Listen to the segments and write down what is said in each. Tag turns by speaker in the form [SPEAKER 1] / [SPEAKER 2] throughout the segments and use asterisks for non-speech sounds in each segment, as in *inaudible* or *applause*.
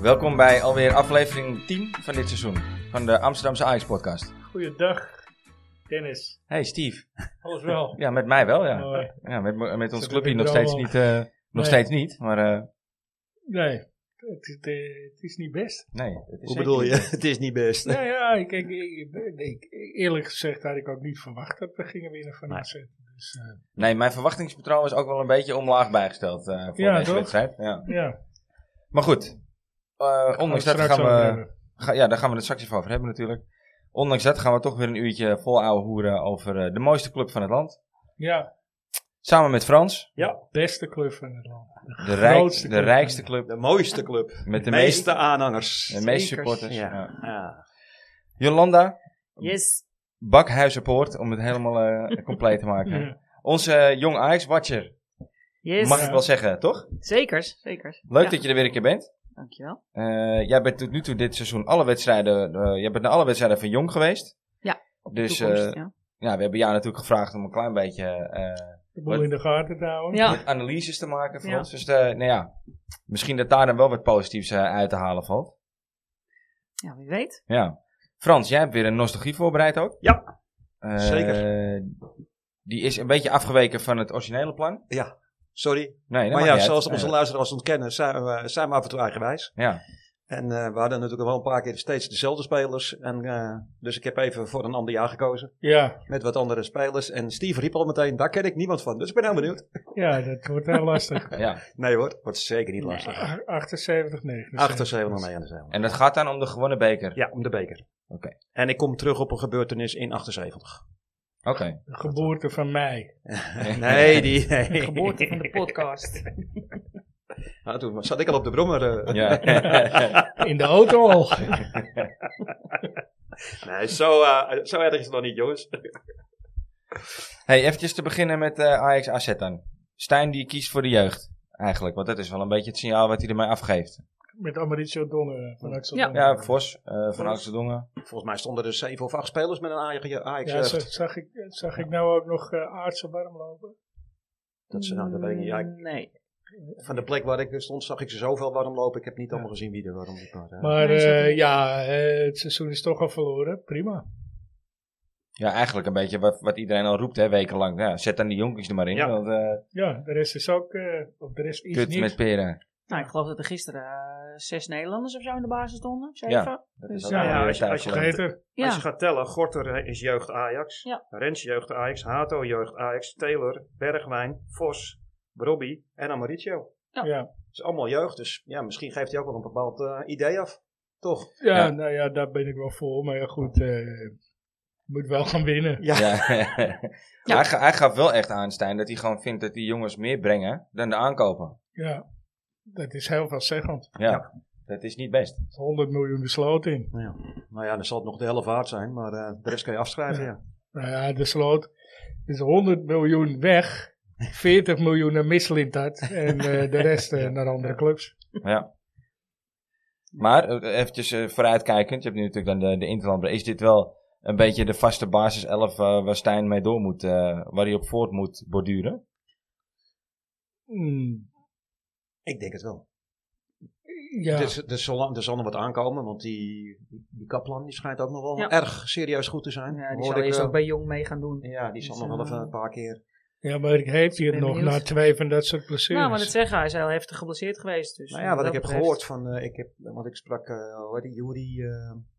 [SPEAKER 1] Welkom bij alweer aflevering 10 van dit seizoen van de Amsterdamse Ajax podcast.
[SPEAKER 2] Goeiedag, Dennis.
[SPEAKER 1] Hey Steve.
[SPEAKER 2] Alles wel?
[SPEAKER 1] Ja, met mij wel ja.
[SPEAKER 2] Mooi.
[SPEAKER 1] ja met, me- met ons
[SPEAKER 2] Zit
[SPEAKER 1] clubje
[SPEAKER 2] er
[SPEAKER 1] nog
[SPEAKER 2] weer
[SPEAKER 1] steeds
[SPEAKER 2] wel.
[SPEAKER 1] niet, eh, nog
[SPEAKER 2] Nee.
[SPEAKER 1] steeds niet, maar eh,
[SPEAKER 2] Nee, het, het, eh, het is niet best.
[SPEAKER 1] nee. het is
[SPEAKER 3] Hoe
[SPEAKER 1] zeker
[SPEAKER 3] bedoel
[SPEAKER 1] niet.
[SPEAKER 3] je?
[SPEAKER 2] *laughs*
[SPEAKER 3] Het is niet best.
[SPEAKER 2] Nou ja, ik, ik, ik- ik- eerlijk gezegd had ik ook niet verwacht dat we gingen winnen van
[SPEAKER 1] Nee.
[SPEAKER 2] AZ. Dus, eh,
[SPEAKER 1] Nee, mijn verwachtingspatroon is ook wel een beetje omlaag bijgesteld eh, voor
[SPEAKER 2] Ja,
[SPEAKER 1] deze
[SPEAKER 2] toch?
[SPEAKER 1] wedstrijd. Ja.
[SPEAKER 2] ja, gaan
[SPEAKER 1] Maar goed, eh,
[SPEAKER 2] we
[SPEAKER 1] ondanks
[SPEAKER 2] het
[SPEAKER 1] dat
[SPEAKER 2] straks
[SPEAKER 1] gaan
[SPEAKER 2] over
[SPEAKER 1] we,
[SPEAKER 2] hebben.
[SPEAKER 1] ga- ja, daar gaan we het straks even over hebben natuurlijk. Ondanks dat gaan we toch weer een uurtje vol ouwe hoeren over eh, de mooiste club van het land.
[SPEAKER 2] Ja,
[SPEAKER 1] Samen met Frans,
[SPEAKER 2] beste club van het land.
[SPEAKER 1] de, rijk-
[SPEAKER 2] grootste
[SPEAKER 1] de
[SPEAKER 2] club.
[SPEAKER 1] rijkste club
[SPEAKER 3] De mooiste club. De,
[SPEAKER 1] met de
[SPEAKER 3] meeste
[SPEAKER 1] meeste,
[SPEAKER 3] aanhangers.
[SPEAKER 1] de meeste
[SPEAKER 4] Zekers,
[SPEAKER 1] supporters.
[SPEAKER 4] ja.
[SPEAKER 1] ja.
[SPEAKER 3] Ja.
[SPEAKER 1] Jolanda,
[SPEAKER 4] Yes.
[SPEAKER 1] Bakhuizenpoort, om het helemaal
[SPEAKER 4] *laughs*
[SPEAKER 1] eh, compleet te maken.
[SPEAKER 2] Ja.
[SPEAKER 1] Onze eh, jong Ajax-watcher,
[SPEAKER 4] Yes.
[SPEAKER 1] mag ik wel zeggen, toch?
[SPEAKER 4] Zekers, zekers.
[SPEAKER 1] Leuk
[SPEAKER 4] Ja,
[SPEAKER 1] dat je er weer een keer bent.
[SPEAKER 4] Dankjewel.
[SPEAKER 1] Eh, jij bent tot nu toe dit seizoen alle wedstrijden, eh, jij bent naar alle wedstrijden van Jong geweest.
[SPEAKER 4] Ja,
[SPEAKER 1] Dus
[SPEAKER 4] Toekomst,
[SPEAKER 1] eh,
[SPEAKER 4] ja.
[SPEAKER 1] ja, we hebben jou natuurlijk gevraagd om een klein beetje eh,
[SPEAKER 2] De boel in de gaten te
[SPEAKER 3] Oh,
[SPEAKER 2] houden.
[SPEAKER 4] ja.
[SPEAKER 1] analyses te maken voor
[SPEAKER 4] Ja.
[SPEAKER 1] ons. Dus eh, nou ja, misschien dat daar dan wel wat positiefs eh, uit te halen valt.
[SPEAKER 4] Ja, wie weet.
[SPEAKER 1] Ja. Frans, jij hebt weer een nostalgie voorbereid ook.
[SPEAKER 3] Ja.
[SPEAKER 1] Eh,
[SPEAKER 3] Zeker.
[SPEAKER 1] Die is een beetje afgeweken van het originele plan.
[SPEAKER 3] ja. Sorry.
[SPEAKER 1] Nee, dat
[SPEAKER 3] maar
[SPEAKER 1] maakt
[SPEAKER 3] ja,
[SPEAKER 1] niet uit.
[SPEAKER 3] zoals onze
[SPEAKER 1] Nee.
[SPEAKER 3] luisteraars ontkennen, zijn we, zijn we af en toe eigenwijs.
[SPEAKER 1] Ja,
[SPEAKER 3] En eh, we hadden natuurlijk wel een paar keer steeds dezelfde spelers. En, eh, dus ik heb even voor een ander jaar gekozen.
[SPEAKER 2] Ja,
[SPEAKER 3] Met wat andere spelers. En Steve riep al meteen, daar ken ik niemand van. Dus ik ben heel benieuwd.
[SPEAKER 2] ja, dat wordt heel
[SPEAKER 1] *laughs*
[SPEAKER 2] lastig.
[SPEAKER 1] ja.
[SPEAKER 3] Nee hoor, wordt zeker niet lastig. *laughs*
[SPEAKER 2] Ach- 78, 79.
[SPEAKER 3] 78 79.
[SPEAKER 1] En dat gaat dan om de gewonnen beker.
[SPEAKER 3] Ja, om de beker.
[SPEAKER 1] Oké.
[SPEAKER 3] En ik kom terug op een gebeurtenis in 78.
[SPEAKER 1] Oké.
[SPEAKER 3] *laughs*
[SPEAKER 2] De geboorte van mij.
[SPEAKER 3] Nee,
[SPEAKER 1] *laughs*
[SPEAKER 3] die...
[SPEAKER 4] De
[SPEAKER 3] Nee.
[SPEAKER 4] geboorte
[SPEAKER 3] *laughs*
[SPEAKER 4] van de podcast.
[SPEAKER 3] Nou, toen zat ik al op de brommer. eh.
[SPEAKER 1] Ja. *laughs*
[SPEAKER 2] In de auto al.
[SPEAKER 3] Nee, zo, eh, zo erg is het nog niet, jongens.
[SPEAKER 1] Hey, eventjes te beginnen met eh Ajax AZ dan. Stijn die kiest voor de jeugd, eigenlijk. Want dat is wel een beetje het signaal wat hij ermee afgeeft.
[SPEAKER 2] Met Amaritio Dongen van Axel
[SPEAKER 4] Ja.
[SPEAKER 2] Dongen.
[SPEAKER 1] Ja, Vos, eh van Axeldongen.
[SPEAKER 3] Volgens mij stonden er zeven of acht spelers met een Ajax. eh, Ajax
[SPEAKER 1] eh,
[SPEAKER 2] Ja, zag, zag ik, zag ik nou ook nog eh aardse warm lopen?
[SPEAKER 3] dat ze, nou, dat weet ik niet. Ja, ik-
[SPEAKER 4] Nee.
[SPEAKER 3] van de plek waar ik stond zag ik ze zoveel warm lopen. Ik heb niet allemaal gezien wie er warm liep. Maar, eh,
[SPEAKER 2] Maar
[SPEAKER 4] Nee, zeker
[SPEAKER 2] eh,
[SPEAKER 4] niet.
[SPEAKER 2] ja, eh, het seizoen is toch al verloren. Prima.
[SPEAKER 1] Ja, eigenlijk een beetje wat, wat iedereen al roept, hè, wekenlang. Ja, zet dan die jonkies er maar in,
[SPEAKER 3] Ja.
[SPEAKER 1] want eh
[SPEAKER 2] Ja, de rest is ook. eh, of de rest is
[SPEAKER 1] kut
[SPEAKER 2] niet.
[SPEAKER 1] met peren.
[SPEAKER 4] Nou, ik geloof dat er gisteren eh, zes Nederlanders of zo in de basis stonden. Zeven.
[SPEAKER 1] Ja. Dat
[SPEAKER 4] Dus,
[SPEAKER 1] is ook
[SPEAKER 2] ja,
[SPEAKER 1] wel
[SPEAKER 2] ja,
[SPEAKER 1] weer
[SPEAKER 5] als je- als je
[SPEAKER 1] thuisgeland.
[SPEAKER 2] Beter.
[SPEAKER 4] Ja.
[SPEAKER 5] Als je gaat tellen, Gorter eh, is jeugd Ajax.
[SPEAKER 4] Ja.
[SPEAKER 5] Rens jeugd Ajax. Hato jeugd Ajax. Taylor, Bergwijn, Vos, Robbie en Amaritio.
[SPEAKER 2] Ja.
[SPEAKER 4] Ja.
[SPEAKER 2] Ja,
[SPEAKER 3] het is allemaal jeugd, dus ja, misschien geeft hij ook wel een bepaald eh, idee af. Toch?
[SPEAKER 1] Ja.
[SPEAKER 2] nou ja, daar ben ik wel voor. Maar ja, goed. eh moet wel gaan winnen.
[SPEAKER 1] Ja. *laughs* Hij, ga- hij gaf wel echt aan, Stijn, dat hij gewoon vindt dat die jongens meer brengen dan de aankopen.
[SPEAKER 2] Ja, dat is heel veelzeggend.
[SPEAKER 1] Ja.
[SPEAKER 3] Ja.
[SPEAKER 1] Dat is niet best.
[SPEAKER 2] 100 miljoen besloten in.
[SPEAKER 3] Ja. Nou ja, dan zal het nog de helft waard zijn, maar eh, de rest kan je afschrijven. Ja.
[SPEAKER 2] Nou ja, de sloot is 100 miljoen weg. 40 miljoen naar Mislintat. En eh, de
[SPEAKER 1] *laughs*
[SPEAKER 2] rest eh, naar andere clubs.
[SPEAKER 1] Ja. Maar eh, eventjes eh, vooruitkijkend, je hebt nu natuurlijk dan de, de Interlandbreak. Is dit wel een beetje de vaste basis 11 eh, waar Stijn mee door moet, eh, waar hij op voort moet borduren?
[SPEAKER 2] Hmm,
[SPEAKER 3] Ik denk het wel.
[SPEAKER 2] ja.
[SPEAKER 3] Dus, er zal, er zal nog wat aankomen, want die, die Kaplan die schijnt ook nog wel
[SPEAKER 4] Ja.
[SPEAKER 3] erg serieus goed te zijn.
[SPEAKER 4] Ja, die
[SPEAKER 3] Hoorde
[SPEAKER 4] zal
[SPEAKER 3] ik,
[SPEAKER 4] eerst
[SPEAKER 3] eh,
[SPEAKER 4] ook bij Jong mee gaan doen.
[SPEAKER 3] Ja, die zal
[SPEAKER 4] Dus,
[SPEAKER 3] nog wel
[SPEAKER 4] eh,
[SPEAKER 3] even een paar keer.
[SPEAKER 2] ja, maar heeft hij het
[SPEAKER 4] Ben
[SPEAKER 2] nog
[SPEAKER 4] benieuwd.
[SPEAKER 2] na twee van dat soort plezier.
[SPEAKER 4] Nou, maar dat zeggen, hij is heel heftig geblesseerd geweest. Dus,
[SPEAKER 3] Nou ja,
[SPEAKER 4] wat
[SPEAKER 3] wat ik heb
[SPEAKER 4] dat betreft-
[SPEAKER 3] gehoord van, eh, ik heb, want ik sprak, eh hoe heet die, Juri, eh,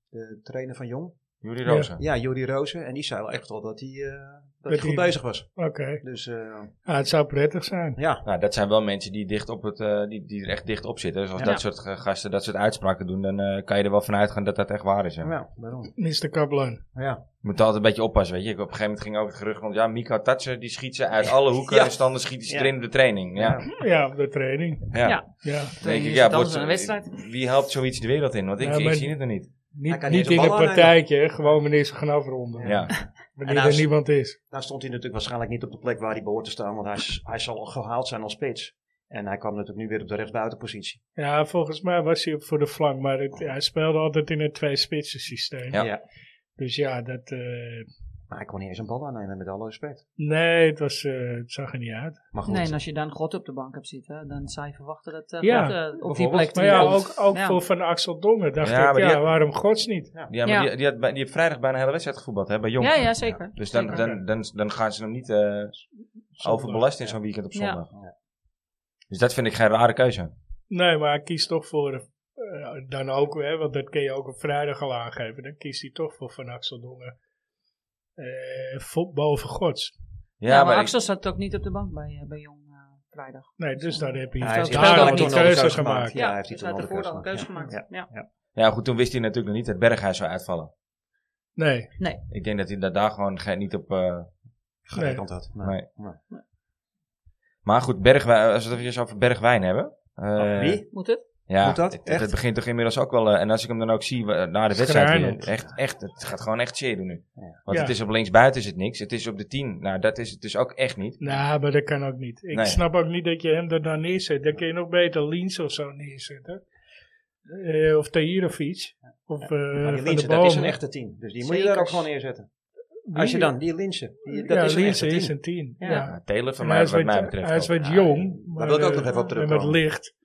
[SPEAKER 3] de trainer van Jong.
[SPEAKER 1] Juri
[SPEAKER 2] Ja.
[SPEAKER 1] Rozen.
[SPEAKER 3] Ja, Juri Rozen. En die zei wel echt wel dat hij, eh, dat hij
[SPEAKER 2] hij-
[SPEAKER 3] goed bezig was.
[SPEAKER 2] Oké.
[SPEAKER 3] Dus eh,
[SPEAKER 2] Ah, het zou prettig zijn.
[SPEAKER 3] ja,
[SPEAKER 1] Nou, dat zijn wel mensen die, dicht op het, eh, die, die er echt dicht op zitten. Dus als
[SPEAKER 4] Ja.
[SPEAKER 1] dat soort eh, gasten dat soort uitspraken doen, dan eh, kan je er wel van uitgaan dat dat echt waar is. hè.
[SPEAKER 3] ja. waarom?
[SPEAKER 2] Mr. Kaplan.
[SPEAKER 3] Ja.
[SPEAKER 1] Je moet altijd een beetje oppassen, weet je. Ik- Op een gegeven moment ging ook het gerucht rond, ja, Mika Tatsen, die schiet ze uit alle hoeken
[SPEAKER 3] Ja.
[SPEAKER 1] en standen schieten ze
[SPEAKER 5] Ja.
[SPEAKER 1] erin op de training. Ja.
[SPEAKER 2] Ja, op de training.
[SPEAKER 1] Ja.
[SPEAKER 4] Ja.
[SPEAKER 2] Ja.
[SPEAKER 1] Dan denk ik,
[SPEAKER 4] Is
[SPEAKER 1] ja, wordt,
[SPEAKER 4] het anders dan een wedstrijd?
[SPEAKER 1] wie helpt zoiets de wereld in? Want ik,
[SPEAKER 2] Ja,
[SPEAKER 1] ik
[SPEAKER 2] maar-
[SPEAKER 1] zie het er niet.
[SPEAKER 2] Niet,
[SPEAKER 3] kan
[SPEAKER 2] niet
[SPEAKER 3] deze
[SPEAKER 2] in een
[SPEAKER 3] bal aannemen.
[SPEAKER 2] partijtje, hè. gewoon wanneer ze gaan afronden.
[SPEAKER 1] Ja.
[SPEAKER 2] Wanneer
[SPEAKER 3] En als-
[SPEAKER 2] er niemand is.
[SPEAKER 3] Nou stond hij natuurlijk waarschijnlijk niet op de plek waar hij behoort te staan, want hij, is- hij zal al gehaald zijn als spits. En hij kwam natuurlijk nu weer op de rechtsbuitenpositie.
[SPEAKER 2] Ja, volgens mij was hij op voor de flank, maar het, hij speelde altijd in het twee-spitsen systeem.
[SPEAKER 1] Ja.
[SPEAKER 3] ja.
[SPEAKER 2] Dus ja, dat, eh,
[SPEAKER 3] Maar hij kon niet eens een bal aannemen, met alle respect.
[SPEAKER 2] Nee, het, was, eh, het zag er niet uit.
[SPEAKER 3] Maar goed,
[SPEAKER 4] Nee, en als je dan God op de bank hebt zitten, dan zou je verwachten dat eh,
[SPEAKER 2] Ja,
[SPEAKER 4] God eh, op die plek
[SPEAKER 3] bijvoorbeeld.
[SPEAKER 2] Maar
[SPEAKER 4] terug
[SPEAKER 2] ja,
[SPEAKER 4] komt.
[SPEAKER 2] ook, ook
[SPEAKER 3] Nou.
[SPEAKER 4] Ja.
[SPEAKER 2] voor Van Axel Dongen dacht
[SPEAKER 1] Ja,
[SPEAKER 2] ik,
[SPEAKER 1] maar
[SPEAKER 2] ja,
[SPEAKER 1] die had-
[SPEAKER 2] waarom gods niet?
[SPEAKER 1] Ja, maar
[SPEAKER 4] Ja.
[SPEAKER 1] Die, die, had, bij- die heeft vrijdag bijna een hele wedstrijd gevoetbald hè, bij Jong.
[SPEAKER 4] Ja, ja, zeker.
[SPEAKER 1] Dus dan,
[SPEAKER 4] Zeker.
[SPEAKER 1] dan, dan, dan gaan ze hem niet eh overbelasten in zo'n weekend op
[SPEAKER 4] Ja.
[SPEAKER 1] zondag. Dus dat vind ik geen rare keuze.
[SPEAKER 2] Nee, maar hij kiest toch voor, eh, dan ook, hè, want dat kun je ook op vrijdag al aangeven, dan kiest hij toch voor Van Axel Dongen. Eh, vo- boven gods.
[SPEAKER 1] Ja,
[SPEAKER 4] Ja, maar,
[SPEAKER 1] ik-
[SPEAKER 4] Axel zat ook niet op de bank bij, eh, bij Jong eh, vrijdag.
[SPEAKER 2] Nee, dus daar heb je
[SPEAKER 3] hij heeft
[SPEAKER 4] speelt
[SPEAKER 2] daar
[SPEAKER 4] ook
[SPEAKER 2] al
[SPEAKER 4] niet.
[SPEAKER 2] die
[SPEAKER 4] Toen al de
[SPEAKER 2] keuze
[SPEAKER 3] keus
[SPEAKER 2] gemaakt.
[SPEAKER 3] gemaakt. Ja, hij heeft die
[SPEAKER 4] dus
[SPEAKER 3] toen
[SPEAKER 4] had
[SPEAKER 3] al de
[SPEAKER 4] ervoor al een
[SPEAKER 3] keus
[SPEAKER 4] keuze gemaakt. Ja.
[SPEAKER 3] gemaakt.
[SPEAKER 1] ja, goed, toen wist hij natuurlijk nog niet dat Berghuis zou uitvallen.
[SPEAKER 2] Nee,
[SPEAKER 1] Ik denk dat hij dat daar gewoon ge- niet op... eh,
[SPEAKER 3] gerekend had. Nou. Nee.
[SPEAKER 1] Nee. Maar goed, Bergwijn, als we het even over Bergwijn hebben. eh,
[SPEAKER 3] Oh, Wie?
[SPEAKER 4] Moet het?
[SPEAKER 1] Ja,
[SPEAKER 3] Moet dat?
[SPEAKER 1] Het,
[SPEAKER 3] Echt?
[SPEAKER 1] het begint toch inmiddels ook wel. eh, en als ik hem dan ook zie eh, na de wedstrijd
[SPEAKER 2] Schrijnend.
[SPEAKER 1] weer. Echt, echt, het gaat gewoon echt zeer doen nu. Want
[SPEAKER 2] Ja.
[SPEAKER 1] het is op linksbuiten is het niks. Het is op de 10. Nou, dat is het dus ook echt niet.
[SPEAKER 2] nou, maar dat kan ook niet. Ik
[SPEAKER 1] Nee.
[SPEAKER 2] snap ook niet dat je hem er dan neerzet. Dan kun je nog beter Liens of zo neerzetten. Eh, of Tahirovic. Of eh
[SPEAKER 3] Maar die
[SPEAKER 2] Van de
[SPEAKER 3] Linse, dat is een
[SPEAKER 2] Bomen.
[SPEAKER 3] echte tien. Dus die moet je daar
[SPEAKER 4] Zekers.
[SPEAKER 3] ook gewoon neerzetten.
[SPEAKER 2] Die-
[SPEAKER 3] Als je dan, die Linse, die- dat
[SPEAKER 2] ja,
[SPEAKER 3] is een
[SPEAKER 2] Linse
[SPEAKER 3] echte
[SPEAKER 2] is
[SPEAKER 3] tien.
[SPEAKER 2] een tien. Ja.
[SPEAKER 4] Ja.
[SPEAKER 1] Nou, Taylor van
[SPEAKER 2] En
[SPEAKER 1] mij,
[SPEAKER 2] hij is
[SPEAKER 1] wat
[SPEAKER 2] wat,
[SPEAKER 1] mij betreft.
[SPEAKER 2] hij is
[SPEAKER 1] ook.
[SPEAKER 2] wat
[SPEAKER 1] Ja,
[SPEAKER 2] jong. maar,
[SPEAKER 3] wil ik ook
[SPEAKER 2] eh,
[SPEAKER 3] nog even op
[SPEAKER 2] En wat
[SPEAKER 3] terugkomen.
[SPEAKER 2] licht.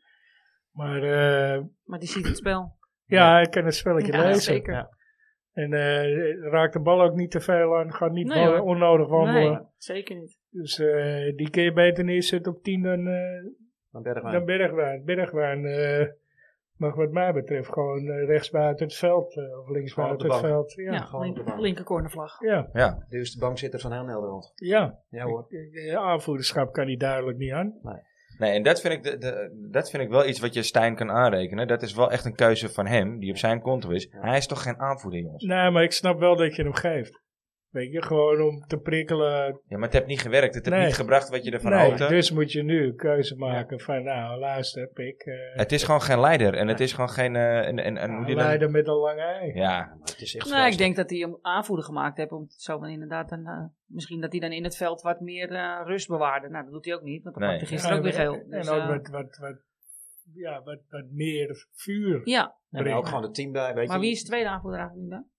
[SPEAKER 2] Maar eh,
[SPEAKER 4] Maar die ziet het spel.
[SPEAKER 2] ja, ik kan het spelletje
[SPEAKER 4] Ja,
[SPEAKER 2] lezen.
[SPEAKER 4] zeker.
[SPEAKER 3] Ja.
[SPEAKER 2] En eh raakt de bal ook niet te veel aan. Gaat niet
[SPEAKER 4] Nee,
[SPEAKER 2] wa-
[SPEAKER 4] hoor.
[SPEAKER 2] onnodig wandelen.
[SPEAKER 4] Nee, zeker niet.
[SPEAKER 2] Dus eh, die kun je beter neerzetten op 10 dan, eh,
[SPEAKER 3] Dan Bergwijn.
[SPEAKER 2] dan Bergwijn. Bergwijn eh, mag wat mij betreft gewoon eh, rechtsbuiten het veld. eh, of
[SPEAKER 3] Gewoon op de
[SPEAKER 2] linksbuiten het
[SPEAKER 3] bank.
[SPEAKER 2] veld. Ja,
[SPEAKER 4] Ja,
[SPEAKER 2] ja.
[SPEAKER 3] gewoon
[SPEAKER 4] link-
[SPEAKER 3] op de bank.
[SPEAKER 4] linker cornervlag.
[SPEAKER 2] ja.
[SPEAKER 1] Ja,
[SPEAKER 3] Dus de bankzitter van heel Nederland. Ja hoor.
[SPEAKER 2] Eh, Aanvoerderschap kan hij duidelijk niet aan.
[SPEAKER 1] nee, en dat vind, ik de, de- dat vind ik wel iets wat je Stijn kan aanrekenen. Dat is wel echt een keuze van hem, die op zijn konto is. Hij is toch geen aanvoerder, jongens?
[SPEAKER 2] Nee, maar ik snap wel dat je hem geeft. Weet je, gewoon om te prikkelen.
[SPEAKER 1] Ja, maar het heeft niet gewerkt. Het heeft
[SPEAKER 2] Nee.
[SPEAKER 1] niet gebracht wat je ervan
[SPEAKER 2] Nee,
[SPEAKER 1] hoopte.
[SPEAKER 2] dus moet je nu een keuze maken van, nou, luister, pik. eh
[SPEAKER 1] Het is gewoon geen leider. En het is gewoon geen... eh, en, en, en hoe die dan-
[SPEAKER 2] leider met een lange ei.
[SPEAKER 1] Ja,
[SPEAKER 3] Ja, maar het is echt
[SPEAKER 4] Nou, ik
[SPEAKER 3] vreselijk.
[SPEAKER 4] denk dat hij hem aanvoerder gemaakt heeft. Om zo van inderdaad dan, eh, misschien dat hij dan in het veld wat meer eh, rust bewaarde. Nou, dat doet hij ook niet, want dan
[SPEAKER 1] Nee.
[SPEAKER 4] pakt hij gisteren ook weer
[SPEAKER 2] en,
[SPEAKER 4] geel. Dus,
[SPEAKER 2] en ook
[SPEAKER 4] eh,
[SPEAKER 2] wat, wat, wat, ja, wat, wat meer vuur.
[SPEAKER 4] ja,
[SPEAKER 3] En er ook gewoon het team bij, weet je.
[SPEAKER 4] maar wie is de tweede aanvoerder eigenlijk nu dan?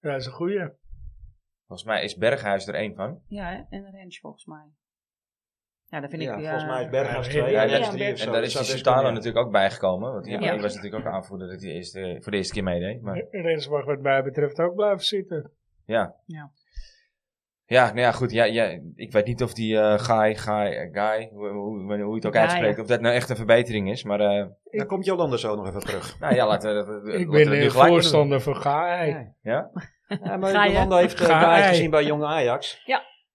[SPEAKER 2] Dat is een goeie.
[SPEAKER 1] Volgens mij is Berghuis er één van.
[SPEAKER 4] Ja, hè? en Rens volgens mij. Ja, dat vind
[SPEAKER 3] Ja,
[SPEAKER 4] ik... eh,
[SPEAKER 3] volgens mij
[SPEAKER 4] *laughs*
[SPEAKER 3] is Berghuis
[SPEAKER 2] Ja,
[SPEAKER 3] twee
[SPEAKER 2] ja,
[SPEAKER 3] en
[SPEAKER 1] ja,
[SPEAKER 3] Jens drie of zo.
[SPEAKER 1] En daar
[SPEAKER 3] Dus
[SPEAKER 1] is die
[SPEAKER 3] dat
[SPEAKER 1] Sutalo
[SPEAKER 3] gewoon-
[SPEAKER 1] natuurlijk ook bijgekomen. Want die,
[SPEAKER 4] Ja.
[SPEAKER 1] die was natuurlijk ook aanvoerder dat hij de eerste, voor de eerste keer meedeed. Maar
[SPEAKER 2] Rens mag wat mij betreft ook blijven zitten.
[SPEAKER 1] ja.
[SPEAKER 4] Ja.
[SPEAKER 1] Ja, nou ja, goed. Ja, ja, ik weet niet of die eh Guy, Guy, eh, Guy hoe, hoe, hoe je het ook
[SPEAKER 4] Ja,
[SPEAKER 1] uitspreekt,
[SPEAKER 4] ja.
[SPEAKER 1] of dat nou echt een verbetering is. Maar eh
[SPEAKER 3] Dan komt Jolanda zo nog even terug.
[SPEAKER 1] nou ja, laten we dat laten we
[SPEAKER 2] Ik
[SPEAKER 1] het
[SPEAKER 2] ben
[SPEAKER 1] nu
[SPEAKER 2] een
[SPEAKER 1] gelijk
[SPEAKER 2] voorstander van Gaai.
[SPEAKER 3] Ja.
[SPEAKER 1] doen. Ja?
[SPEAKER 3] Ja, maar
[SPEAKER 4] Ga je?
[SPEAKER 3] Jolanda heeft eh,
[SPEAKER 2] Ga
[SPEAKER 3] Gaai
[SPEAKER 2] hij.
[SPEAKER 3] gezien bij jonge Ajax.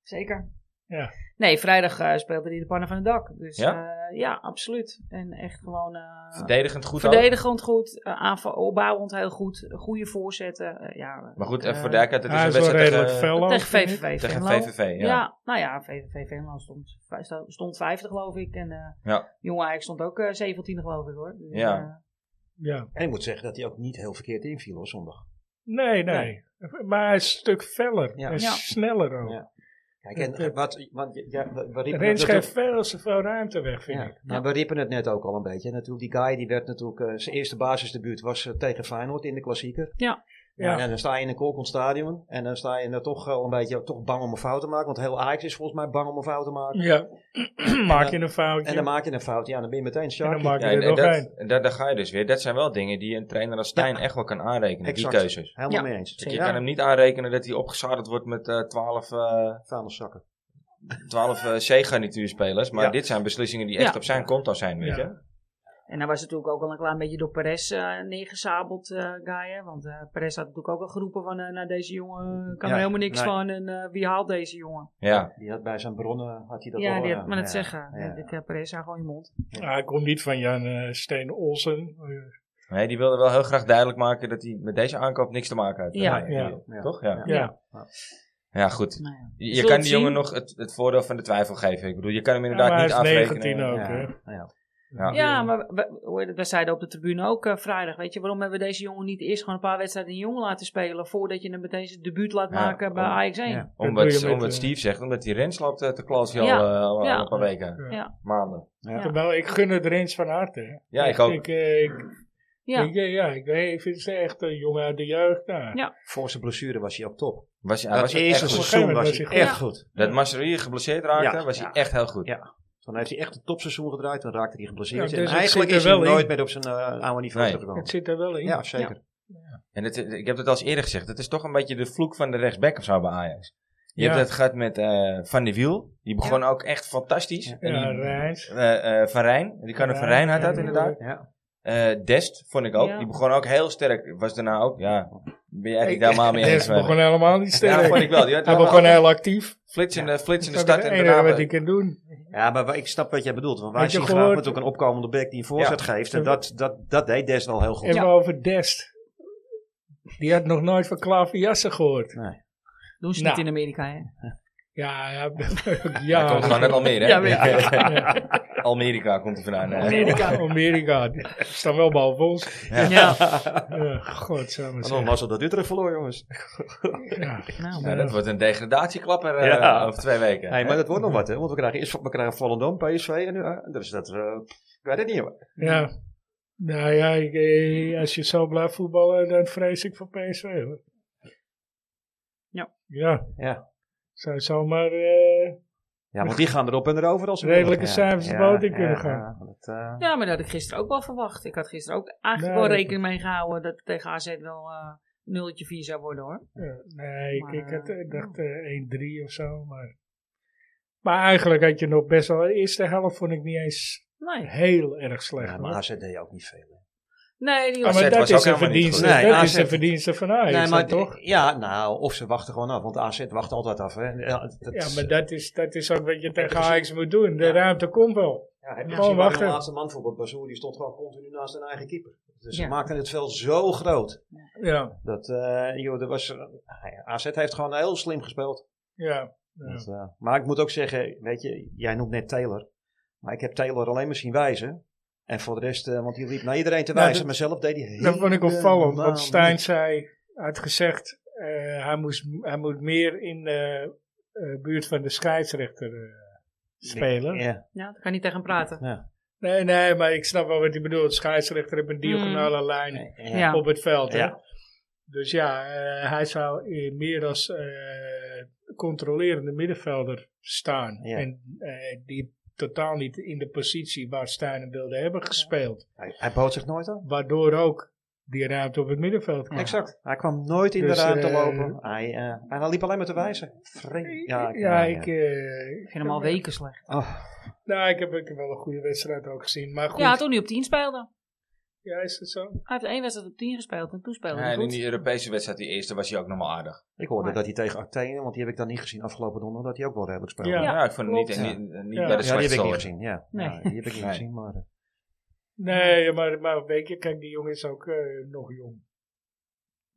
[SPEAKER 4] Zeker.
[SPEAKER 2] Ja.
[SPEAKER 4] Nee, vrijdag eh, speelde hij de pannen van het dak. Dus
[SPEAKER 1] Ja?
[SPEAKER 4] ja, ja absoluut. En echt gewoon... eh,
[SPEAKER 1] Verdedigend goed ook.
[SPEAKER 4] Verdedigend goed, eh, aanval, opbouwend heel goed, goede voorzetten. eh, ja,
[SPEAKER 1] Maar goed,
[SPEAKER 4] eh,
[SPEAKER 1] even voor de duidelijkheid,
[SPEAKER 2] Hij
[SPEAKER 1] het
[SPEAKER 2] is
[SPEAKER 1] is
[SPEAKER 2] wel
[SPEAKER 1] een
[SPEAKER 2] redelijk
[SPEAKER 1] wedstrijd
[SPEAKER 2] fel. ook,
[SPEAKER 4] tegen
[SPEAKER 2] vind ik.
[SPEAKER 4] VVV
[SPEAKER 1] tegen,
[SPEAKER 4] Venlo.
[SPEAKER 1] tegen VVV.
[SPEAKER 4] Ja.
[SPEAKER 1] Ja.
[SPEAKER 4] nou ja, VVV Venlo stond, stond 50 geloof ik. En eh
[SPEAKER 1] Ja.
[SPEAKER 4] Jong Ajax stond ook eh 17 geloof ik hoor. Dus,
[SPEAKER 1] Ja.
[SPEAKER 4] eh,
[SPEAKER 2] Ja.
[SPEAKER 3] En ik moet zeggen dat hij ook niet heel verkeerd inviel hoor, zondag.
[SPEAKER 2] Nee, nee, Maar hij is een stuk feller.
[SPEAKER 3] Ja.
[SPEAKER 2] En
[SPEAKER 4] Ja.
[SPEAKER 2] sneller ook.
[SPEAKER 3] Ja. Kijk, en eh, wat, want j- ja, we, we riepen
[SPEAKER 2] Rens
[SPEAKER 3] het
[SPEAKER 2] geeft
[SPEAKER 3] natuurlijk-
[SPEAKER 2] veel te veel ruimte weg, vind
[SPEAKER 3] ja,
[SPEAKER 2] ik.
[SPEAKER 3] maar we riepen het net ook al een beetje. Natuurlijk, die guy die werd natuurlijk, eh, zijn eerste basisdebuut was eh, tegen Feyenoord in de klassieker.
[SPEAKER 4] Ja.
[SPEAKER 2] Ja.
[SPEAKER 3] En dan sta je in een Colcon Stadion en dan sta je er toch al een beetje toch bang om een fout te maken. Want heel Ajax is volgens mij bang om een fout te maken.
[SPEAKER 2] Ja. Maak
[SPEAKER 3] dan-
[SPEAKER 2] je een foutje.
[SPEAKER 3] En dan maak je een fout, ja, dan ben je meteen
[SPEAKER 2] En dan
[SPEAKER 3] Sharky.
[SPEAKER 2] maak-
[SPEAKER 1] Ja,
[SPEAKER 2] er
[SPEAKER 1] en- en
[SPEAKER 2] nog
[SPEAKER 1] dat, en dat, daar ga je dus weer. Dat zijn wel dingen die een trainer als Stijn echt wel kan aanrekenen,
[SPEAKER 3] Exact.
[SPEAKER 1] die keuzes.
[SPEAKER 3] Helemaal
[SPEAKER 4] Ja.
[SPEAKER 3] mee eens.
[SPEAKER 1] Je
[SPEAKER 4] Zeker.
[SPEAKER 1] kan hem niet aanrekenen dat hij opgezadeld wordt met eh 12, eh
[SPEAKER 3] Vuilniszakken.
[SPEAKER 1] 12 eh, C-garnituurspelers. Maar
[SPEAKER 3] Ja.
[SPEAKER 1] dit zijn beslissingen die echt
[SPEAKER 4] Ja.
[SPEAKER 1] op zijn konto zijn, weet
[SPEAKER 2] Ja.
[SPEAKER 1] je.
[SPEAKER 4] En dan was natuurlijk ook al een klein beetje door Perez eh neergezabeld, eh guy. hè. Want eh Perez had natuurlijk ook al geroepen van, eh, nou deze jongen kan
[SPEAKER 3] Ja,
[SPEAKER 4] er helemaal niks
[SPEAKER 3] nee.
[SPEAKER 4] van. En eh, wie haalt deze jongen?
[SPEAKER 1] Ja.
[SPEAKER 3] Die had bij zijn bronnen, had hij dat
[SPEAKER 4] ja,
[SPEAKER 3] al,
[SPEAKER 4] die
[SPEAKER 3] eh,
[SPEAKER 4] had maar het
[SPEAKER 3] ja.
[SPEAKER 4] zeggen.
[SPEAKER 3] ja.
[SPEAKER 4] Ik, eh, Perez, hou gewoon je mond.
[SPEAKER 2] Ah, hij komt niet van Jan eh, Steen Olsen. Oh,
[SPEAKER 1] Nee, die wilde wel heel graag duidelijk maken dat hij met deze aankoop niks te maken had.
[SPEAKER 4] Ja.
[SPEAKER 1] Nee,
[SPEAKER 2] Ja.
[SPEAKER 1] die- Toch? Ja.
[SPEAKER 2] Ja.
[SPEAKER 1] Ja, goed.
[SPEAKER 4] Nou ja.
[SPEAKER 1] Je, je
[SPEAKER 4] Zult
[SPEAKER 1] kan die
[SPEAKER 4] zien.
[SPEAKER 1] jongen nog het, het voordeel van de twijfel geven. Ik bedoel, je kan hem
[SPEAKER 2] Ja,
[SPEAKER 1] inderdaad
[SPEAKER 2] maar hij
[SPEAKER 1] niet
[SPEAKER 2] is
[SPEAKER 1] afrekenen.
[SPEAKER 2] 19 ook. hè.
[SPEAKER 3] Ja, nou ja.
[SPEAKER 1] Ja.
[SPEAKER 4] Ja, maar we, we- we- we zeiden op de tribune ook eh, vrijdag, weet je, waarom hebben we deze jongen niet eerst gewoon een paar wedstrijden in jong laten spelen, voordat je hem meteen zijn debuut laat
[SPEAKER 1] Ja,
[SPEAKER 4] maken bij
[SPEAKER 1] om-
[SPEAKER 4] Ajax 1?
[SPEAKER 3] ja.
[SPEAKER 1] Om
[SPEAKER 2] Dat
[SPEAKER 1] wat,
[SPEAKER 2] doe je
[SPEAKER 1] om
[SPEAKER 2] met,
[SPEAKER 1] wat
[SPEAKER 2] eh,
[SPEAKER 1] Steve zegt, omdat die Rens loopt eh, te klootzien
[SPEAKER 4] Ja.
[SPEAKER 1] al, eh, al
[SPEAKER 4] Ja.
[SPEAKER 1] al een paar weken.
[SPEAKER 4] Ja.
[SPEAKER 1] Maanden.
[SPEAKER 3] Ja.
[SPEAKER 2] Terwijl ik gun het Rens van harte. hè.
[SPEAKER 1] Ja, ik
[SPEAKER 2] Echt,
[SPEAKER 1] ook.
[SPEAKER 2] Ik, eh, ik, eh,
[SPEAKER 4] Ja.
[SPEAKER 2] ik- ja, ik, weet- ik vind ze echt een jongen uit de jeugd. nou.
[SPEAKER 4] Ja.
[SPEAKER 3] Voor zijn blessure was hij ook top.
[SPEAKER 1] Was, hij- hij
[SPEAKER 3] dat
[SPEAKER 1] was ook
[SPEAKER 3] eerste
[SPEAKER 1] echt goed.
[SPEAKER 3] seizoen
[SPEAKER 2] Op een
[SPEAKER 3] was
[SPEAKER 2] gegeven
[SPEAKER 3] hij
[SPEAKER 2] moment
[SPEAKER 3] echt
[SPEAKER 4] was
[SPEAKER 3] goed.
[SPEAKER 1] Dat Mascherinier geblesseerd raakte,
[SPEAKER 3] Ja,
[SPEAKER 1] was hij
[SPEAKER 3] ja.
[SPEAKER 1] echt heel goed.
[SPEAKER 3] Ja. Toen heeft hij echt een topseizoen gedraaid. Dan raakte hij geblesseerd.
[SPEAKER 2] Ja,
[SPEAKER 3] en
[SPEAKER 2] dus het
[SPEAKER 3] eigenlijk
[SPEAKER 2] zit
[SPEAKER 3] is
[SPEAKER 2] er
[SPEAKER 3] hij
[SPEAKER 2] wel in.
[SPEAKER 3] nooit meer op zijn eh, oude niveau
[SPEAKER 1] Nee.
[SPEAKER 3] teruggekomen.
[SPEAKER 2] Het zit er wel in.
[SPEAKER 3] Ja, zeker.
[SPEAKER 1] En het, eh, ik heb het al eens eerder gezegd. Het is toch een beetje de vloek van de rechtsback of zo bij Ajax. Je
[SPEAKER 2] Ja.
[SPEAKER 1] hebt het gehad met eh, Van de Wiel. Die begon ook echt fantastisch.
[SPEAKER 3] Ja.
[SPEAKER 1] En
[SPEAKER 2] Ja,
[SPEAKER 1] die-
[SPEAKER 2] Rijns.
[SPEAKER 1] eh, eh, van Rijn. Die kan er van Rijn had dat
[SPEAKER 2] Ja.
[SPEAKER 1] inderdaad.
[SPEAKER 3] Ja.
[SPEAKER 1] Eh, Dest vond ik ook.
[SPEAKER 4] Ja.
[SPEAKER 1] Die begon ook heel sterk. Was daarna ook, ja. Ben jij het
[SPEAKER 2] Ik-
[SPEAKER 1] daar maar
[SPEAKER 2] *laughs*
[SPEAKER 1] mee eens?
[SPEAKER 2] Deze begon helemaal niet
[SPEAKER 1] ja,
[SPEAKER 2] sterk.
[SPEAKER 1] vond ik wel. Die had
[SPEAKER 2] Hij
[SPEAKER 1] wel
[SPEAKER 2] begon
[SPEAKER 1] altijd
[SPEAKER 2] heel actief.
[SPEAKER 1] flitsende, flitsende
[SPEAKER 2] Dat is
[SPEAKER 1] start.
[SPEAKER 2] het
[SPEAKER 1] En
[SPEAKER 2] enige
[SPEAKER 1] daarna,
[SPEAKER 2] wat hij kan doen.
[SPEAKER 3] ja, maar wa- ik snap wat jij bedoelt. Want wij
[SPEAKER 2] Had je
[SPEAKER 3] zien graag
[SPEAKER 2] gehoord-
[SPEAKER 3] natuurlijk een opkomende back die een voorzet geeft. En dat, dat, dat deed Des wel heel goed.
[SPEAKER 2] En we over Dest. Die had nog nooit van klaverjassen gehoord.
[SPEAKER 4] Doen ze
[SPEAKER 2] Nou.
[SPEAKER 4] niet in Amerika, hè?
[SPEAKER 2] Ja, *laughs* ja.
[SPEAKER 1] Hij
[SPEAKER 2] ja.
[SPEAKER 1] komt gewoon uit Almere, hè?
[SPEAKER 4] Ja, weet ik.
[SPEAKER 1] *laughs* Amerika komt hij vandaan. eh.
[SPEAKER 2] Amerika. Amerika. Die staan wel boven ons.
[SPEAKER 4] Ja.
[SPEAKER 2] Ja, godsamme
[SPEAKER 3] En dan
[SPEAKER 2] zeg.
[SPEAKER 3] was het dat Utrecht verloor, jongens.
[SPEAKER 2] Ja.
[SPEAKER 4] *laughs* Nou,
[SPEAKER 1] Ja, dat wordt een degradatieklapper eh,
[SPEAKER 3] Ja.
[SPEAKER 1] over twee weken.
[SPEAKER 3] Hey, maar dat wordt nog wat, hè? Want we krijgen eerst we krijgen Volendam, PSV en nu. eh, dus dat. eh, ik weet het niet, hoor.
[SPEAKER 2] ja. Nou ja, ik, eh, als je zo blijft voetballen, dan vrees ik voor PSV. hoor.
[SPEAKER 4] Ja.
[SPEAKER 2] Ja.
[SPEAKER 3] Ja.
[SPEAKER 2] Zou zomaar eh,
[SPEAKER 3] Ja, want die gaan erop en erover als ze
[SPEAKER 2] Redelijke
[SPEAKER 3] willen. Ja,
[SPEAKER 2] cijfers de
[SPEAKER 3] ja,
[SPEAKER 2] boot in
[SPEAKER 3] ja,
[SPEAKER 2] kunnen
[SPEAKER 3] ja,
[SPEAKER 2] gaan.
[SPEAKER 3] dat, eh,
[SPEAKER 4] Ja, maar dat had ik gisteren ook wel verwacht. Ik had gisteren ook eigenlijk
[SPEAKER 2] Nee.
[SPEAKER 4] wel rekening mee gehouden dat het tegen AZ wel eh nulletje 4 zou worden hoor.
[SPEAKER 2] Ja, nee, ik,
[SPEAKER 4] Maar,
[SPEAKER 2] ik had,
[SPEAKER 4] eh,
[SPEAKER 2] ik dacht eh 1-3 of zo. Maar, maar eigenlijk had je nog best wel. De eerste helft vond ik niet eens
[SPEAKER 4] Nee,
[SPEAKER 2] heel erg slecht.
[SPEAKER 3] ja,
[SPEAKER 2] hoor.
[SPEAKER 3] maar AZ deed ook niet veel. hè.
[SPEAKER 4] nee die
[SPEAKER 2] Ja,
[SPEAKER 1] AZ
[SPEAKER 2] maar
[SPEAKER 1] was
[SPEAKER 2] dat
[SPEAKER 1] ook
[SPEAKER 2] is een
[SPEAKER 1] helemaal niet
[SPEAKER 2] verdienste.
[SPEAKER 3] goed. Nee,
[SPEAKER 2] dat
[SPEAKER 3] AZ
[SPEAKER 2] is een verdienste van Ajax,
[SPEAKER 3] nee, maar
[SPEAKER 2] dan toch?
[SPEAKER 3] Ja, nou, of ze wachten gewoon af. Want AZ wacht altijd af, hè? Ja, dat,
[SPEAKER 2] Ja, maar dat is, dat is ook wat je tegen
[SPEAKER 3] dat is-
[SPEAKER 2] Ajax moet doen. De
[SPEAKER 3] Ja.
[SPEAKER 2] ruimte komt wel.
[SPEAKER 3] Ja, heb je
[SPEAKER 2] Gewoon
[SPEAKER 3] gezien waar
[SPEAKER 2] wachten.
[SPEAKER 3] de laatste man voor Bazoer, die stond gewoon continu naast zijn eigen keeper. Dus ze
[SPEAKER 4] Ja.
[SPEAKER 3] maakten het veld zo groot.
[SPEAKER 2] Ja,
[SPEAKER 3] Dat, eh, joh, er was, eh, AZ heeft gewoon heel slim gespeeld.
[SPEAKER 2] ja. ja.
[SPEAKER 3] Dat, eh, maar ik moet ook zeggen, weet je, jij noemt net Taylor. Maar ik heb Taylor alleen maar zien wijzen. En voor de rest, eh, want die liep naar iedereen te
[SPEAKER 2] Nou, dat-
[SPEAKER 3] wijzen. maar zelf deed hij
[SPEAKER 2] Dat vond ik
[SPEAKER 3] eh,
[SPEAKER 2] opvallend,
[SPEAKER 3] helemaal
[SPEAKER 2] want Stijn
[SPEAKER 3] niks.
[SPEAKER 2] zei, had gezegd, eh, hij, moest, hij moet meer in de eh, buurt van de scheidsrechter eh, spelen.
[SPEAKER 3] Ja,
[SPEAKER 4] Ja, daar kan niet tegen hem praten.
[SPEAKER 2] Nee, nee, maar ik snap wel wat hij bedoelt. Scheidsrechter heeft een diagonale lijn
[SPEAKER 3] ja,
[SPEAKER 4] Ja.
[SPEAKER 2] op het veld. hè.
[SPEAKER 3] Ja.
[SPEAKER 2] Dus ja, eh, hij zou eh, meer als eh, controlerende middenvelder staan.
[SPEAKER 3] Ja.
[SPEAKER 2] En eh, die totaal niet in de positie waar Stijn hem wilde hebben gespeeld.
[SPEAKER 3] Hij, hij bood zich nooit aan.
[SPEAKER 2] Waardoor ook die ruimte op het middenveld kwam.
[SPEAKER 3] Exact. Hij kwam nooit in
[SPEAKER 2] Dus,
[SPEAKER 3] de ruimte
[SPEAKER 2] eh,
[SPEAKER 3] lopen. Hij, eh, en hij liep alleen maar te wijzen. Vre-
[SPEAKER 2] Ja, ik, eh,
[SPEAKER 4] Ik vind hem al weken slecht.
[SPEAKER 3] Oh,
[SPEAKER 2] Nou, ik heb, ik heb wel een goede wedstrijd ook gezien. Maar goed,
[SPEAKER 4] Ja,
[SPEAKER 2] ja,
[SPEAKER 4] toen hij op 10 speelde.
[SPEAKER 2] is het zo?
[SPEAKER 4] Hij heeft één wedstrijd op 10 gespeeld en toen speelde
[SPEAKER 1] Ja,
[SPEAKER 4] hij
[SPEAKER 1] en in
[SPEAKER 4] goed.
[SPEAKER 1] die Europese wedstrijd, die eerste, was hij ook nog wel aardig.
[SPEAKER 3] ik hoorde
[SPEAKER 4] Maar-
[SPEAKER 3] dat hij tegen Athene, want die heb ik dan niet gezien afgelopen donderdag, dat hij ook wel redelijk speelde.
[SPEAKER 1] Ja,
[SPEAKER 2] Ja,
[SPEAKER 1] ik vond hem niet, niet,
[SPEAKER 2] klopt.
[SPEAKER 1] niet
[SPEAKER 2] Ja.
[SPEAKER 1] bij
[SPEAKER 2] Ja,
[SPEAKER 1] de
[SPEAKER 3] Ja, die heb ik niet
[SPEAKER 1] slechtste.
[SPEAKER 3] gezien. Ja,
[SPEAKER 4] Nee.
[SPEAKER 3] Ja, die heb ik niet
[SPEAKER 1] Nee.
[SPEAKER 3] gezien. Maar, eh,
[SPEAKER 2] Nee, maar, maar weet je, kijk, die jongen is ook eh, nog jong.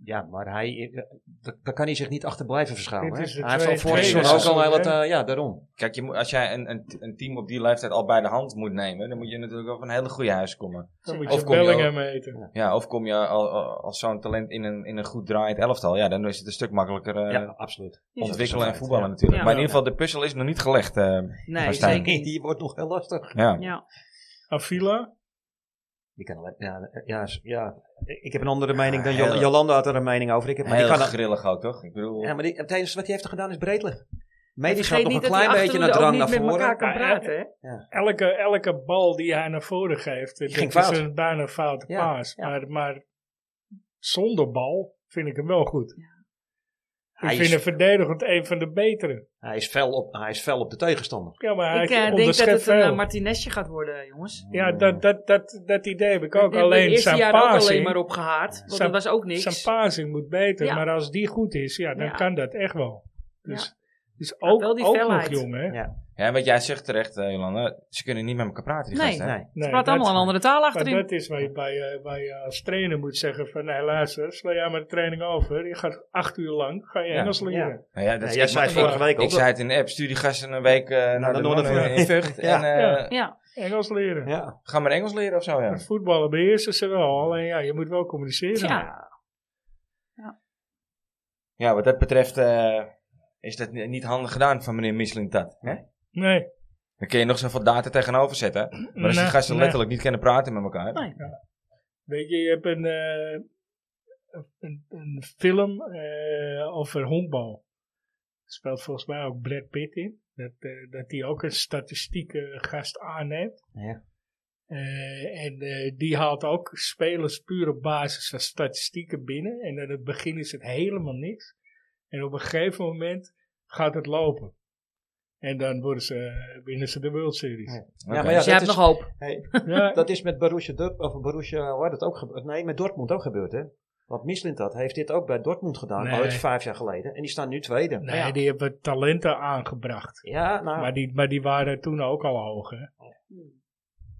[SPEAKER 3] ja, maar hij, eh, dat- daar kan hij zich niet achter blijven verschuilen.
[SPEAKER 2] Dit
[SPEAKER 3] hè.
[SPEAKER 2] is de
[SPEAKER 3] Hij heeft al
[SPEAKER 2] tweede-
[SPEAKER 3] vorig seizoen
[SPEAKER 1] tweede
[SPEAKER 3] ook al heel wat,
[SPEAKER 2] seizoen,
[SPEAKER 3] eh, ja, daarom.
[SPEAKER 1] Kijk, je moet, als jij een, een, een team op die leeftijd al bij de hand moet nemen, dan moet je natuurlijk wel van een hele goede huis komen.
[SPEAKER 2] Dan moet
[SPEAKER 1] Of
[SPEAKER 2] je
[SPEAKER 1] kom je
[SPEAKER 2] Bellingham eten.
[SPEAKER 1] Ja, of kom je al, al- als zo'n talent in een, in een goed draaiend elftal, ja, dan is het een stuk makkelijker eh,
[SPEAKER 3] ja, absoluut.
[SPEAKER 1] ontwikkelen en
[SPEAKER 3] feit,
[SPEAKER 1] voetballen
[SPEAKER 3] ja.
[SPEAKER 1] natuurlijk.
[SPEAKER 4] Ja.
[SPEAKER 1] Maar in ieder geval, de puzzel is nog niet gelegd. eh,
[SPEAKER 4] Nee,
[SPEAKER 1] Van Stijn.
[SPEAKER 4] zeker niet.
[SPEAKER 3] *laughs* Die wordt nog heel lastig.
[SPEAKER 1] ja.
[SPEAKER 4] Ja.
[SPEAKER 2] Avila?
[SPEAKER 3] Die kan alleen, ja, eh, ja, s- ja, ik heb een andere mening dan
[SPEAKER 1] heel-
[SPEAKER 3] Jol- Jolanda had er een mening over. Ik heb, maar die
[SPEAKER 1] Heel
[SPEAKER 3] kan,
[SPEAKER 1] grillig ook, toch? Ik bedoel,
[SPEAKER 3] ja, maar die, het enige wat hij heeft gedaan is breed liggen. Medisch gaat
[SPEAKER 4] Vergeet
[SPEAKER 3] nog een
[SPEAKER 4] niet dat
[SPEAKER 3] klein
[SPEAKER 4] die
[SPEAKER 3] beetje naar
[SPEAKER 4] achterhoede ook
[SPEAKER 3] drang
[SPEAKER 4] niet
[SPEAKER 3] naar
[SPEAKER 4] met elkaar
[SPEAKER 3] voren.
[SPEAKER 4] kan
[SPEAKER 2] Ja,
[SPEAKER 4] praten, hè?
[SPEAKER 2] Elke, elke bal die hij naar voren geeft, dat is
[SPEAKER 3] ging fout.
[SPEAKER 2] een bijna foute
[SPEAKER 3] Ja,
[SPEAKER 2] paas.
[SPEAKER 3] ja.
[SPEAKER 2] Maar, maar zonder bal vind ik hem wel goed.
[SPEAKER 3] Hij
[SPEAKER 2] ik vind
[SPEAKER 3] is-
[SPEAKER 2] hem verdedigend een van de betere.
[SPEAKER 3] Hij is fel op, hij is fel op de tegenstander.
[SPEAKER 2] Ja, maar hij
[SPEAKER 4] Ik eh, denk dat
[SPEAKER 2] onderschept
[SPEAKER 4] het een
[SPEAKER 2] veel.
[SPEAKER 4] eh, Martinezje gaat worden, jongens.
[SPEAKER 2] ja, dat, dat, dat, dat idee heb ik ook.
[SPEAKER 4] Ik heb het
[SPEAKER 2] alleen
[SPEAKER 4] eerste
[SPEAKER 2] zijn
[SPEAKER 4] jaar ook alleen maar
[SPEAKER 2] passing,
[SPEAKER 4] opgehaard, want
[SPEAKER 2] Zijn-
[SPEAKER 4] dat was ook niks.
[SPEAKER 2] zijn passing moet beter.
[SPEAKER 4] Ja.
[SPEAKER 2] Maar als die goed is, ja, dan
[SPEAKER 4] Ja.
[SPEAKER 2] kan dat echt wel. Dus, dus
[SPEAKER 4] Ja,
[SPEAKER 2] ook,
[SPEAKER 4] wel die
[SPEAKER 2] ook nog
[SPEAKER 4] felheid.
[SPEAKER 2] jong, hè?
[SPEAKER 3] Ja.
[SPEAKER 1] ja, wat jij zegt terecht, eh, Jolanda, ze kunnen niet met elkaar praten, die
[SPEAKER 4] Nee.
[SPEAKER 1] gasten, hè?
[SPEAKER 3] Nee.
[SPEAKER 2] Nee,
[SPEAKER 4] Het praat
[SPEAKER 2] dat-
[SPEAKER 4] allemaal een andere taal
[SPEAKER 2] Maar
[SPEAKER 4] achterin.
[SPEAKER 2] dat is waar je, bij, eh, waar je als trainer moet zeggen van, nee luister, sla jij maar de training over. Je gaat acht uur lang, ga je
[SPEAKER 3] Ja,
[SPEAKER 2] Engels leren.
[SPEAKER 3] ja.
[SPEAKER 1] Nou ja, dat
[SPEAKER 3] Ja,
[SPEAKER 1] is
[SPEAKER 3] jij
[SPEAKER 1] echt
[SPEAKER 3] zei
[SPEAKER 1] maar-
[SPEAKER 3] vorige
[SPEAKER 1] ik-
[SPEAKER 3] week ook
[SPEAKER 1] Ik
[SPEAKER 3] dat-
[SPEAKER 1] zei het in de app, stuur die gasten een week eh, naar de
[SPEAKER 3] de
[SPEAKER 1] Noorden
[SPEAKER 3] Noorden.
[SPEAKER 1] in Vught.
[SPEAKER 3] *laughs* Ja.
[SPEAKER 1] En eh,
[SPEAKER 2] Ja.
[SPEAKER 4] Ja,
[SPEAKER 2] Engels leren.
[SPEAKER 3] Ja.
[SPEAKER 1] ga maar Engels leren of zo, ja.
[SPEAKER 2] En Voetballen beheersen ze wel, alleen ja, je moet wel communiceren.
[SPEAKER 4] ja.
[SPEAKER 1] Ja, wat dat betreft eh, is dat ni- niet handig gedaan van meneer Mislintat. hè?
[SPEAKER 2] Nee.
[SPEAKER 1] Dan kun je nog zoveel data tegenover zetten. Maar als die
[SPEAKER 2] Nee,
[SPEAKER 1] gasten
[SPEAKER 2] nee.
[SPEAKER 1] letterlijk niet kunnen praten met elkaar.
[SPEAKER 4] Nee.
[SPEAKER 2] Weet je, je hebt een, eh, een, een film eh, over honkbal. Er speelt volgens mij ook Brad Pitt in. Dat hij dat die ook een statistieke gast aanneemt.
[SPEAKER 3] Ja.
[SPEAKER 2] Eh, en eh, die haalt ook spelers puur op basis van statistieken binnen. En aan het begin is het helemaal niks. En op een gegeven moment gaat het lopen. En dan worden ze, winnen ze de World Series.
[SPEAKER 3] Ja.
[SPEAKER 1] Oké.
[SPEAKER 3] Ja, maar ja,
[SPEAKER 4] Dus jij
[SPEAKER 3] dat
[SPEAKER 4] hebt
[SPEAKER 3] is,
[SPEAKER 4] nog hoop.
[SPEAKER 3] hey,
[SPEAKER 2] Ja,
[SPEAKER 3] *laughs* dat is met Borussia Dortmund, of Borussia, waar dat ook gebeurd, nee, met Dortmund ook gebeurd, hè. Want Mislint dat heeft dit ook bij Dortmund gedaan,
[SPEAKER 2] Nee.
[SPEAKER 3] ooit vijf jaar geleden. En die staan nu tweede.
[SPEAKER 2] nee,
[SPEAKER 3] ja.
[SPEAKER 2] die hebben talenten aangebracht.
[SPEAKER 3] Ja, nou,
[SPEAKER 2] Maar, die, maar die waren toen ook al hoog. Hè?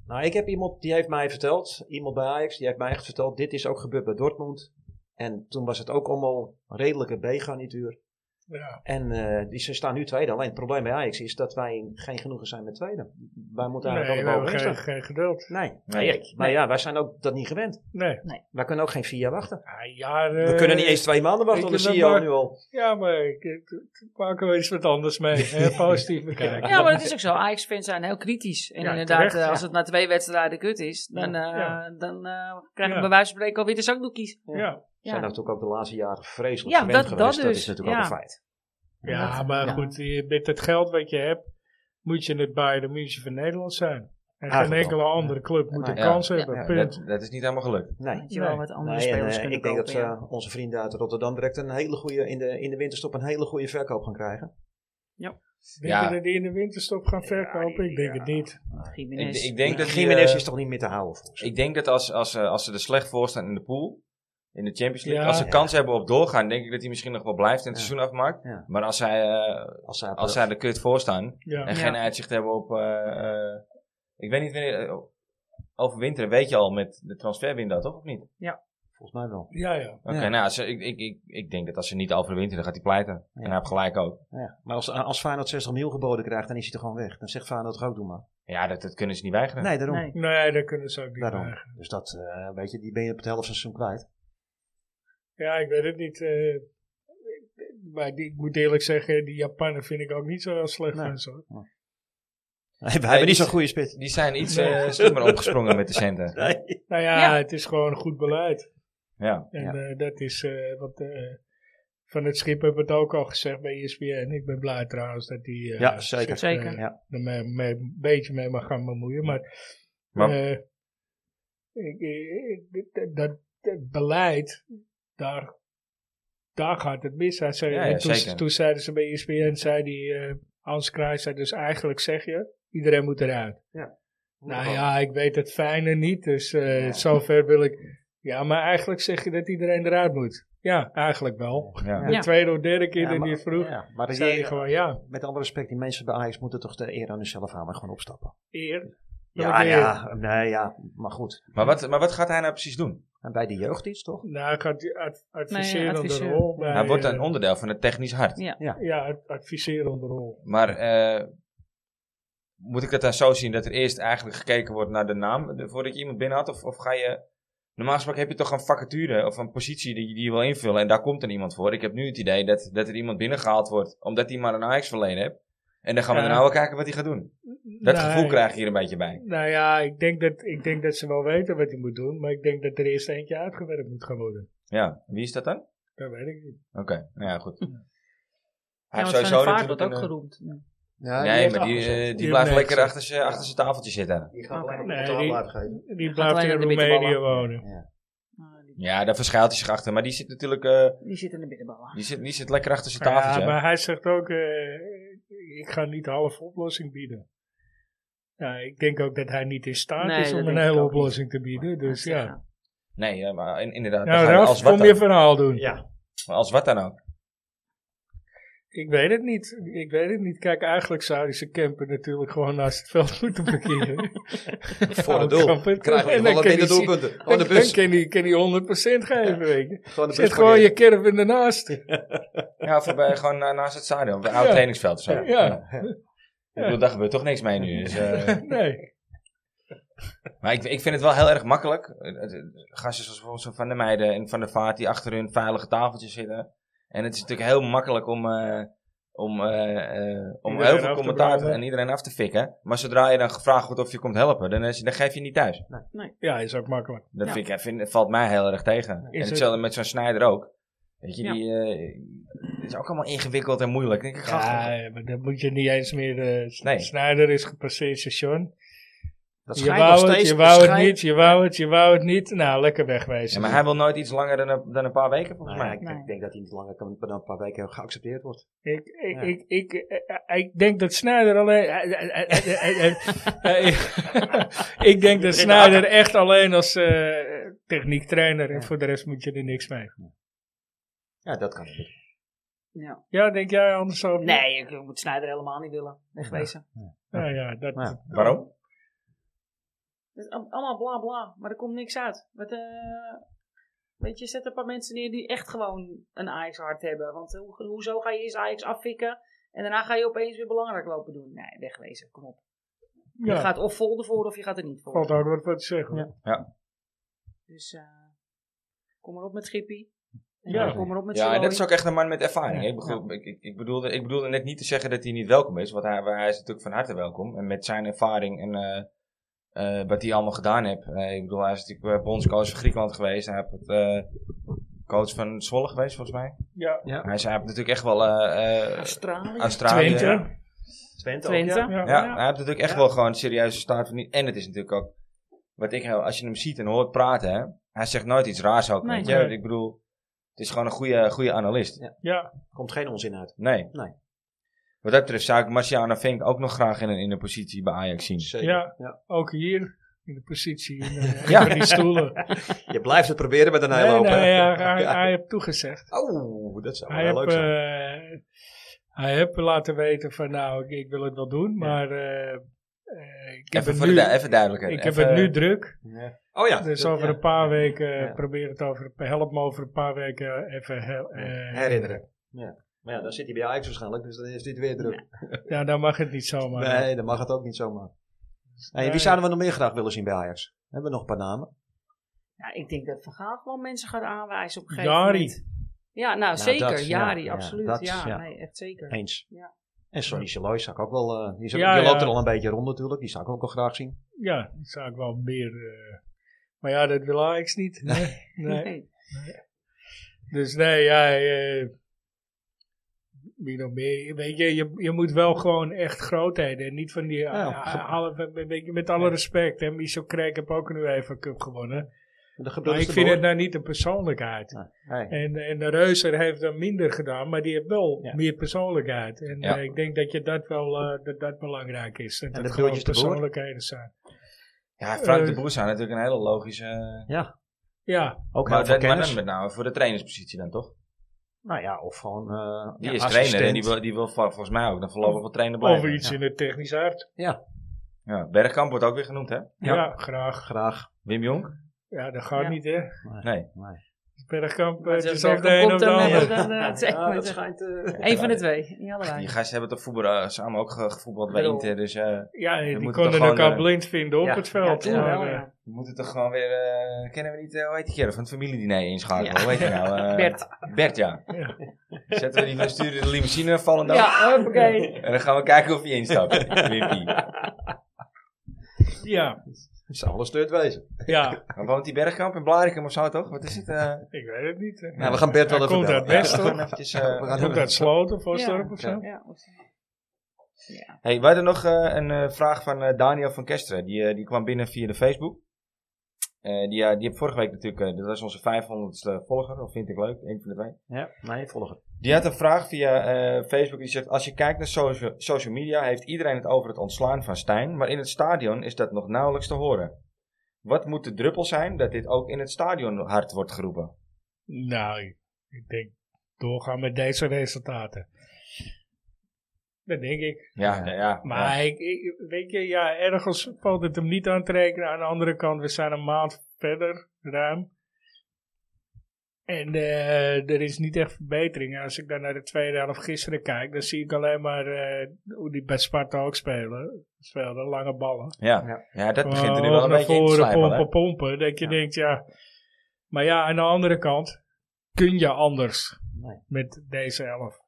[SPEAKER 3] nou, ik heb iemand, die heeft mij verteld, iemand bij Ajax, die heeft mij echt verteld, dit is ook gebeurd bij Dortmund. En toen was het ook allemaal redelijke B-garnituur.
[SPEAKER 2] Ja.
[SPEAKER 3] En eh, die, ze staan nu tweede. Alleen het probleem bij Ajax is dat wij geen genoegen zijn met tweede. Wij moeten
[SPEAKER 2] Nee,
[SPEAKER 3] eigenlijk
[SPEAKER 2] we
[SPEAKER 3] allemaal
[SPEAKER 2] hebben geen,
[SPEAKER 3] bovenin staan.
[SPEAKER 2] geen geduld.
[SPEAKER 3] Nee,
[SPEAKER 1] Nee.
[SPEAKER 3] nee, ik- maar ja, wij zijn ook dat niet gewend.
[SPEAKER 2] Nee.
[SPEAKER 3] Wij kunnen ook geen vier jaar wachten.
[SPEAKER 2] Ja, jaren,
[SPEAKER 3] We kunnen niet eens twee maanden wachten,
[SPEAKER 2] Eh, ik
[SPEAKER 3] dat
[SPEAKER 2] heb
[SPEAKER 3] zie je
[SPEAKER 2] dat
[SPEAKER 3] al
[SPEAKER 2] maar-
[SPEAKER 3] nu al.
[SPEAKER 2] Ja, maar ik, ik, ik maak er eens wat anders mee.
[SPEAKER 3] *laughs*
[SPEAKER 2] hè, Positief bekijken.
[SPEAKER 4] Ja, maar dat is ook zo. Ajax-fans zijn heel kritisch. En
[SPEAKER 2] Ja,
[SPEAKER 4] inderdaad,
[SPEAKER 2] terecht,
[SPEAKER 4] eh,
[SPEAKER 2] ja.
[SPEAKER 4] als het na twee wedstrijden kut is, dan, eh
[SPEAKER 2] ja.
[SPEAKER 4] dan eh, krijgen
[SPEAKER 2] Ja.
[SPEAKER 4] we bij wijze van spreken alweer de zakdoekjes.
[SPEAKER 2] Ja,
[SPEAKER 3] We zijn nou natuurlijk ook de laatste jaren vreselijk
[SPEAKER 4] Ja,
[SPEAKER 3] gewend
[SPEAKER 4] dat- dat
[SPEAKER 3] geweest. dat
[SPEAKER 4] dus,
[SPEAKER 3] is natuurlijk
[SPEAKER 4] ja.
[SPEAKER 3] ook een feit.
[SPEAKER 2] ja maar
[SPEAKER 4] Ja.
[SPEAKER 2] goed, je- met het geld wat je hebt, moet je het bij de München van Nederland zijn. En geen
[SPEAKER 3] Eigenlijk
[SPEAKER 2] enkele
[SPEAKER 3] wel.
[SPEAKER 2] andere club moet
[SPEAKER 3] Ja.
[SPEAKER 2] een kans
[SPEAKER 4] Ja.
[SPEAKER 2] hebben.
[SPEAKER 3] Ja.
[SPEAKER 2] Punt.
[SPEAKER 1] Dat, dat is niet helemaal gelukt.
[SPEAKER 3] Nee.
[SPEAKER 4] Dat je wel
[SPEAKER 2] Nee.
[SPEAKER 4] wat andere
[SPEAKER 3] Nee, en,
[SPEAKER 4] spelers
[SPEAKER 3] eh,
[SPEAKER 4] kunnen
[SPEAKER 3] ik denk dat
[SPEAKER 4] kopen, ja.
[SPEAKER 3] eh, onze vrienden uit Rotterdam direct een hele goede, in de, in de winterstop een hele goede verkoop gaan krijgen.
[SPEAKER 2] Denk
[SPEAKER 1] Ja.
[SPEAKER 2] je dat die in de winterstop gaan verkopen? Ik denk het niet.
[SPEAKER 1] Ik,
[SPEAKER 4] Gimenez.
[SPEAKER 1] ik denk dat die,
[SPEAKER 3] Jiménez
[SPEAKER 1] eh,
[SPEAKER 3] is toch niet meer te houden voor ons?
[SPEAKER 1] Ik denk dat als, als, eh, als ze er slecht voor staan in de pool, in de Champions League,
[SPEAKER 2] Ja.
[SPEAKER 1] als ze
[SPEAKER 3] Ja.
[SPEAKER 1] kans hebben op doorgaan, denk ik dat hij misschien nog wel blijft en het
[SPEAKER 3] Ja.
[SPEAKER 1] seizoen afmaakt.
[SPEAKER 3] Ja.
[SPEAKER 1] Maar als zij, eh,
[SPEAKER 3] Als zij,
[SPEAKER 1] als zij er kut voor staan
[SPEAKER 2] Ja.
[SPEAKER 1] en
[SPEAKER 4] Ja.
[SPEAKER 1] geen uitzicht hebben op. eh, eh, ik weet niet wanneer. eh, overwinteren weet je al met de transferwindow, toch? Of niet? Oké,
[SPEAKER 3] Volgens mij wel.
[SPEAKER 2] Ja, ja.
[SPEAKER 3] Ja.
[SPEAKER 1] nou, als ze- ik, ik, ik, ik denk dat als ze niet overwinteren, gaat hij pleiten.
[SPEAKER 3] Ja.
[SPEAKER 1] En hij heeft gelijk ook.
[SPEAKER 3] Ja. Maar als, eh, als Feyenoord 60 miljoen geboden krijgt, dan is hij er gewoon weg. Dan zegt Feyenoord toch ook, doe maar.
[SPEAKER 1] Ja, dat, dat kunnen ze niet weigeren.
[SPEAKER 3] Nee, daarom.
[SPEAKER 4] Nee.
[SPEAKER 2] Nee, daar kunnen ze ook niet
[SPEAKER 3] Daarom.
[SPEAKER 2] bij.
[SPEAKER 3] Dus dat, eh, weet je, die ben je op het helft van het seizoen *laughs* kwijt.
[SPEAKER 2] Ja, ik weet het niet. eh, maar die, ik moet eerlijk zeggen, die Japanen vind ik ook niet zo heel slecht
[SPEAKER 3] Nee.
[SPEAKER 2] van zo.
[SPEAKER 3] Nee, we hebben
[SPEAKER 1] die
[SPEAKER 3] niet
[SPEAKER 1] is-
[SPEAKER 3] zo'n goede spits.
[SPEAKER 1] Die zijn iets
[SPEAKER 2] Nee.
[SPEAKER 1] eh, slimmer opgesprongen met de centen.
[SPEAKER 3] Nee.
[SPEAKER 2] Nou ja,
[SPEAKER 4] Ja.
[SPEAKER 2] het is gewoon goed beleid.
[SPEAKER 1] Ja.
[SPEAKER 2] En
[SPEAKER 3] Ja.
[SPEAKER 2] eh, dat is eh, wat eh, van het schip hebben we het ook al gezegd bij E ESPN. Ik ben blij trouwens dat hij eh,
[SPEAKER 3] Ja, zeker.
[SPEAKER 2] zich, eh,
[SPEAKER 4] Zeker.
[SPEAKER 3] Ja.
[SPEAKER 2] er mee- mee- een beetje mee mag gaan bemoeien. Maar,
[SPEAKER 1] Maar-
[SPEAKER 2] eh, ik, ik- ik- dat, dat beleid, daar, daar gaat het mis. Hij zei,
[SPEAKER 1] Ja, ja,
[SPEAKER 2] en toen,
[SPEAKER 1] zeker.
[SPEAKER 2] toen zeiden ze bij E ESPN, zei die, eh Hans Kruijs, zei dus eigenlijk zeg je, iedereen moet eruit. Nou ja, ik weet het fijne niet, dus eh, zover wil ik. Ja, maar eigenlijk zeg je dat iedereen eruit moet. Ja, eigenlijk wel.
[SPEAKER 1] Ja.
[SPEAKER 4] Ja.
[SPEAKER 2] De tweede of derde keer
[SPEAKER 3] Ja,
[SPEAKER 2] dat
[SPEAKER 3] maar-
[SPEAKER 2] je vroeg,
[SPEAKER 3] ja, maar dat
[SPEAKER 2] zei
[SPEAKER 3] je-
[SPEAKER 2] je gewoon ja.
[SPEAKER 3] met alle respect, die mensen bij Ajax moeten toch de eer aan hunzelf houden en gewoon opstappen.
[SPEAKER 2] Eer.
[SPEAKER 3] Ja,
[SPEAKER 2] Welke eer?
[SPEAKER 3] ja, nee, ja, maar goed.
[SPEAKER 1] Maar, wat, maar wat gaat hij nou precies doen?
[SPEAKER 3] En bij de jeugd iets toch?
[SPEAKER 2] Nou, hij gaat die ad- adviserende
[SPEAKER 4] adviseur.
[SPEAKER 2] rol. Bij,
[SPEAKER 1] Hij wordt
[SPEAKER 2] eh,
[SPEAKER 1] een onderdeel van het technisch hart.
[SPEAKER 4] Ja.
[SPEAKER 2] Ja, ad- adviserende rol.
[SPEAKER 1] Maar eh, moet ik dat dan zo zien dat er eerst eigenlijk gekeken wordt naar de naam de- voordat je iemand binnen had? Of, of ga je. Normaal gesproken heb je toch een vacature of een positie die, je- die je wil invullen en daar komt dan iemand voor. Ik heb nu het idee dat, dat er iemand binnengehaald wordt omdat hij maar een Ajax verleden heeft. En dan gaan we
[SPEAKER 2] Ja.
[SPEAKER 1] daarna wel kijken wat hij gaat doen. Dat
[SPEAKER 2] Nee,
[SPEAKER 4] Nou,
[SPEAKER 1] gevoel krijg je hier een beetje bij.
[SPEAKER 2] Nou ja, ik denk, dat, ik denk dat ze wel weten wat hij moet doen, maar ik denk dat er eerst eentje uitgewerkt moet gaan worden.
[SPEAKER 1] Ja, wie is dat dan?
[SPEAKER 2] Dat weet ik niet.
[SPEAKER 1] Oké, nou ja, goed. Hij
[SPEAKER 4] Ja,
[SPEAKER 1] heeft
[SPEAKER 4] want Van der Vaart
[SPEAKER 1] natuurlijk
[SPEAKER 4] wordt ook
[SPEAKER 1] een, eh,
[SPEAKER 4] geroemd. Ja.
[SPEAKER 3] Ja,
[SPEAKER 1] Nee, maar die, eh, die
[SPEAKER 2] Die
[SPEAKER 1] blijft
[SPEAKER 2] heeft
[SPEAKER 1] lekker
[SPEAKER 2] niks.
[SPEAKER 1] achter zijn achter zijn tafeltje zitten.
[SPEAKER 3] die
[SPEAKER 4] gaat
[SPEAKER 2] maar
[SPEAKER 4] alleen
[SPEAKER 2] Nee, betaal die- blijven
[SPEAKER 3] geven.
[SPEAKER 2] Die
[SPEAKER 4] gaat
[SPEAKER 2] blijft
[SPEAKER 4] alleen
[SPEAKER 2] in
[SPEAKER 4] de witte
[SPEAKER 2] Roemenië
[SPEAKER 4] ballen.
[SPEAKER 2] wonen.
[SPEAKER 4] Ah, die-
[SPEAKER 1] Ja, daar verschuilt hij zich achter. Maar die zit natuurlijk eh,
[SPEAKER 4] Die zit in de binnenballen.
[SPEAKER 1] Die zit, die zit lekker achter zijn tafeltje.
[SPEAKER 2] Ja,
[SPEAKER 1] hè?
[SPEAKER 2] maar hij zegt ook, eh, ik ga niet de halve oplossing bieden. Ja, ik denk ook dat hij niet in staat
[SPEAKER 4] Nee,
[SPEAKER 2] is
[SPEAKER 4] dat
[SPEAKER 2] om een
[SPEAKER 4] denk ik
[SPEAKER 2] hele
[SPEAKER 4] ook niet.
[SPEAKER 2] oplossing te bieden. Dus
[SPEAKER 4] Dat, eh,
[SPEAKER 2] ja.
[SPEAKER 1] Nee, ja, maar in- inderdaad. dan
[SPEAKER 2] Nou,
[SPEAKER 1] ga je
[SPEAKER 2] Ralf,
[SPEAKER 1] als, wat
[SPEAKER 2] kom je
[SPEAKER 1] dan,
[SPEAKER 2] verhaal doen.
[SPEAKER 3] Ja,
[SPEAKER 1] als wat dan ook.
[SPEAKER 2] Ik weet het niet. Ik weet het niet. Kijk, eigenlijk zouden ze camper natuurlijk gewoon naast het veld *laughs* moeten
[SPEAKER 3] *laughs* Oh,
[SPEAKER 2] parkeren. het
[SPEAKER 3] *laughs* voor het
[SPEAKER 2] doel.
[SPEAKER 3] doel.
[SPEAKER 2] Kampen. Krijg
[SPEAKER 3] Krijg
[SPEAKER 2] je En
[SPEAKER 3] je
[SPEAKER 2] nog dan
[SPEAKER 3] nog
[SPEAKER 2] wat kan in de die-
[SPEAKER 3] de doelpunten.
[SPEAKER 2] Dan *laughs*
[SPEAKER 3] Gewoon de
[SPEAKER 2] dan
[SPEAKER 3] bus.
[SPEAKER 2] kan die, kan die 100% geven, weet je.
[SPEAKER 3] Gewoon de
[SPEAKER 2] Zet gewoon je caravan ernaast. Ja,
[SPEAKER 1] Ja, of bij, *laughs* gewoon na- naast het stadion. Op een oud
[SPEAKER 2] Ja.
[SPEAKER 1] trainingsveld of zo.
[SPEAKER 2] ja.
[SPEAKER 1] Ik bedoel, daar gebeurt toch niks mee nu. Dus, eh,
[SPEAKER 2] *laughs* nee.
[SPEAKER 1] maar ik, ik vind het wel heel erg makkelijk. Eh, eh, Gasten zoals bijvoorbeeld Van de Meiden en Van de Vaart die achter hun veilige tafeltjes zitten. En het is natuurlijk heel makkelijk om, eh, om, eh, eh, om
[SPEAKER 2] Iedereen
[SPEAKER 1] heel
[SPEAKER 2] af
[SPEAKER 1] veel
[SPEAKER 2] te
[SPEAKER 1] commentaar
[SPEAKER 2] branden.
[SPEAKER 1] en iedereen af te fikken. Maar zodra je dan gevraagd wordt of je komt helpen, dan, is, dan geef je niet thuis.
[SPEAKER 2] Ja, is ook makkelijk.
[SPEAKER 1] Dat
[SPEAKER 4] Ja.
[SPEAKER 1] vind ik, vind, valt mij heel erg tegen.
[SPEAKER 2] Is
[SPEAKER 1] en
[SPEAKER 2] het-
[SPEAKER 1] hetzelfde met zo'n snijder ook. Weet je,
[SPEAKER 4] Ja.
[SPEAKER 1] die eh, is ook allemaal ingewikkeld en moeilijk. Ik denk, ik, ga
[SPEAKER 2] Ja, Ah, maar dan moet je niet eens meer... eh, s-
[SPEAKER 1] Nee.
[SPEAKER 2] Snijder is gepasseerd station.
[SPEAKER 3] Dat
[SPEAKER 2] Je
[SPEAKER 3] schijnt nog
[SPEAKER 2] wou het,
[SPEAKER 3] steeds-
[SPEAKER 2] je wou het
[SPEAKER 3] schijnt-
[SPEAKER 2] niet, je wou het, je wou het niet. Nou, lekker
[SPEAKER 1] Ja,
[SPEAKER 2] wegwezen.
[SPEAKER 1] maar hij wil nooit iets langer dan een, dan een paar weken, volgens
[SPEAKER 3] Nou ja,
[SPEAKER 1] mij.
[SPEAKER 3] ik,
[SPEAKER 4] Nee.
[SPEAKER 3] ik denk dat hij niet langer kan, dan een paar weken geaccepteerd wordt.
[SPEAKER 2] Ik, ik,
[SPEAKER 3] Ja.
[SPEAKER 2] ik, ik, eh, ik denk dat Snyder alleen. *laughs* ik denk dat Snyder echt alleen als eh techniek trainer en voor de rest moet je er niks mee.
[SPEAKER 3] Ja, dat kan niet.
[SPEAKER 4] Ja.
[SPEAKER 2] Ja, denk jij anders over?
[SPEAKER 4] Nee, ik ik moet Snijder helemaal niet willen. Wegwezen.
[SPEAKER 2] Nou ja, dat,
[SPEAKER 3] Nou ja.
[SPEAKER 1] Waarom?
[SPEAKER 4] Dat is al- allemaal bla bla, maar er komt niks uit. Wat, eh, weet je, zet een paar mensen neer die echt gewoon een Ajax-hart hebben. Want hoe hoezo ga je eerst Ajax afvikken en daarna ga je opeens weer belangrijk lopen doen? Nee, wegwezen, kom op.
[SPEAKER 2] ja,
[SPEAKER 4] Je gaat of vol ervoor of je gaat er niet voor.
[SPEAKER 2] valt ook wat voor te zeggen. Ja.
[SPEAKER 4] Dus eh, kom maar op met Schippie. En
[SPEAKER 2] Ja.
[SPEAKER 4] ja, kom maar op met
[SPEAKER 1] Ja, en
[SPEAKER 4] Siloy.
[SPEAKER 1] dat is ook echt een man met ervaring.
[SPEAKER 2] Ja.
[SPEAKER 1] Ik, bedoel, ik, ik, ik bedoelde, ik bedoelde net niet te zeggen dat hij niet welkom is, want hij, hij is natuurlijk van harte welkom. En met zijn ervaring en eh, eh, wat hij allemaal gedaan heeft. Eh, ik bedoel, hij is natuurlijk eh, bondscoach van Griekenland geweest. Hij heeft eh, coach van Zwolle geweest, volgens mij.
[SPEAKER 2] Ja.
[SPEAKER 1] Hij, is, hij heeft natuurlijk echt wel eh, eh,
[SPEAKER 4] Australië.
[SPEAKER 1] Australië.
[SPEAKER 2] Twente.
[SPEAKER 1] Ja,
[SPEAKER 2] Ja.
[SPEAKER 5] Twente ook.
[SPEAKER 4] Twente.
[SPEAKER 2] Oh, Ja.
[SPEAKER 1] hij heeft natuurlijk echt wel gewoon een serieuze staart van niet. En het is natuurlijk ook, wat ik, heel- als je hem ziet en hoort praten, hè, hij zegt nooit iets raars ook.
[SPEAKER 4] Nee.
[SPEAKER 1] weet je?
[SPEAKER 2] Nee.
[SPEAKER 1] Ik bedoel, het is gewoon een goede, goede analist.
[SPEAKER 3] Komt geen onzin uit.
[SPEAKER 1] Nee.
[SPEAKER 3] Nee.
[SPEAKER 1] Wat dat betreft zou ik Marciano Vink ook nog graag in een, in een positie bij Ajax zien.
[SPEAKER 3] Zeker.
[SPEAKER 2] Ja.
[SPEAKER 3] Ja.
[SPEAKER 2] ook hier in de positie. In, eh, *laughs*
[SPEAKER 1] Ja.
[SPEAKER 2] in die stoelen.
[SPEAKER 3] Je blijft het proberen met een
[SPEAKER 2] Nee,
[SPEAKER 3] hele
[SPEAKER 2] nee, hij,
[SPEAKER 3] hoop.
[SPEAKER 2] hij, hij heeft toegezegd.
[SPEAKER 3] *laughs* Oh, dat zou wel
[SPEAKER 2] Hij
[SPEAKER 3] heel
[SPEAKER 2] heeft,
[SPEAKER 3] leuk zijn.
[SPEAKER 2] eh, hij heeft laten weten van nou, ik, ik wil het wel doen, maar eh, eh, ik, heb
[SPEAKER 1] Even,
[SPEAKER 2] het
[SPEAKER 1] voor de,
[SPEAKER 2] nu,
[SPEAKER 1] du- even duidelijker.
[SPEAKER 2] ik heb
[SPEAKER 1] even,
[SPEAKER 2] het nu druk.
[SPEAKER 3] Ja. Oh ja.
[SPEAKER 2] Dus
[SPEAKER 3] dat-
[SPEAKER 2] over
[SPEAKER 3] ja.
[SPEAKER 2] een paar weken, eh,
[SPEAKER 3] Ja.
[SPEAKER 2] probeer het over, help me over een paar weken even hel- eh,
[SPEAKER 3] Herinneren. Ja. Maar ja, dan zit hij bij Ajax waarschijnlijk, dus dan is dit weer druk.
[SPEAKER 2] Ja, dan mag het niet zomaar.
[SPEAKER 3] Nee, dan mag het ook niet zomaar. Hey,
[SPEAKER 2] Nee.
[SPEAKER 3] wie zouden we nog meer graag willen zien bij Ajax? Hebben we nog een paar namen?
[SPEAKER 4] Ja, ik denk dat Vergaal gewoon mensen gaat aanwijzen op een gegeven
[SPEAKER 2] Jari,
[SPEAKER 4] moment. Ja, nou, zeker.
[SPEAKER 3] dat, ja,
[SPEAKER 4] Jari,
[SPEAKER 3] ja,
[SPEAKER 4] absoluut.
[SPEAKER 3] dat,
[SPEAKER 4] ja,
[SPEAKER 3] ja.
[SPEAKER 4] nee, echt zeker.
[SPEAKER 3] Eens.
[SPEAKER 4] Ja.
[SPEAKER 3] En Sonny Saloy zou ik ook wel... eh, die, is-
[SPEAKER 2] Ja,
[SPEAKER 3] die loopt
[SPEAKER 2] ja.
[SPEAKER 3] er al een beetje rond natuurlijk. Die zou ik ook wel graag zien.
[SPEAKER 2] ja, dat zou ik wel meer. eh, maar ja, dat wil Ajax niet. Nee,
[SPEAKER 3] *laughs*
[SPEAKER 2] nee.
[SPEAKER 4] Nee.
[SPEAKER 2] Dus nee, ja. eh, wie nog meer? Weet je, je, je moet wel gewoon echt grootheden. En niet van die.
[SPEAKER 3] Ja,
[SPEAKER 2] ah, ah, alle- weet je, met alle respect. Hè, Michel Kreek heb ook een UEFA Cup gewonnen.
[SPEAKER 3] De Nou,
[SPEAKER 2] Maar ik
[SPEAKER 3] gebroeders
[SPEAKER 2] vind
[SPEAKER 3] de
[SPEAKER 2] het nou niet een persoonlijkheid.
[SPEAKER 3] Boer. Nee. Nee.
[SPEAKER 2] En, en de Reuser heeft dan minder gedaan, maar die heeft wel
[SPEAKER 3] Ja.
[SPEAKER 2] meer persoonlijkheid. En
[SPEAKER 1] Ja.
[SPEAKER 2] eh, ik denk dat je dat wel eh, dat, dat belangrijk is. En, dat
[SPEAKER 3] de broertjes
[SPEAKER 2] gewoon
[SPEAKER 3] de Boer?
[SPEAKER 2] persoonlijkheden zijn.
[SPEAKER 1] Ja, Frank
[SPEAKER 2] eh,
[SPEAKER 1] de Boer zou natuurlijk een hele logische...
[SPEAKER 3] Ja,
[SPEAKER 2] Ja,
[SPEAKER 3] ook heel
[SPEAKER 1] maar,
[SPEAKER 3] veel
[SPEAKER 1] dat, maar
[SPEAKER 3] kennis.
[SPEAKER 1] dan met name voor de trainerspositie dan, toch?
[SPEAKER 3] Nou ja, of gewoon eh,
[SPEAKER 1] Die
[SPEAKER 3] ja,
[SPEAKER 1] is
[SPEAKER 3] assistent.
[SPEAKER 1] trainer en die wil, die wil vo- volgens mij ook dan voorlopig wel trainer
[SPEAKER 2] of
[SPEAKER 1] blijven.
[SPEAKER 2] iets in het technisch hart.
[SPEAKER 1] Ja, Bergkamp wordt ook weer genoemd, hè?
[SPEAKER 2] Ja,
[SPEAKER 3] Ja.
[SPEAKER 2] graag.
[SPEAKER 3] Graag.
[SPEAKER 1] Wim Jong?
[SPEAKER 2] Ja, dat gaat
[SPEAKER 4] Ja.
[SPEAKER 2] niet, hè?
[SPEAKER 1] Nee.
[SPEAKER 2] Bergkamp, eh,
[SPEAKER 4] Maar
[SPEAKER 2] het
[SPEAKER 4] Zes
[SPEAKER 2] is of de
[SPEAKER 4] Bergkamp
[SPEAKER 2] een of
[SPEAKER 4] komt
[SPEAKER 2] de
[SPEAKER 4] dan
[SPEAKER 2] ander.
[SPEAKER 4] met *laughs* een, eh, zeg maar,
[SPEAKER 3] dat
[SPEAKER 4] zeg-
[SPEAKER 3] schijnt... eh,
[SPEAKER 4] Eén van de twee, niet
[SPEAKER 1] Die
[SPEAKER 4] allebei.
[SPEAKER 1] gasten hebben toch voetbal, eh, samen ook ge- gevoetbald bij
[SPEAKER 4] Bedoel.
[SPEAKER 1] Inter, dus eh,
[SPEAKER 2] Ja,
[SPEAKER 1] Je
[SPEAKER 2] die
[SPEAKER 1] moet
[SPEAKER 2] konden
[SPEAKER 1] toch gewoon,
[SPEAKER 2] elkaar
[SPEAKER 1] eh,
[SPEAKER 2] blind vinden op
[SPEAKER 3] ja,
[SPEAKER 2] het
[SPEAKER 4] Ja,
[SPEAKER 2] veld.
[SPEAKER 4] toen
[SPEAKER 2] maar,
[SPEAKER 4] wel,
[SPEAKER 2] eh,
[SPEAKER 4] ja.
[SPEAKER 1] we moeten toch gewoon weer... eh, kennen we niet, eh, hoe heet die kerel, van het familiediner inschakelen, hoe heet die
[SPEAKER 4] *laughs*
[SPEAKER 1] nou? eh?
[SPEAKER 4] Bert.
[SPEAKER 1] Bert, ja.
[SPEAKER 2] Ja.
[SPEAKER 1] Zetten we die van sturen de limousine vallend af?
[SPEAKER 4] Ja, hoppakee.
[SPEAKER 1] En dan gaan we kijken of hij instapt. *laughs* Wimpy.
[SPEAKER 2] eh, ja,
[SPEAKER 3] Het zou wel een stuurt wezen.
[SPEAKER 2] ja,
[SPEAKER 1] Maar woont die Bergkamp in Blarikum of zo toch? Wat is het? eh?
[SPEAKER 2] ik weet het niet. hè.
[SPEAKER 3] Nou, we gaan Bert wel
[SPEAKER 2] Hij
[SPEAKER 3] even
[SPEAKER 2] komt
[SPEAKER 3] bellen.
[SPEAKER 2] uit Best,
[SPEAKER 1] we
[SPEAKER 2] toch?
[SPEAKER 1] gaan eventjes... eh,
[SPEAKER 3] We gaan
[SPEAKER 2] Komt uit Sloten, Vosdorp of zo?
[SPEAKER 3] Ja.
[SPEAKER 4] Ja, of- ja.
[SPEAKER 1] hey, we hadden nog eh, een eh, vraag van eh, Daniel van Kesteren. Die, eh, die kwam binnen via de Facebook. Eh, die, eh, die heb vorige week natuurlijk... eh, dat was onze 500ste volger. Of vind ik leuk. Eén van de twee.
[SPEAKER 3] Ja, nee, volger.
[SPEAKER 1] Die had een vraag via eh, Facebook. Die zegt: Als je kijkt naar socia- social media, heeft iedereen het over het ontslaan van Stijn. Maar in het stadion is dat nog nauwelijks te horen. Wat moet de druppel zijn dat dit ook in het stadion hard wordt geroepen?
[SPEAKER 2] Nou, ik- ik denk doorgaan met deze resultaten. Dat denk ik.
[SPEAKER 1] Ja, ja. ja.
[SPEAKER 2] Maar ik, ik- weet je, ja, ergens valt het hem niet aan te rekenen. Aan de andere kant, we zijn een maand verder, ruim. En eh, er is niet echt verbetering. En Als ik dan naar de tweede helft gisteren kijk, dan zie ik alleen maar eh, hoe die bij Sparta ook spelen. Speelden lange ballen.
[SPEAKER 1] Ja. ja, dat begint er nu
[SPEAKER 2] Oh,
[SPEAKER 1] wel een
[SPEAKER 2] naar
[SPEAKER 1] beetje in te slijpen.
[SPEAKER 2] pompen,
[SPEAKER 1] hè?
[SPEAKER 2] pompen. Dat je
[SPEAKER 3] Ja.
[SPEAKER 2] denkt, ja. Maar ja, aan de andere kant kun je anders
[SPEAKER 3] Nee.
[SPEAKER 2] met deze elf.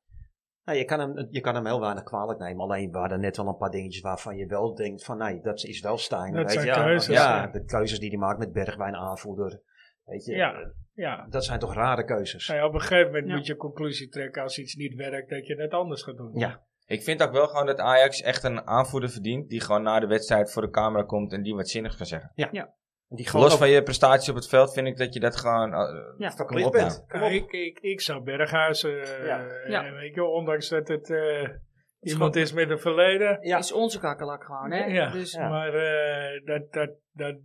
[SPEAKER 3] Nou, je, kan hem, je kan hem heel weinig kwalijk nemen. Alleen waren er net wel een paar dingetjes waarvan je wel denkt van nee, dat is wel
[SPEAKER 2] Dat
[SPEAKER 3] Steiner. weet
[SPEAKER 2] zijn
[SPEAKER 3] je, ja,
[SPEAKER 2] keuzes,
[SPEAKER 3] Ja,
[SPEAKER 2] ja.
[SPEAKER 3] de keuzes die hij maakt met Bergwijn aanvoerder. Weet je,
[SPEAKER 2] Ja, ja.
[SPEAKER 3] dat zijn toch rare keuzes.
[SPEAKER 2] Nou ja, op een gegeven moment
[SPEAKER 4] Ja.
[SPEAKER 2] moet je een conclusie trekken als iets niet werkt, dat je het anders gaat doen.
[SPEAKER 3] Ja.
[SPEAKER 1] Ik vind ook wel gewoon dat Ajax echt een aanvoerder verdient. Die gewoon na de wedstrijd voor de camera komt en die wat zinnigs kan zeggen.
[SPEAKER 3] Die
[SPEAKER 1] Los van je prestaties op het veld vind ik dat je dat gewoon... eh,
[SPEAKER 4] Ja.
[SPEAKER 3] verplicht
[SPEAKER 1] Kom op
[SPEAKER 3] bent. Kom op.
[SPEAKER 2] ik, ik, ik zou Berghuizen, eh,
[SPEAKER 3] Ja.
[SPEAKER 4] Ja.
[SPEAKER 2] eh, weet je, wel, ondanks dat het eh, iemand
[SPEAKER 4] gewoon-
[SPEAKER 2] is met een verleden.
[SPEAKER 3] Ja.
[SPEAKER 4] Is onze kakkelak gewoon, hè?
[SPEAKER 2] Ja.
[SPEAKER 4] Dus,
[SPEAKER 3] Ja.
[SPEAKER 2] Maar eh, dat, dat, dat,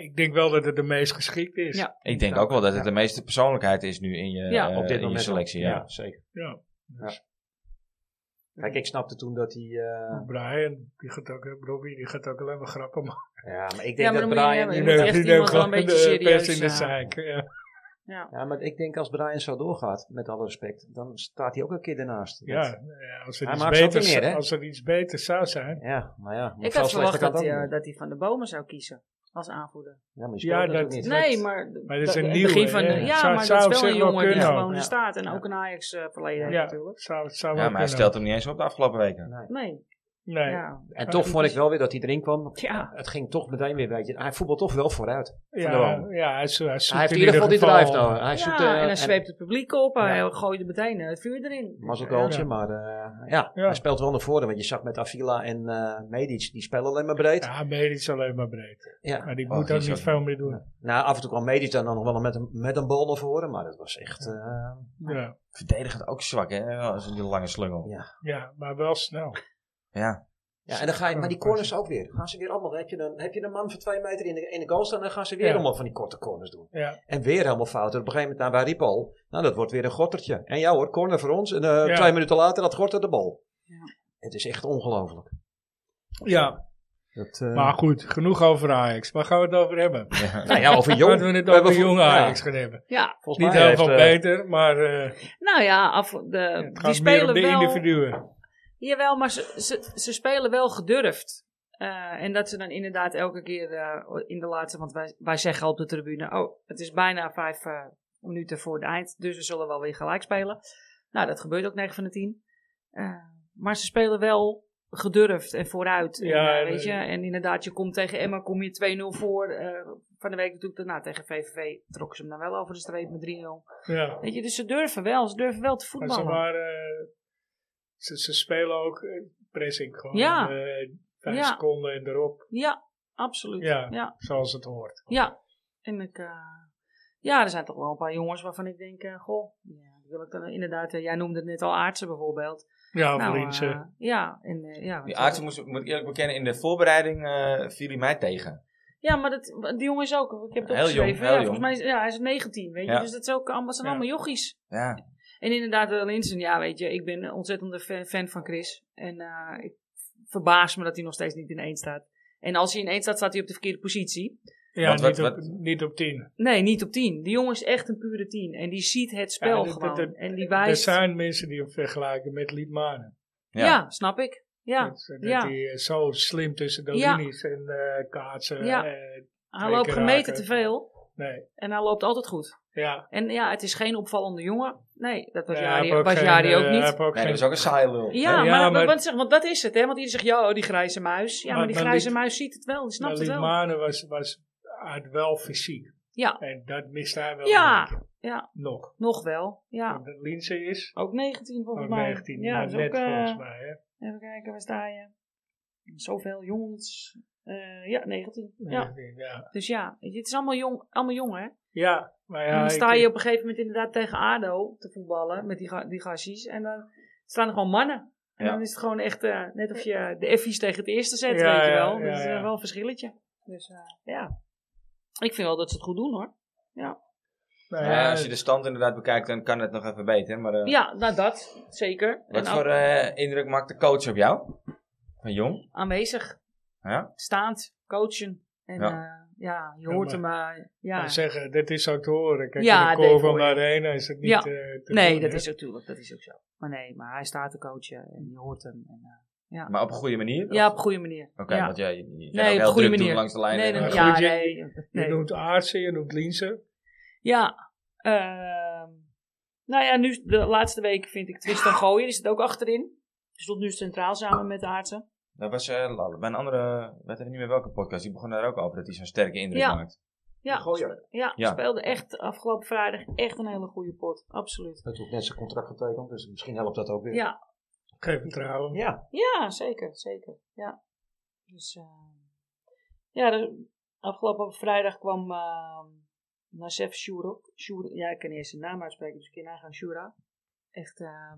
[SPEAKER 2] ik denk wel dat het de meest geschikt is.
[SPEAKER 4] Ja.
[SPEAKER 1] ik denk ook wel dat het de meeste persoonlijkheid is nu in je,
[SPEAKER 4] Ja.
[SPEAKER 1] eh,
[SPEAKER 3] op dit
[SPEAKER 1] in je
[SPEAKER 3] moment wel.
[SPEAKER 1] selectie. Ja.
[SPEAKER 3] zeker.
[SPEAKER 2] Ja. Dus
[SPEAKER 3] Kijk, ik snapte toen dat hij... eh,
[SPEAKER 2] Brian, die gaat ook, eh, Robbie, die gaat ook alleen maar grappen maken.
[SPEAKER 3] ja, maar ik denk
[SPEAKER 4] Ja, maar
[SPEAKER 3] dat
[SPEAKER 4] dan moet je hem
[SPEAKER 3] Brian...
[SPEAKER 4] hebben.
[SPEAKER 2] Die
[SPEAKER 4] moet
[SPEAKER 2] neemt- *laughs* die
[SPEAKER 4] echt
[SPEAKER 2] neemt
[SPEAKER 4] iemand wel
[SPEAKER 2] gewoon
[SPEAKER 4] een
[SPEAKER 2] de
[SPEAKER 4] beetje
[SPEAKER 2] pers in de
[SPEAKER 4] serieus, ja.
[SPEAKER 2] zaak. Ja.
[SPEAKER 3] Ja, maar ik denk als Brian zo doorgaat, met alle respect, dan staat hij ook een keer daarnaast.
[SPEAKER 2] Ja,
[SPEAKER 3] Dat-
[SPEAKER 2] ja, als, er
[SPEAKER 3] Hij
[SPEAKER 2] iets
[SPEAKER 3] maakt ze ook
[SPEAKER 2] beter,
[SPEAKER 3] niet meer,
[SPEAKER 2] zou-
[SPEAKER 3] hè?
[SPEAKER 2] als er iets beter zou zijn.
[SPEAKER 3] ja, maar ja.
[SPEAKER 4] Ik
[SPEAKER 3] veel slechter
[SPEAKER 4] had verwacht
[SPEAKER 3] kan het
[SPEAKER 4] dat hij,
[SPEAKER 3] ook
[SPEAKER 4] eh,
[SPEAKER 3] niet.
[SPEAKER 4] dat hij van de bomen zou kiezen als aanvoerder.
[SPEAKER 3] Ja, maar je
[SPEAKER 2] Ja,
[SPEAKER 3] speelt natuurlijk
[SPEAKER 2] dat-
[SPEAKER 3] niet.
[SPEAKER 4] Nee, maar,
[SPEAKER 2] Maar dat is
[SPEAKER 4] dat-
[SPEAKER 2] een
[SPEAKER 4] het
[SPEAKER 2] nieuwe,
[SPEAKER 4] begin van,
[SPEAKER 2] hè?
[SPEAKER 4] ja,
[SPEAKER 2] Zou-
[SPEAKER 4] maar
[SPEAKER 2] zou op
[SPEAKER 4] dat is wel
[SPEAKER 2] zich
[SPEAKER 4] een
[SPEAKER 2] wel
[SPEAKER 4] jongen die
[SPEAKER 2] kunnen
[SPEAKER 4] gewoon
[SPEAKER 2] ook.
[SPEAKER 4] er staat. En ook een Ajax eh, verleden heeft
[SPEAKER 2] Ja.
[SPEAKER 4] natuurlijk.
[SPEAKER 2] Zou, zou
[SPEAKER 1] Ja,
[SPEAKER 2] wel
[SPEAKER 1] maar hij
[SPEAKER 2] kunnen.
[SPEAKER 1] stelt hem niet eens op de afgelopen weken.
[SPEAKER 4] Nee,
[SPEAKER 2] Nee. Ja,
[SPEAKER 4] ja.
[SPEAKER 3] En toch vond ik wel weer dat hij erin kwam.
[SPEAKER 4] Ja.
[SPEAKER 3] Het ging toch meteen weer, weet je. Hij voetbalt toch wel vooruit.
[SPEAKER 2] ja,
[SPEAKER 3] Van
[SPEAKER 2] hij, zo- hij zoekt
[SPEAKER 3] Hij heeft in ieder geval die drive nou. Hij zoekt,
[SPEAKER 4] ja,
[SPEAKER 3] eh,
[SPEAKER 4] en hij zweept het publiek op.
[SPEAKER 3] Ja.
[SPEAKER 4] Hij gooit er meteen eh, het vuur erin.
[SPEAKER 3] mazzelkooltje,
[SPEAKER 2] Ja.
[SPEAKER 3] maar eh, ja,
[SPEAKER 2] Ja.
[SPEAKER 3] hij speelt wel naar voren. Want je zag met Avila en eh, Medic, die spelen alleen maar breed. Ja.
[SPEAKER 2] Ja, Medic is alleen maar breed. Maar die moet
[SPEAKER 1] die
[SPEAKER 2] ook
[SPEAKER 1] is
[SPEAKER 2] niet
[SPEAKER 1] ook-
[SPEAKER 2] veel meer doen.
[SPEAKER 3] Nou, af en toe kwam Medic dan nog wel met een, met een bal naar voren. Maar dat was echt, eh,
[SPEAKER 2] Ja.
[SPEAKER 1] Verdedigend ook zwak, hè? Als een die lange slungel.
[SPEAKER 3] ja.
[SPEAKER 2] ja, maar wel snel.
[SPEAKER 1] Ja.
[SPEAKER 3] ja en dan ga je, maar die corners ook weer. Gaan ze weer allemaal, heb je, dan, heb je een man van twee meter in de, in de goal staan. Dan gaan ze weer
[SPEAKER 2] Ja.
[SPEAKER 3] allemaal van die korte corners doen.
[SPEAKER 2] Ja.
[SPEAKER 3] En weer helemaal fout. En op een gegeven moment, nou, waar riep al? Nou, dat wordt weer een gottertje. En ja hoor, corner voor ons. En eh,
[SPEAKER 2] Ja.
[SPEAKER 3] twee minuten later had Gorter de bal.
[SPEAKER 4] Ja.
[SPEAKER 3] Het is echt ongelooflijk.
[SPEAKER 2] ja,
[SPEAKER 3] Dat, eh,
[SPEAKER 2] maar goed, genoeg over Ajax. Waar gaan we het over hebben?
[SPEAKER 3] *laughs* nou ja, over jong.
[SPEAKER 2] Laten we het
[SPEAKER 3] We hebben
[SPEAKER 2] over
[SPEAKER 3] vo-
[SPEAKER 2] jonge
[SPEAKER 3] ja,
[SPEAKER 2] Ajax gaan hebben.
[SPEAKER 4] Ja,
[SPEAKER 3] volgens
[SPEAKER 2] Niet
[SPEAKER 3] mij
[SPEAKER 2] heel veel
[SPEAKER 3] heeft, eh,
[SPEAKER 2] beter, maar eh,
[SPEAKER 4] nou ja, af, de,
[SPEAKER 2] het
[SPEAKER 4] die
[SPEAKER 2] gaat meer om
[SPEAKER 4] spelen
[SPEAKER 2] de
[SPEAKER 4] wel...
[SPEAKER 2] individuen.
[SPEAKER 4] Jawel, maar ze, ze, ze spelen wel gedurfd. Eh, en dat ze dan inderdaad elke keer eh, in de laatste, want wij, wij zeggen al op de tribune, oh, het is bijna vijf eh, minuten voor het eind, dus we zullen wel weer gelijk spelen. Nou, dat gebeurt ook 9 van de 10. Eh, maar ze spelen wel gedurfd en vooruit. En,
[SPEAKER 2] Ja,
[SPEAKER 4] eh,
[SPEAKER 2] en,
[SPEAKER 4] weet je?
[SPEAKER 2] eh,
[SPEAKER 4] en inderdaad, je komt tegen Emma, kom je 2-0 voor. eh, van de week natuurlijk daarna tegen VVV trokken ze hem dan wel over de streep met 3-0.
[SPEAKER 2] Ja.
[SPEAKER 4] Weet je, dus ze durven wel, ze durven wel te
[SPEAKER 2] Maar, ze,
[SPEAKER 4] voetballen.
[SPEAKER 2] waren, eh, ze, ze spelen ook eh, pressing gewoon.
[SPEAKER 4] Ja.
[SPEAKER 2] eh, vijf
[SPEAKER 4] Ja.
[SPEAKER 2] seconden en erop,
[SPEAKER 4] Ja, absoluut.
[SPEAKER 2] Ja.
[SPEAKER 4] ja.
[SPEAKER 2] zoals het hoort.
[SPEAKER 4] Ja, en ik, eh, ja, er zijn toch wel een paar jongens waarvan ik denk, eh, goh, ja, die wil ik dan inderdaad, eh, jij noemde het net al Aartsen bijvoorbeeld.
[SPEAKER 2] Ja,
[SPEAKER 4] Nou,
[SPEAKER 2] nou,
[SPEAKER 4] eh, ja, en, eh, ja,
[SPEAKER 1] Die
[SPEAKER 4] want-
[SPEAKER 1] aardse moest, moet ik eerlijk bekennen, in de voorbereiding eh, viel hij mij tegen.
[SPEAKER 4] ja, maar dat, die jongen is ook, ik heb het
[SPEAKER 1] Heel jong,
[SPEAKER 4] opgeschreven.
[SPEAKER 1] heel
[SPEAKER 4] ja,
[SPEAKER 1] jong.
[SPEAKER 4] Volgens mij is, ja, hij is 19, weet je,
[SPEAKER 1] Ja.
[SPEAKER 4] dus dat is ook allemaal, zijn
[SPEAKER 2] Ja.
[SPEAKER 4] allemaal jochies.
[SPEAKER 1] Ja.
[SPEAKER 4] En inderdaad, eh, Linsen, ja, weet je, ik ben een ontzettende fan, fan van Chris. En eh, ik verbaas me dat hij nog steeds niet in één staat. En als hij in één staat, staat hij op de verkeerde positie.
[SPEAKER 2] ja
[SPEAKER 1] Want
[SPEAKER 2] niet,
[SPEAKER 1] wat-
[SPEAKER 2] op,
[SPEAKER 1] wat-
[SPEAKER 2] niet op tien.
[SPEAKER 4] Nee, niet op 10. Die jongen is echt een pure 10. En die ziet het spel
[SPEAKER 2] Ja, dat-
[SPEAKER 4] gewoon.
[SPEAKER 2] dat- dat-
[SPEAKER 4] en die
[SPEAKER 2] Er
[SPEAKER 4] wijst.
[SPEAKER 2] zijn mensen die hem vergelijken met Liedmanen.
[SPEAKER 1] Ja.
[SPEAKER 4] Ja, snap ik. Ja,
[SPEAKER 2] Dat, dat
[SPEAKER 4] ja.
[SPEAKER 2] hij eh, zo slim tussen de
[SPEAKER 4] Ja.
[SPEAKER 2] linies en eh, kaatsen.
[SPEAKER 4] Ja.
[SPEAKER 2] eh,
[SPEAKER 4] hij loopt
[SPEAKER 2] keer
[SPEAKER 4] gemeten
[SPEAKER 2] raken.
[SPEAKER 4] te veel.
[SPEAKER 2] nee,
[SPEAKER 4] En hij loopt altijd goed.
[SPEAKER 2] ja.
[SPEAKER 4] En ja, het is geen opvallende jongen. Nee, dat was
[SPEAKER 2] Ja,
[SPEAKER 4] Jari
[SPEAKER 2] hij heeft
[SPEAKER 4] was
[SPEAKER 2] geen,
[SPEAKER 4] Jari ook
[SPEAKER 2] eh,
[SPEAKER 4] niet.
[SPEAKER 2] hij heeft ook
[SPEAKER 1] Nee,
[SPEAKER 2] geen-
[SPEAKER 1] dat is ook een saaie lul.
[SPEAKER 4] ja,
[SPEAKER 2] Nee,
[SPEAKER 4] maar,
[SPEAKER 2] ja,
[SPEAKER 4] maar-
[SPEAKER 2] maar-
[SPEAKER 4] want, zeg, want dat is het, hè? Want iedereen zegt, ja, oh, die grijze muis. Ja,
[SPEAKER 2] Maar-
[SPEAKER 4] maar, die
[SPEAKER 2] maar
[SPEAKER 4] grijze
[SPEAKER 2] Lied-
[SPEAKER 4] muis ziet het wel, die snapt
[SPEAKER 2] maar
[SPEAKER 4] het wel.
[SPEAKER 2] Liedmanen was, was had wel fysiek.
[SPEAKER 4] Ja.
[SPEAKER 2] En dat mist hij wel
[SPEAKER 4] Ja.
[SPEAKER 2] een beetje.
[SPEAKER 4] Ja,
[SPEAKER 2] Nog.
[SPEAKER 4] nog wel. Ja,
[SPEAKER 2] Want Linse is
[SPEAKER 4] ook 19 volgens
[SPEAKER 2] ook
[SPEAKER 4] mij.
[SPEAKER 2] 19.
[SPEAKER 4] ja,
[SPEAKER 2] maar
[SPEAKER 4] dus
[SPEAKER 2] net
[SPEAKER 4] ook, eh,
[SPEAKER 2] volgens mij. Hè?
[SPEAKER 4] Even kijken, waar sta je? Zoveel jongens. Eh, ja, 19. Ja.
[SPEAKER 2] 19, ja.
[SPEAKER 4] Dus ja, weet je, het is allemaal jong, allemaal jong hè?
[SPEAKER 2] Ja, maar ja.
[SPEAKER 4] en dan
[SPEAKER 2] ik- eh,
[SPEAKER 4] sta je op een gegeven moment inderdaad tegen ADO te voetballen met die, ga- die gastjes. En dan staan er gewoon mannen. En
[SPEAKER 1] Ja.
[SPEAKER 4] dan is het gewoon echt eh, net of je de effies tegen het eerste zet,
[SPEAKER 2] Ja,
[SPEAKER 4] weet je
[SPEAKER 2] ja,
[SPEAKER 4] wel.
[SPEAKER 2] ja,
[SPEAKER 4] dat is eh,
[SPEAKER 2] ja.
[SPEAKER 4] wel een verschilletje. Dus eh, ja, ik vind wel dat ze het goed doen hoor.
[SPEAKER 2] nou
[SPEAKER 1] Ja,
[SPEAKER 2] ja,
[SPEAKER 1] als je de stand inderdaad bekijkt, dan kan het nog even beter. Maar, eh,
[SPEAKER 4] Ja, nou dat, zeker. En
[SPEAKER 1] Wat
[SPEAKER 4] ook
[SPEAKER 1] voor eh, indruk maakt de coach op jou? Van Jong?
[SPEAKER 4] aanwezig,
[SPEAKER 1] Ja?
[SPEAKER 4] staand, coachen. En
[SPEAKER 1] Ja.
[SPEAKER 4] ja, ja je hoort
[SPEAKER 2] Ja,
[SPEAKER 4] hem. eh, ja.
[SPEAKER 2] maar zeggen, dit is ook te horen. Kijk,
[SPEAKER 4] Ja,
[SPEAKER 2] in de
[SPEAKER 4] dit
[SPEAKER 2] koor van
[SPEAKER 4] hoor
[SPEAKER 2] de
[SPEAKER 4] je.
[SPEAKER 2] arena is het niet
[SPEAKER 4] Ja.
[SPEAKER 2] eh, te
[SPEAKER 4] Nee,
[SPEAKER 2] doen,
[SPEAKER 4] dat
[SPEAKER 2] hè.
[SPEAKER 4] is natuurlijk, dat is ook zo. Maar nee, maar hij staat te coachen en je hoort hem. En, eh,
[SPEAKER 1] Maar op een goede manier?
[SPEAKER 4] ja, op een goede manier.
[SPEAKER 1] Oké,
[SPEAKER 4] ja.
[SPEAKER 1] want ja, je, je kan
[SPEAKER 4] Nee,
[SPEAKER 1] ook
[SPEAKER 4] op
[SPEAKER 1] heel
[SPEAKER 4] goede
[SPEAKER 1] druk doen
[SPEAKER 4] manier.
[SPEAKER 1] langs de lijn.
[SPEAKER 4] Nee,
[SPEAKER 1] en,
[SPEAKER 4] nee,
[SPEAKER 1] eh,
[SPEAKER 2] Maar
[SPEAKER 4] ja,
[SPEAKER 2] goed, je-
[SPEAKER 4] nee.
[SPEAKER 2] Je
[SPEAKER 4] nee.
[SPEAKER 2] noemt Aartsen, je noemt Linse.
[SPEAKER 4] Ja, ehm, Nou ja, nu de laatste week vind ik Tristan Gooier, die zit ook achterin. Die stond nu centraal samen met de Aartsen.
[SPEAKER 1] Dat was eh, la- bij een andere, weet even niet meer welke podcast, die begon daar ook over dat hij zo'n sterke indruk
[SPEAKER 4] Ja.
[SPEAKER 1] maakt.
[SPEAKER 4] Ja,
[SPEAKER 3] Gooier.
[SPEAKER 4] spe- ja,
[SPEAKER 1] Ja.
[SPEAKER 4] speelde echt afgelopen vrijdag echt een hele goede pot. Absoluut.
[SPEAKER 3] Hij heeft ook net zijn contract getekend, dus misschien helpt dat ook weer.
[SPEAKER 4] Ja,
[SPEAKER 2] Geef vertrouwen.
[SPEAKER 3] Ja,
[SPEAKER 4] ja zeker, zeker. Ja, dus, eh, ja de, afgelopen vrijdag kwam eh Nasef Shurov. Shur, ja, ik kan eerst zijn naam uitspreken, dus ik kan nagaan Shura. Echt, eh,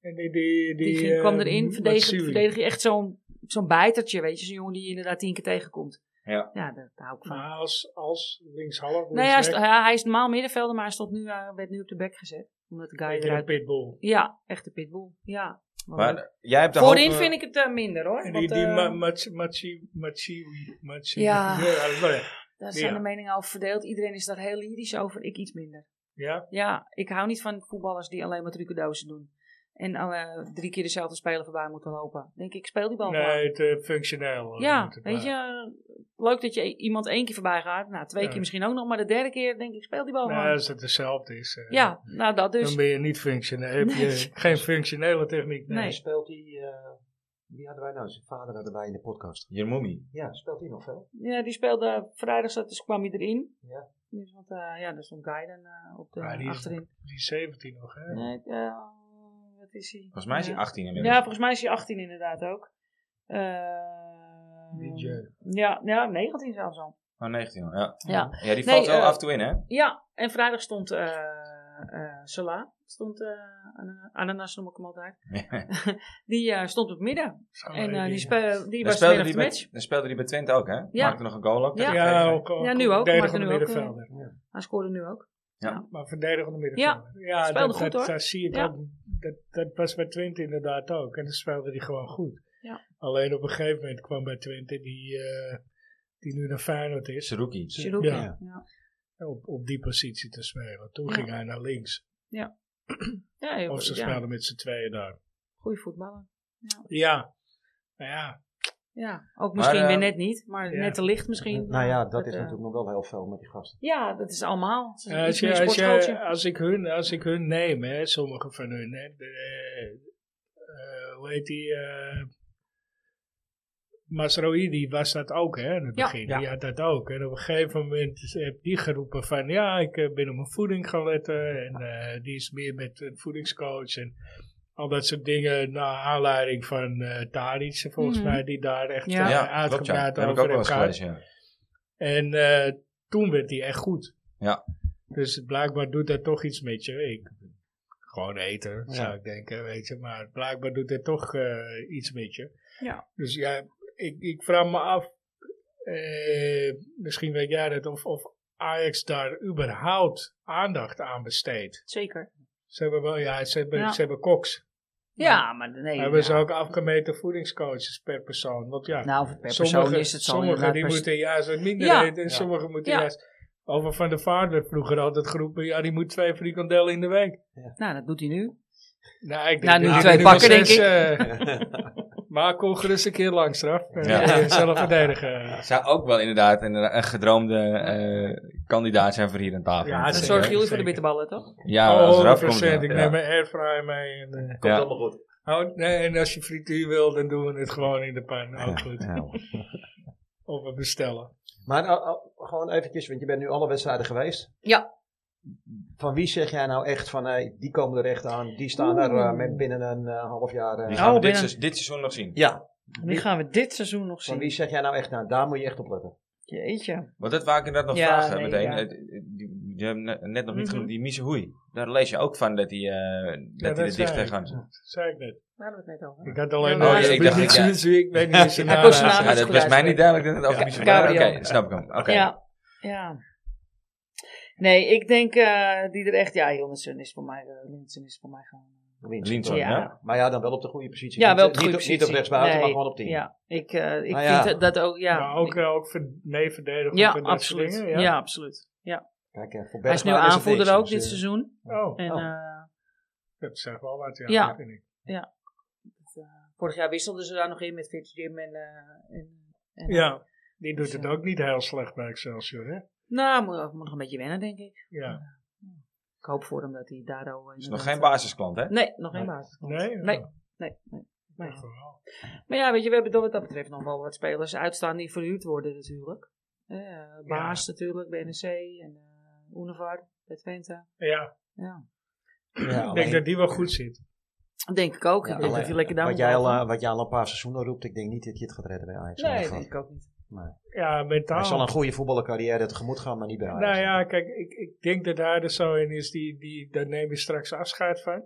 [SPEAKER 2] En die, die,
[SPEAKER 4] die,
[SPEAKER 2] die,
[SPEAKER 4] ging- kwam
[SPEAKER 2] eh,
[SPEAKER 4] erin,
[SPEAKER 2] Matsui.
[SPEAKER 4] verdedig, verdedig je echt zo'n zo'n bijtertje, weet je. Zo'n jongen die je inderdaad tien keer tegenkomt.
[SPEAKER 1] Ja.
[SPEAKER 4] Ja, daar daar hou ik van.
[SPEAKER 2] Maar als, als linkshalf.
[SPEAKER 4] Nee, hij,
[SPEAKER 2] linksback,
[SPEAKER 4] st- Nou ja, hij is normaal middenvelder, maar hij stond nu, eh, werd nu op de bek gezet. Omdat de guy
[SPEAKER 2] tegen
[SPEAKER 4] eruit...
[SPEAKER 2] een pitbull.
[SPEAKER 4] Ja, echte pitbull. Ja. Wat
[SPEAKER 1] Maar
[SPEAKER 4] leuk.
[SPEAKER 1] eh, jij hebt de
[SPEAKER 4] Voorin
[SPEAKER 1] hoop, eh,
[SPEAKER 4] vind ik het eh, minder hoor.
[SPEAKER 2] En
[SPEAKER 4] Want,
[SPEAKER 2] die, die
[SPEAKER 4] eh,
[SPEAKER 2] ma- Matsi- Matsi- Matsiwi. Matsi- *laughs*
[SPEAKER 4] Ja.
[SPEAKER 2] ja.
[SPEAKER 4] daar zijn
[SPEAKER 2] ja.
[SPEAKER 4] de meningen over verdeeld. Iedereen is daar heel lyrisch over, ik iets minder.
[SPEAKER 2] Ja,
[SPEAKER 4] Ja, ik hou niet van voetballers die alleen maar trucendozen doen. En eh, drie keer dezelfde speler voorbij moeten lopen. Denk ik, speel die bal maar.
[SPEAKER 2] nee, het eh, functioneel. eh,
[SPEAKER 4] Oh, Ja,
[SPEAKER 2] moet het
[SPEAKER 4] weet je,
[SPEAKER 2] maar.
[SPEAKER 4] eh, leuk dat je i- iemand één keer voorbij gaat. Nou, twee
[SPEAKER 2] Ja.
[SPEAKER 4] keer misschien ook nog, maar de derde keer denk ik, speel die bal
[SPEAKER 2] Nou,
[SPEAKER 4] maar.
[SPEAKER 2] als het hetzelfde is. eh,
[SPEAKER 4] Ja, nou dat dus.
[SPEAKER 2] Dan ben je niet functioneel. Heb je
[SPEAKER 4] *laughs* Nee.
[SPEAKER 2] geen functionele techniek.
[SPEAKER 4] Nee.
[SPEAKER 3] en speelt die, eh wie hadden wij nou? Zijn vader hadden wij in de podcast.
[SPEAKER 1] Jermoumi.
[SPEAKER 3] Ja, speelt die nog veel?
[SPEAKER 4] Ja, die speelde vrijdag, zat, dus kwam hij erin.
[SPEAKER 3] Ja.
[SPEAKER 4] Dus, want, eh, ja, daar stond Guy eh op de
[SPEAKER 2] Maar die is-
[SPEAKER 4] achterin.
[SPEAKER 2] Die 17 nog, hè?
[SPEAKER 4] Nee, eh, wat is hij?
[SPEAKER 1] Volgens mij is hij
[SPEAKER 4] Ja.
[SPEAKER 1] 18 inmiddels.
[SPEAKER 4] Ja, volgens mij is hij 18 inderdaad ook. Eh,
[SPEAKER 2] DJ.
[SPEAKER 4] ja, ja, 19 zelfs al.
[SPEAKER 1] Oh, 19 al, ja.
[SPEAKER 4] Ja.
[SPEAKER 1] Ja, die
[SPEAKER 4] Nee,
[SPEAKER 1] valt wel
[SPEAKER 4] eh,
[SPEAKER 1] af en toe in, hè?
[SPEAKER 4] ja, en vrijdag stond eh eh, Salah. Stond, eh Ana- Ananas noem ik hem altijd. *laughs* die eh, stond op midden.
[SPEAKER 3] Oh,
[SPEAKER 4] En eh, die, spe- die
[SPEAKER 1] Dan
[SPEAKER 4] was weer
[SPEAKER 1] speelde
[SPEAKER 4] op
[SPEAKER 1] hij
[SPEAKER 4] de
[SPEAKER 1] bij,
[SPEAKER 4] match.
[SPEAKER 1] dan speelde hij bij Twente ook, hè?
[SPEAKER 4] Ja.
[SPEAKER 1] Maakte nog een goal ook.
[SPEAKER 4] Ja.
[SPEAKER 2] Ja,
[SPEAKER 1] tegen-
[SPEAKER 2] ook, ook,
[SPEAKER 4] Ja, nu ook.
[SPEAKER 2] Verdedigende
[SPEAKER 4] Maakt er nu ook, eh,
[SPEAKER 2] middenvelder.
[SPEAKER 4] Hij scoorde nu ook.
[SPEAKER 2] Maar verdedigende middenvelder. Ja,
[SPEAKER 4] speelde
[SPEAKER 2] dat,
[SPEAKER 4] goed,
[SPEAKER 2] dat,
[SPEAKER 4] hoor.
[SPEAKER 2] dat zie ik
[SPEAKER 4] Ja.
[SPEAKER 2] ook. Dat, dat was bij Twente inderdaad ook. En dan speelde hij gewoon goed.
[SPEAKER 4] Ja.
[SPEAKER 2] Alleen op een gegeven moment kwam bij Twente die, eh, die nu naar Feyenoord is.
[SPEAKER 1] Saruki.
[SPEAKER 4] Giroud.
[SPEAKER 2] Ja.
[SPEAKER 4] Ja.
[SPEAKER 2] Op, op die positie te spelen. Toen
[SPEAKER 4] Ja.
[SPEAKER 2] ging hij naar links.
[SPEAKER 4] Ja, heel
[SPEAKER 2] Of
[SPEAKER 4] goed,
[SPEAKER 2] ze
[SPEAKER 4] ja.
[SPEAKER 2] speelden met z'n tweeën daar.
[SPEAKER 4] Goeie voetballer.
[SPEAKER 2] Ja. Nou ja.
[SPEAKER 4] Ja, ook
[SPEAKER 1] Maar,
[SPEAKER 4] misschien
[SPEAKER 1] eh,
[SPEAKER 4] weer net niet, maar
[SPEAKER 2] ja.
[SPEAKER 4] net te licht misschien.
[SPEAKER 3] Nou ja, dat is
[SPEAKER 4] eh,
[SPEAKER 3] natuurlijk nog wel heel veel met die gasten.
[SPEAKER 4] Ja, dat is allemaal. Het eh, is
[SPEAKER 2] Ja, Als,
[SPEAKER 4] iets
[SPEAKER 2] je,
[SPEAKER 4] meer
[SPEAKER 2] Eh, als, je,
[SPEAKER 4] sportschooltje.
[SPEAKER 2] als, ik hun, als ik hun neem, hè, sommige van hun, hè, de, eh, eh, hoe heet die, eh Masroidi was dat ook hè, in het
[SPEAKER 4] Ja.
[SPEAKER 2] begin.
[SPEAKER 3] Ja.
[SPEAKER 2] Die had dat ook. En op een gegeven moment is- heb die geroepen van, ja, ik eh, ben op mijn voeding gaan letten. En eh, die is meer met een voedingscoach en al dat soort dingen. Naar aanleiding van eh Tadic, volgens
[SPEAKER 4] Mhm.
[SPEAKER 2] mij, die daar echt ja.
[SPEAKER 4] Ja.
[SPEAKER 1] Ja, klopt, ja.
[SPEAKER 2] uitgepraat
[SPEAKER 1] Dat heb ik ook
[SPEAKER 2] over
[SPEAKER 1] wel
[SPEAKER 2] heeft
[SPEAKER 1] eens
[SPEAKER 2] gehad.
[SPEAKER 1] gelezen, ja.
[SPEAKER 2] En eh, toen werd hij echt goed.
[SPEAKER 1] Ja.
[SPEAKER 2] Dus blijkbaar doet dat toch iets met je. Ik, gewoon eten, zou ik denken, weet je. Maar blijkbaar doet dat toch eh, iets met je.
[SPEAKER 4] Ja.
[SPEAKER 2] Dus ja, ik, ik vraag me af, eh, misschien weet jij dat, of, of Ajax daar überhaupt aandacht aan besteedt.
[SPEAKER 4] Zeker.
[SPEAKER 2] Ze hebben wel, ja, ze hebben,
[SPEAKER 4] Ja.
[SPEAKER 2] ze hebben koks.
[SPEAKER 4] Ja, maar nee.
[SPEAKER 2] hebben ze
[SPEAKER 4] ja.
[SPEAKER 2] ook afgemeten voedingscoaches per persoon. Want ja,
[SPEAKER 4] Nou, per persoon
[SPEAKER 2] Sommigen
[SPEAKER 4] is het zo.
[SPEAKER 2] sommige
[SPEAKER 4] inderdaad,
[SPEAKER 2] die
[SPEAKER 4] per-
[SPEAKER 2] moeten juist wat minder
[SPEAKER 4] Ja.
[SPEAKER 2] eten en
[SPEAKER 3] Ja.
[SPEAKER 2] sommigen moeten
[SPEAKER 4] Ja.
[SPEAKER 2] juist... Over Van der Vaart werd vroeger altijd geroepen, ja die moet twee frikandellen in de week.
[SPEAKER 4] Nou, dat doet hij nu.
[SPEAKER 2] Nou, ik
[SPEAKER 4] Nou,
[SPEAKER 2] dat
[SPEAKER 4] nu
[SPEAKER 2] hij
[SPEAKER 4] twee
[SPEAKER 2] wel
[SPEAKER 4] pakken, denk
[SPEAKER 2] zes,
[SPEAKER 4] ik.
[SPEAKER 2] eh, *laughs* maar kom gerust een keer langs straf.
[SPEAKER 1] Ja.
[SPEAKER 2] Ja. zelf verdedigen.
[SPEAKER 1] Zou ook wel inderdaad een, een gedroomde eh, kandidaat zijn voor hier aan tafel.
[SPEAKER 2] Ja,
[SPEAKER 1] natuurlijk,
[SPEAKER 4] Dan
[SPEAKER 2] zeker.
[SPEAKER 1] hè?
[SPEAKER 4] zorgen jullie voor
[SPEAKER 2] zeker.
[SPEAKER 4] de bitterballen, toch?
[SPEAKER 1] Ja, als
[SPEAKER 2] oh,
[SPEAKER 1] eraf komt. ja.
[SPEAKER 2] procent. Ik neem
[SPEAKER 1] Ja.
[SPEAKER 2] mijn airfryer mee. En, eh,
[SPEAKER 1] Ja.
[SPEAKER 3] allemaal goed.
[SPEAKER 2] oh, nee, en als je frituur wil, dan doen we het gewoon in de pan. Ook goed. Nou,
[SPEAKER 1] Ja.
[SPEAKER 2] Of we bestellen.
[SPEAKER 3] Maar eh, eh, gewoon eventjes, want je bent nu alle wedstrijden geweest.
[SPEAKER 4] Ja.
[SPEAKER 3] Van wie zeg jij nou echt van, hey, die komen er echt aan, die staan er eh, met binnen een eh, half jaar. eh,
[SPEAKER 1] Die gaan we dit,
[SPEAKER 4] binnen.
[SPEAKER 1] seizoen- dit seizoen nog zien.
[SPEAKER 3] ja,
[SPEAKER 4] Die gaan we dit seizoen nog
[SPEAKER 3] van wie
[SPEAKER 4] zien.
[SPEAKER 3] zeg jij nou echt, nou, daar moet je echt op letten.
[SPEAKER 4] Jeetje.
[SPEAKER 1] Want dat wou ik inderdaad nog
[SPEAKER 4] Ja,
[SPEAKER 1] vragen
[SPEAKER 4] nee,
[SPEAKER 1] meteen.
[SPEAKER 4] ja.
[SPEAKER 1] Eh, die- die- Je hebt ne- net nog niet
[SPEAKER 4] Mhm.
[SPEAKER 1] genoemd, die Misehoei. Daar lees je ook van dat hij eh,
[SPEAKER 2] Ja,
[SPEAKER 1] dat hij er dicht
[SPEAKER 2] zei ik.
[SPEAKER 1] tegenaan zit.
[SPEAKER 2] Dat zei ik net.
[SPEAKER 4] Daar hadden we het net over.
[SPEAKER 2] Ik had alleen
[SPEAKER 4] Oh,
[SPEAKER 2] maar...
[SPEAKER 1] ja, ik dacht,
[SPEAKER 2] niet
[SPEAKER 1] ik- ja.
[SPEAKER 2] zien, zie ik
[SPEAKER 4] *laughs*
[SPEAKER 2] weet niet eens zijn
[SPEAKER 4] Hij
[SPEAKER 2] naam.
[SPEAKER 4] kon zijn
[SPEAKER 2] uit.
[SPEAKER 4] naam
[SPEAKER 1] Ja,
[SPEAKER 4] is
[SPEAKER 1] dat
[SPEAKER 4] goed
[SPEAKER 1] was mij niet
[SPEAKER 4] uitspreken.
[SPEAKER 1] duidelijk dat het over Misehoei
[SPEAKER 4] Gabriel.
[SPEAKER 1] Oké, snap ik hem. Oké.
[SPEAKER 4] Ja. Ja. Nee, ik denk eh, die er echt... Ja, Jonathan is voor mij... eh, Linssen is voor mij gewoon... eh,
[SPEAKER 3] Links.
[SPEAKER 1] Linson,
[SPEAKER 4] Ja.
[SPEAKER 1] ja.
[SPEAKER 3] Maar ja, dan wel op de goede positie.
[SPEAKER 4] Ja,
[SPEAKER 3] Niet- eh,
[SPEAKER 4] wel op de
[SPEAKER 3] niet,
[SPEAKER 4] goede
[SPEAKER 3] Niet op
[SPEAKER 4] positie.
[SPEAKER 3] rechtsbuiten, maar
[SPEAKER 4] Nee.
[SPEAKER 3] gewoon op 10.
[SPEAKER 4] Ja, ik, eh, ik
[SPEAKER 3] Nou ja.
[SPEAKER 4] vind dat ook... Ja,
[SPEAKER 2] Maar ook, eh, ook ver- mee verdedigen.
[SPEAKER 4] ja
[SPEAKER 2] van dat soort
[SPEAKER 4] absoluut.
[SPEAKER 2] dingen,
[SPEAKER 4] ja.
[SPEAKER 2] ja.
[SPEAKER 4] absoluut. Ja.
[SPEAKER 3] Kijk, eh, voor
[SPEAKER 4] Hij is nu
[SPEAKER 3] Bergwijn het
[SPEAKER 4] aanvoerder
[SPEAKER 3] niks,
[SPEAKER 4] ook
[SPEAKER 3] dus,
[SPEAKER 4] dit
[SPEAKER 3] eh,
[SPEAKER 4] seizoen.
[SPEAKER 2] Oh,
[SPEAKER 4] En
[SPEAKER 3] Oh.
[SPEAKER 4] eh,
[SPEAKER 2] dat zegt wel wat, ja.
[SPEAKER 4] Ja.
[SPEAKER 2] dat vind ik.
[SPEAKER 4] vorig jaar wisselden ze daar nog in met Fitzjim en... eh, en- en-
[SPEAKER 2] Ja, die doet
[SPEAKER 4] Dus,
[SPEAKER 2] het
[SPEAKER 4] eh,
[SPEAKER 2] ook niet heel slecht bij Excelsior, hè?
[SPEAKER 4] Nou, moet, moet nog een beetje wennen, denk ik.
[SPEAKER 2] Ja.
[SPEAKER 4] ik hoop voor hem dat hij daar al... eh,
[SPEAKER 1] is nog geen basisklant, hè?
[SPEAKER 4] Nee, nog geen
[SPEAKER 3] Nee.
[SPEAKER 4] basis.
[SPEAKER 2] Nee? Nou,
[SPEAKER 4] Nee.
[SPEAKER 2] Ja,
[SPEAKER 4] Nee, nee. Maar ja.
[SPEAKER 2] toch wel.
[SPEAKER 4] Maar ja, weet je, we hebben dan wat dat betreft nog wel wat spelers uitstaan die verhuurd worden natuurlijk. Eh, Baas natuurlijk, BNC en eh Univar bij Twente.
[SPEAKER 2] Ja,
[SPEAKER 4] Ja.
[SPEAKER 3] Ja,
[SPEAKER 2] ik denk
[SPEAKER 3] alleen-
[SPEAKER 2] dat die wel goed zit.
[SPEAKER 4] Denk ik ook.
[SPEAKER 3] ja,
[SPEAKER 4] ik denk
[SPEAKER 3] alleen-
[SPEAKER 4] dat hij lekker daar
[SPEAKER 3] wat,
[SPEAKER 4] moet
[SPEAKER 3] jij al,
[SPEAKER 4] blijven.
[SPEAKER 3] eh, wat jij al een paar seizoenen roept, ik denk niet dat je het gaat redden bij Ajax.
[SPEAKER 4] Nee,
[SPEAKER 3] Maar
[SPEAKER 4] denk ik ook niet.
[SPEAKER 2] Ja, mentaal.
[SPEAKER 3] Hij zal een goede voetballercarrière tegemoet gaan, maar niet bij Ajax.
[SPEAKER 2] Nou ja, kijk, ik, ik denk dat daar er zo in is, die, die, daar neem je straks afscheid van.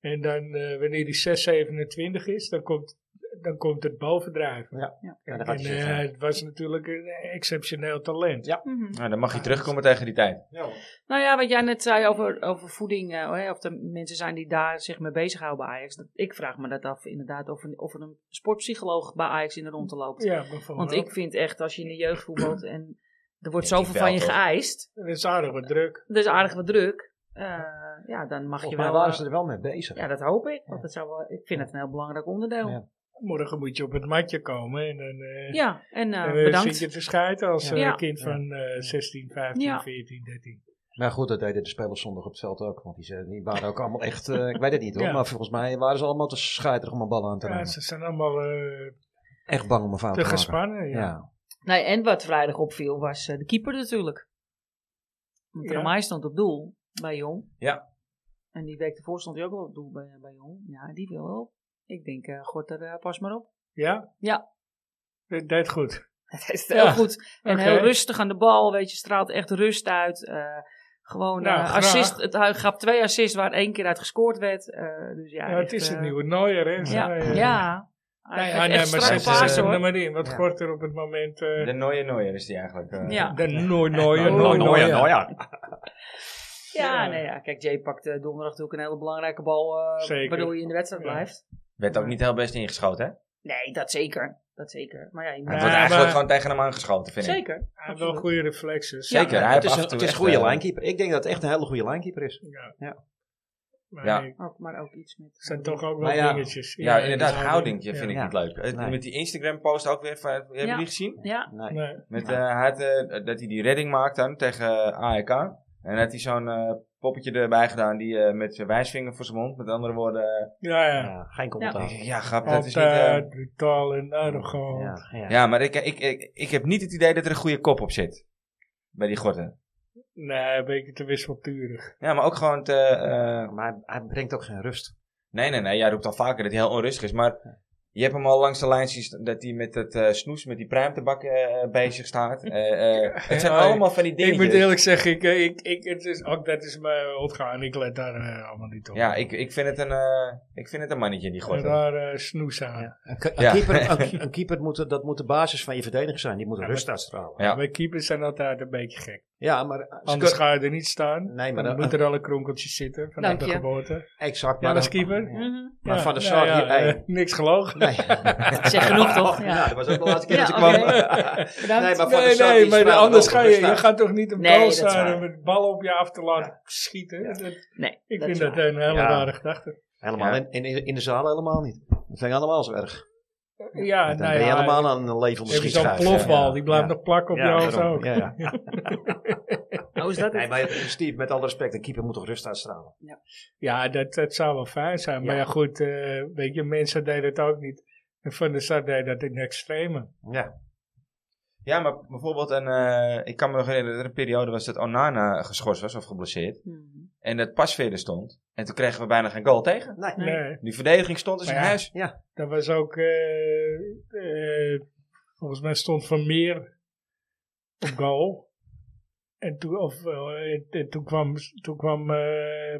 [SPEAKER 2] En dan, eh, wanneer die 6, 27 is, dan komt, dan komt het bovendrijven.
[SPEAKER 3] Ja, dan
[SPEAKER 2] En
[SPEAKER 3] gaat hij
[SPEAKER 2] eh,
[SPEAKER 3] zitten.
[SPEAKER 2] het was natuurlijk een exceptioneel talent.
[SPEAKER 3] Ja.
[SPEAKER 4] Mhm.
[SPEAKER 1] Nou, dan mag je terugkomen tegen die tijd.
[SPEAKER 4] Nou ja, wat jij net zei over, over voeding, eh, hè, of er mensen zijn die daar zich mee bezighouden bij Ajax. Dat- Ik vraag me dat af inderdaad, of, een- of er een sportpsycholoog bij Ajax in de rondte loopt.
[SPEAKER 2] Ja, bijvoorbeeld.
[SPEAKER 4] Want ik vind echt, als je in de jeugd voetbalt en er wordt
[SPEAKER 1] Ja, die
[SPEAKER 4] zoveel van je
[SPEAKER 1] belt ook.
[SPEAKER 4] geëist,
[SPEAKER 2] Dat is aardig wat druk.
[SPEAKER 4] er is aardig wat druk, eh, ja, dan mag
[SPEAKER 3] Volgens
[SPEAKER 4] je
[SPEAKER 3] mij
[SPEAKER 4] wel...
[SPEAKER 3] waren
[SPEAKER 4] eh,
[SPEAKER 3] ze er wel mee bezig.
[SPEAKER 4] Ja, dat hoop ik. Want dat zou wel, ik vind het een heel belangrijk onderdeel.
[SPEAKER 3] Ja.
[SPEAKER 4] Ja,
[SPEAKER 2] Morgen moet je op het matje komen en dan, eh,
[SPEAKER 4] en eh,
[SPEAKER 2] dan, eh,
[SPEAKER 4] bedankt.
[SPEAKER 2] zit je te scheiden als
[SPEAKER 3] Ja.
[SPEAKER 2] eh,
[SPEAKER 4] Ja.
[SPEAKER 2] kind van eh 16, 15,
[SPEAKER 4] Ja.
[SPEAKER 2] 14, 13.
[SPEAKER 3] Maar goed, dat deden de spelers zondag op het veld ook. Want die, ze- die waren ook allemaal echt, eh, ik weet het *laughs* niet hoor,
[SPEAKER 2] Ja.
[SPEAKER 3] maar volgens mij waren ze allemaal te scheiterig om een bal aan te
[SPEAKER 2] Ja,
[SPEAKER 3] nemen.
[SPEAKER 2] ze zijn allemaal eh,
[SPEAKER 3] Echt bang om een fout te
[SPEAKER 2] te
[SPEAKER 3] maken.
[SPEAKER 2] gespannen.
[SPEAKER 3] Ja.
[SPEAKER 2] Ja.
[SPEAKER 4] Nee, en wat vrijdag opviel was eh, de keeper natuurlijk. Want
[SPEAKER 2] Ja.
[SPEAKER 4] Ramai stond op doel bij Jong.
[SPEAKER 1] Ja.
[SPEAKER 4] En die week ervoor stond hij ook wel op doel bij, bij Jong. Ja, die wil wel. Ik denk, eh Gort er, eh, pas maar op. *laughs*
[SPEAKER 2] Ja? Eh,
[SPEAKER 4] Ja.
[SPEAKER 2] Dat deed goed.
[SPEAKER 4] Het is
[SPEAKER 2] Ja,
[SPEAKER 4] heel goed. En
[SPEAKER 2] oké.
[SPEAKER 4] heel rustig aan de bal, weet je, straalt echt rust uit. eh, gewoon
[SPEAKER 2] Nou,
[SPEAKER 4] eh,
[SPEAKER 2] graag.
[SPEAKER 4] assist. Het, hij gaf twee assists waar één keer uit gescoord werd. eh, dus ja,
[SPEAKER 2] Ja, het
[SPEAKER 4] echt,
[SPEAKER 2] is het
[SPEAKER 4] eh,
[SPEAKER 2] nieuwe Neuer, hè?
[SPEAKER 4] Ja,
[SPEAKER 2] Zo, eh,
[SPEAKER 4] ja.
[SPEAKER 2] Nou
[SPEAKER 4] Hij
[SPEAKER 2] ja,
[SPEAKER 4] geeft
[SPEAKER 2] nee, maar eh,
[SPEAKER 4] echt strakke
[SPEAKER 2] zet
[SPEAKER 1] ze-
[SPEAKER 4] paas
[SPEAKER 2] passen,
[SPEAKER 4] hoor.
[SPEAKER 2] hem maar in. Wat
[SPEAKER 3] Ja.
[SPEAKER 2] wordt er op het moment... eh,
[SPEAKER 1] De Nooie Nooier is die eigenlijk. eh.
[SPEAKER 4] Ja.
[SPEAKER 2] de nooit nooit
[SPEAKER 3] Nou,
[SPEAKER 2] nooit
[SPEAKER 3] nou ja, nou ja.
[SPEAKER 4] Ja,
[SPEAKER 2] Ja.
[SPEAKER 4] nee, ja. Kijk, Jay pakt eh, donderdag natuurlijk een hele belangrijke bal. eh,
[SPEAKER 2] Zeker.
[SPEAKER 4] Waardoor je in de wedstrijd
[SPEAKER 2] Ja.
[SPEAKER 4] blijft.
[SPEAKER 1] Werd ook niet heel best ingeschoten, hè?
[SPEAKER 4] Nee, dat zeker. Dat zeker. Maar ja, je
[SPEAKER 1] Hij
[SPEAKER 4] moet...
[SPEAKER 2] Ja,
[SPEAKER 1] wordt eigenlijk
[SPEAKER 2] maar-
[SPEAKER 1] gewoon tegen hem aangeschoten, vind ik.
[SPEAKER 4] zeker.
[SPEAKER 2] Hij heeft wel goede reflexes.
[SPEAKER 1] Zeker, hij
[SPEAKER 3] het
[SPEAKER 1] heeft
[SPEAKER 3] is
[SPEAKER 1] af en
[SPEAKER 3] een,
[SPEAKER 1] toe
[SPEAKER 3] het is een
[SPEAKER 1] echt,
[SPEAKER 3] goede
[SPEAKER 1] eh,
[SPEAKER 3] linekeeper. Ik denk dat het echt een hele goede linekeeper is.
[SPEAKER 2] Ja.
[SPEAKER 3] Ja.
[SPEAKER 2] Maar
[SPEAKER 1] Ja.
[SPEAKER 2] nee,
[SPEAKER 4] Ook, maar ook iets met... eh,
[SPEAKER 2] het zijn toch ook wel
[SPEAKER 3] Maar ja.
[SPEAKER 2] dingetjes.
[SPEAKER 1] Ja, inderdaad,
[SPEAKER 2] die
[SPEAKER 1] houding
[SPEAKER 2] ja.
[SPEAKER 1] vind ik
[SPEAKER 3] Ja.
[SPEAKER 1] niet leuk. Eh,
[SPEAKER 3] Nee.
[SPEAKER 1] Met die Instagram-post ook weer, eh, van, hebben
[SPEAKER 4] Ja.
[SPEAKER 1] jullie gezien?
[SPEAKER 4] Ja,
[SPEAKER 3] Nee.
[SPEAKER 2] Nee.
[SPEAKER 1] Met,
[SPEAKER 3] Ja.
[SPEAKER 1] eh, hij had, eh, dat hij die redding maakt dan tegen eh, AEK. En had hij zo'n eh, poppetje erbij gedaan die eh, met zijn wijsvinger voor zijn mond. Met andere woorden, eh,
[SPEAKER 2] Ja, ja.
[SPEAKER 3] Ja, geen commentaar.
[SPEAKER 1] denk ik, ja, grap, dat is niet... eh,
[SPEAKER 2] Altijd brutaal en eh, arrogant.
[SPEAKER 3] Mm, Ja, ja.
[SPEAKER 1] ja, maar ik, ik, ik, ik heb niet het idee dat er een goede kop op zit. Bij die gorten.
[SPEAKER 2] Nee, een beetje te wisselturig.
[SPEAKER 1] Ja, maar ook gewoon te... eh,
[SPEAKER 3] Maar hij, hij brengt ook geen rust.
[SPEAKER 1] nee, nee, nee, jij roept al vaker dat hij heel onrustig is. Maar je hebt hem al langs de lijn zien st- dat hij met het eh, snoes, met die pruimtebak eh, bezig staat. Eh,
[SPEAKER 2] *laughs*
[SPEAKER 1] eh, het zijn
[SPEAKER 2] Ja,
[SPEAKER 1] allemaal van die
[SPEAKER 2] Ik
[SPEAKER 1] dingetjes.
[SPEAKER 2] moet eerlijk zeggen, ik, eh, ik, ik, het is, ook dat is mij ontgaan. Ik let daar eh, allemaal niet op.
[SPEAKER 1] Ja, ik, ik, vind het een, eh, ik vind het een mannetje, die
[SPEAKER 2] En
[SPEAKER 1] gorten.
[SPEAKER 2] daar eh, snoes aan.
[SPEAKER 3] Een, ke- een
[SPEAKER 1] Ja.
[SPEAKER 3] keeper, *laughs* een, een keeper moet, de- dat moet de basis van je verdediger zijn. Die moet
[SPEAKER 2] Ja,
[SPEAKER 3] rust
[SPEAKER 2] maar-
[SPEAKER 3] uitstralen.
[SPEAKER 1] Ja.
[SPEAKER 2] Mijn keepers zijn altijd een beetje gek.
[SPEAKER 3] Ja, maar... ze
[SPEAKER 2] Anders
[SPEAKER 3] kun-
[SPEAKER 2] ga je er niet staan.
[SPEAKER 3] Nee, maar
[SPEAKER 2] dan
[SPEAKER 3] dan-
[SPEAKER 2] moet er al een kronkeltje zitten vanaf
[SPEAKER 4] Dank
[SPEAKER 2] de
[SPEAKER 4] je.
[SPEAKER 2] geboorte.
[SPEAKER 3] exact.
[SPEAKER 2] Ja,
[SPEAKER 3] maar
[SPEAKER 2] als
[SPEAKER 3] dan-
[SPEAKER 2] keeper.
[SPEAKER 3] Ja.
[SPEAKER 4] Mhm.
[SPEAKER 3] Maar
[SPEAKER 2] Ja,
[SPEAKER 3] van de
[SPEAKER 2] ja,
[SPEAKER 3] Sar...
[SPEAKER 2] ja,
[SPEAKER 3] hier- hey.
[SPEAKER 2] eh, niks
[SPEAKER 3] *laughs*
[SPEAKER 2] gelogen.
[SPEAKER 3] Nee.
[SPEAKER 4] Zeg genoeg, toch? Ja.
[SPEAKER 3] *laughs* Nou, dat was ook de laatste keer
[SPEAKER 4] Ja,
[SPEAKER 3] dat ze kwam.
[SPEAKER 4] oké. Bedankt.
[SPEAKER 3] Nee, maar van de
[SPEAKER 2] Nee,
[SPEAKER 3] Sar
[SPEAKER 2] nee,
[SPEAKER 3] die
[SPEAKER 2] maar
[SPEAKER 3] straalde
[SPEAKER 2] anders ga
[SPEAKER 3] wel dus nou, rust
[SPEAKER 2] je, je
[SPEAKER 3] uit.
[SPEAKER 2] gaat toch niet een
[SPEAKER 4] Nee,
[SPEAKER 2] bal
[SPEAKER 4] dat is
[SPEAKER 2] staan
[SPEAKER 4] waar.
[SPEAKER 2] en met ballen op je af te laten schieten. Dat-
[SPEAKER 4] Nee,
[SPEAKER 2] ik vind
[SPEAKER 4] dat is
[SPEAKER 2] dat
[SPEAKER 4] waar.
[SPEAKER 2] een hele
[SPEAKER 3] Ja.
[SPEAKER 2] rare gedachte.
[SPEAKER 3] Helemaal in, in, in de zaal helemaal niet. Dat vind ik allemaal zo erg.
[SPEAKER 2] Ja,
[SPEAKER 3] dan
[SPEAKER 2] nou
[SPEAKER 3] ben je
[SPEAKER 2] ja,
[SPEAKER 3] helemaal aan een levende
[SPEAKER 2] heb je zo'n
[SPEAKER 3] schietschijf.
[SPEAKER 2] plofbal,
[SPEAKER 3] Ja.
[SPEAKER 2] die blijft
[SPEAKER 3] Ja.
[SPEAKER 2] nog plakken op
[SPEAKER 5] Ja,
[SPEAKER 2] jou je hoofd
[SPEAKER 3] Daarom.
[SPEAKER 2] ook.
[SPEAKER 3] Ja, ja.
[SPEAKER 4] Hoe Nou, is dat?
[SPEAKER 3] Nee, maar Steve, met alle respect, een keeper moet toch rust uitstralen?
[SPEAKER 2] Ja, dat, dat zou wel fijn zijn. Maar
[SPEAKER 3] Ja.
[SPEAKER 2] ja, goed, eh, weet je, mensen deden het ook niet. En Van der Sar deed dat in extreme.
[SPEAKER 3] Ja.
[SPEAKER 1] Ja, maar bijvoorbeeld, een, eh, ik kan me nog herinneren dat er een periode was dat Onana geschorst was of geblesseerd.
[SPEAKER 2] eh,
[SPEAKER 4] Mhm.
[SPEAKER 1] En dat Pasveer er stond. En toen kregen we bijna geen goal tegen.
[SPEAKER 3] Nee.
[SPEAKER 4] Nee.
[SPEAKER 2] Nee,
[SPEAKER 1] Die verdediging stond als
[SPEAKER 2] Maar
[SPEAKER 1] een
[SPEAKER 2] ja.
[SPEAKER 1] huis.
[SPEAKER 2] dat was ook... eh, eh, volgens mij stond Van Meer op goal. En toen, of, eh, en toen kwam, toen kwam eh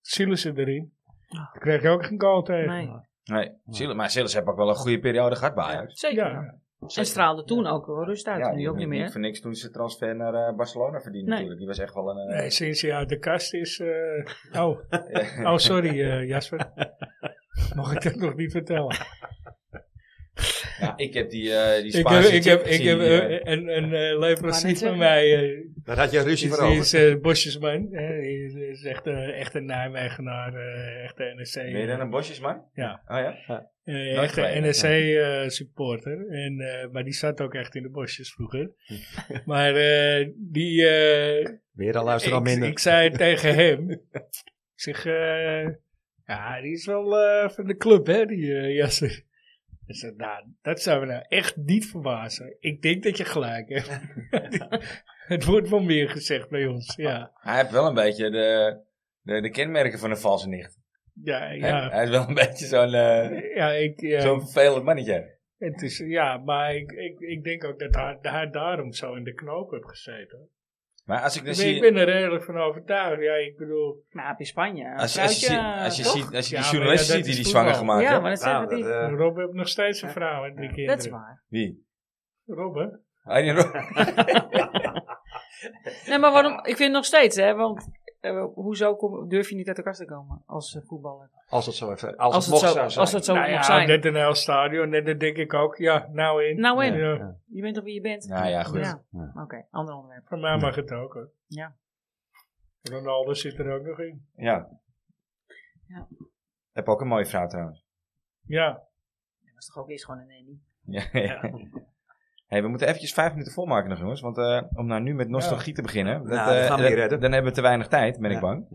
[SPEAKER 2] Silissen erin. Toen kreeg je ook geen goal tegen.
[SPEAKER 4] Ah. Nee.
[SPEAKER 1] Nee, Silas, maar Silas heeft ook wel een goede periode gehad bij Ajax.
[SPEAKER 4] Zeker.
[SPEAKER 2] Ja.
[SPEAKER 4] Ze straalde toen ook wel rust uit.
[SPEAKER 1] Ja,
[SPEAKER 4] nu ook
[SPEAKER 1] die-
[SPEAKER 4] niet
[SPEAKER 1] die
[SPEAKER 4] meer.
[SPEAKER 1] Voor niks toen ze transfer naar eh, Barcelona verdiende
[SPEAKER 4] Nee.
[SPEAKER 1] natuurlijk. Die was echt wel een... eh,
[SPEAKER 2] Nee, sinds hij uit de kast is... eh,
[SPEAKER 1] *laughs*
[SPEAKER 2] oh, oh, sorry eh, Jasper. Mag ik dat nog niet vertellen?
[SPEAKER 1] Ja, ik heb die, eh die
[SPEAKER 2] Ik
[SPEAKER 1] Spaanse
[SPEAKER 2] heb, ik
[SPEAKER 1] chick
[SPEAKER 2] heb, ik
[SPEAKER 1] gezien,
[SPEAKER 2] heb
[SPEAKER 1] eh,
[SPEAKER 2] eh, een, een eh, leverancier
[SPEAKER 4] zeggen.
[SPEAKER 2] van mij, eh,
[SPEAKER 6] Daar had je ruzie voor
[SPEAKER 2] die
[SPEAKER 6] over.
[SPEAKER 2] is eh, Bosjesman. eh, die is- is echt een, echt een Nijmegenaar, eh echt een NSC.
[SPEAKER 1] ben je dan een bosjesman?
[SPEAKER 2] Ja.
[SPEAKER 1] Oh ja?
[SPEAKER 2] Eh,
[SPEAKER 1] Nooit
[SPEAKER 2] echt een
[SPEAKER 1] geweest,
[SPEAKER 2] NSC-supporter. eh, en eh, maar die zat ook echt in de bosjes vroeger.
[SPEAKER 1] Hm.
[SPEAKER 2] maar eh, die. eh,
[SPEAKER 6] Weer een luisteraar
[SPEAKER 2] ik,
[SPEAKER 6] minder.
[SPEAKER 2] ik zei tegen hem. ik zeg. eh, ja, die is wel eh, van de club, hè, die eh, Jasser. Ik zeg, nou, dat zou me nou echt niet verbazen. Ik denk dat je gelijk hebt.
[SPEAKER 4] *laughs*
[SPEAKER 2] Het wordt wel meer gezegd bij ons, ja.
[SPEAKER 1] Hij heeft wel een beetje de, de, de kenmerken van een valse nicht.
[SPEAKER 2] Ja,
[SPEAKER 1] Hij-
[SPEAKER 2] ja.
[SPEAKER 1] Hij is wel een *laughs* beetje zo'n eh,
[SPEAKER 2] ja, ik, ja.
[SPEAKER 1] zo'n vervelend mannetje.
[SPEAKER 2] Het is, ja, maar ik, ik, ik denk ook dat hij, hij daarom zo in de knoop heeft gezeten.
[SPEAKER 1] Maar als ik dan
[SPEAKER 2] Ik
[SPEAKER 1] zie...
[SPEAKER 2] ben, ik ben er redelijk van overtuigd. Ja, ik bedoel,
[SPEAKER 4] Nou, heb je Spanje.
[SPEAKER 1] Als, als, je,
[SPEAKER 4] Vrouwtje,
[SPEAKER 1] ziet- als, je,
[SPEAKER 4] toch?
[SPEAKER 1] ziet, als je die
[SPEAKER 2] eh, Ja,
[SPEAKER 1] journalist
[SPEAKER 2] maar
[SPEAKER 1] ziet
[SPEAKER 2] ja, dat
[SPEAKER 1] die die
[SPEAKER 2] is
[SPEAKER 1] zwanger
[SPEAKER 2] voetbal.
[SPEAKER 1] gemaakt
[SPEAKER 4] Ja,
[SPEAKER 1] heeft.
[SPEAKER 4] maar dat
[SPEAKER 5] Nou,
[SPEAKER 4] zeggen die.
[SPEAKER 5] dat, eh,
[SPEAKER 2] Rob heeft nog steeds een vrouw en drie kinderen.
[SPEAKER 4] Dat is waar.
[SPEAKER 1] Wie?
[SPEAKER 2] Rob, hè?
[SPEAKER 1] Ah, die-
[SPEAKER 4] Nee, maar waarom? Ik vind het nog steeds, hè? Want eh, hoezo kom, durf je niet uit de kast te komen als eh, voetballer?
[SPEAKER 3] Als het zo even, als,
[SPEAKER 4] Als
[SPEAKER 3] het mocht
[SPEAKER 4] het
[SPEAKER 3] zo,
[SPEAKER 4] zo,
[SPEAKER 3] zijn.
[SPEAKER 4] als het zo
[SPEAKER 2] nou
[SPEAKER 4] mag
[SPEAKER 2] ja,
[SPEAKER 4] zijn.
[SPEAKER 2] net een heel stadion. En dan denk ik ook, ja, nou in.
[SPEAKER 4] Nou in.
[SPEAKER 2] Ja,
[SPEAKER 4] Je bent toch wie je bent?
[SPEAKER 1] Nou ja, goed.
[SPEAKER 4] Ja.
[SPEAKER 6] Ja.
[SPEAKER 4] Oké, ander onderwerp.
[SPEAKER 2] Voor mij mag het ook, hoor.
[SPEAKER 4] Ja.
[SPEAKER 2] Ronaldo zit er ook nog in.
[SPEAKER 1] Ja.
[SPEAKER 4] Ja.
[SPEAKER 1] Heb ook een mooie vrouw trouwens.
[SPEAKER 2] Ja,
[SPEAKER 4] Dat was toch ook eerst gewoon een nanny.
[SPEAKER 1] Ja. *laughs* Hey, we moeten eventjes vijf minuten volmaken nog jongens. Want eh, om nou nu met nostalgie te beginnen. dat,
[SPEAKER 3] Nou, dat
[SPEAKER 1] eh,
[SPEAKER 3] gaan we
[SPEAKER 1] dat-
[SPEAKER 3] niet redden.
[SPEAKER 1] Dan hebben we te weinig tijd, ben ik
[SPEAKER 3] Ja.
[SPEAKER 1] bang.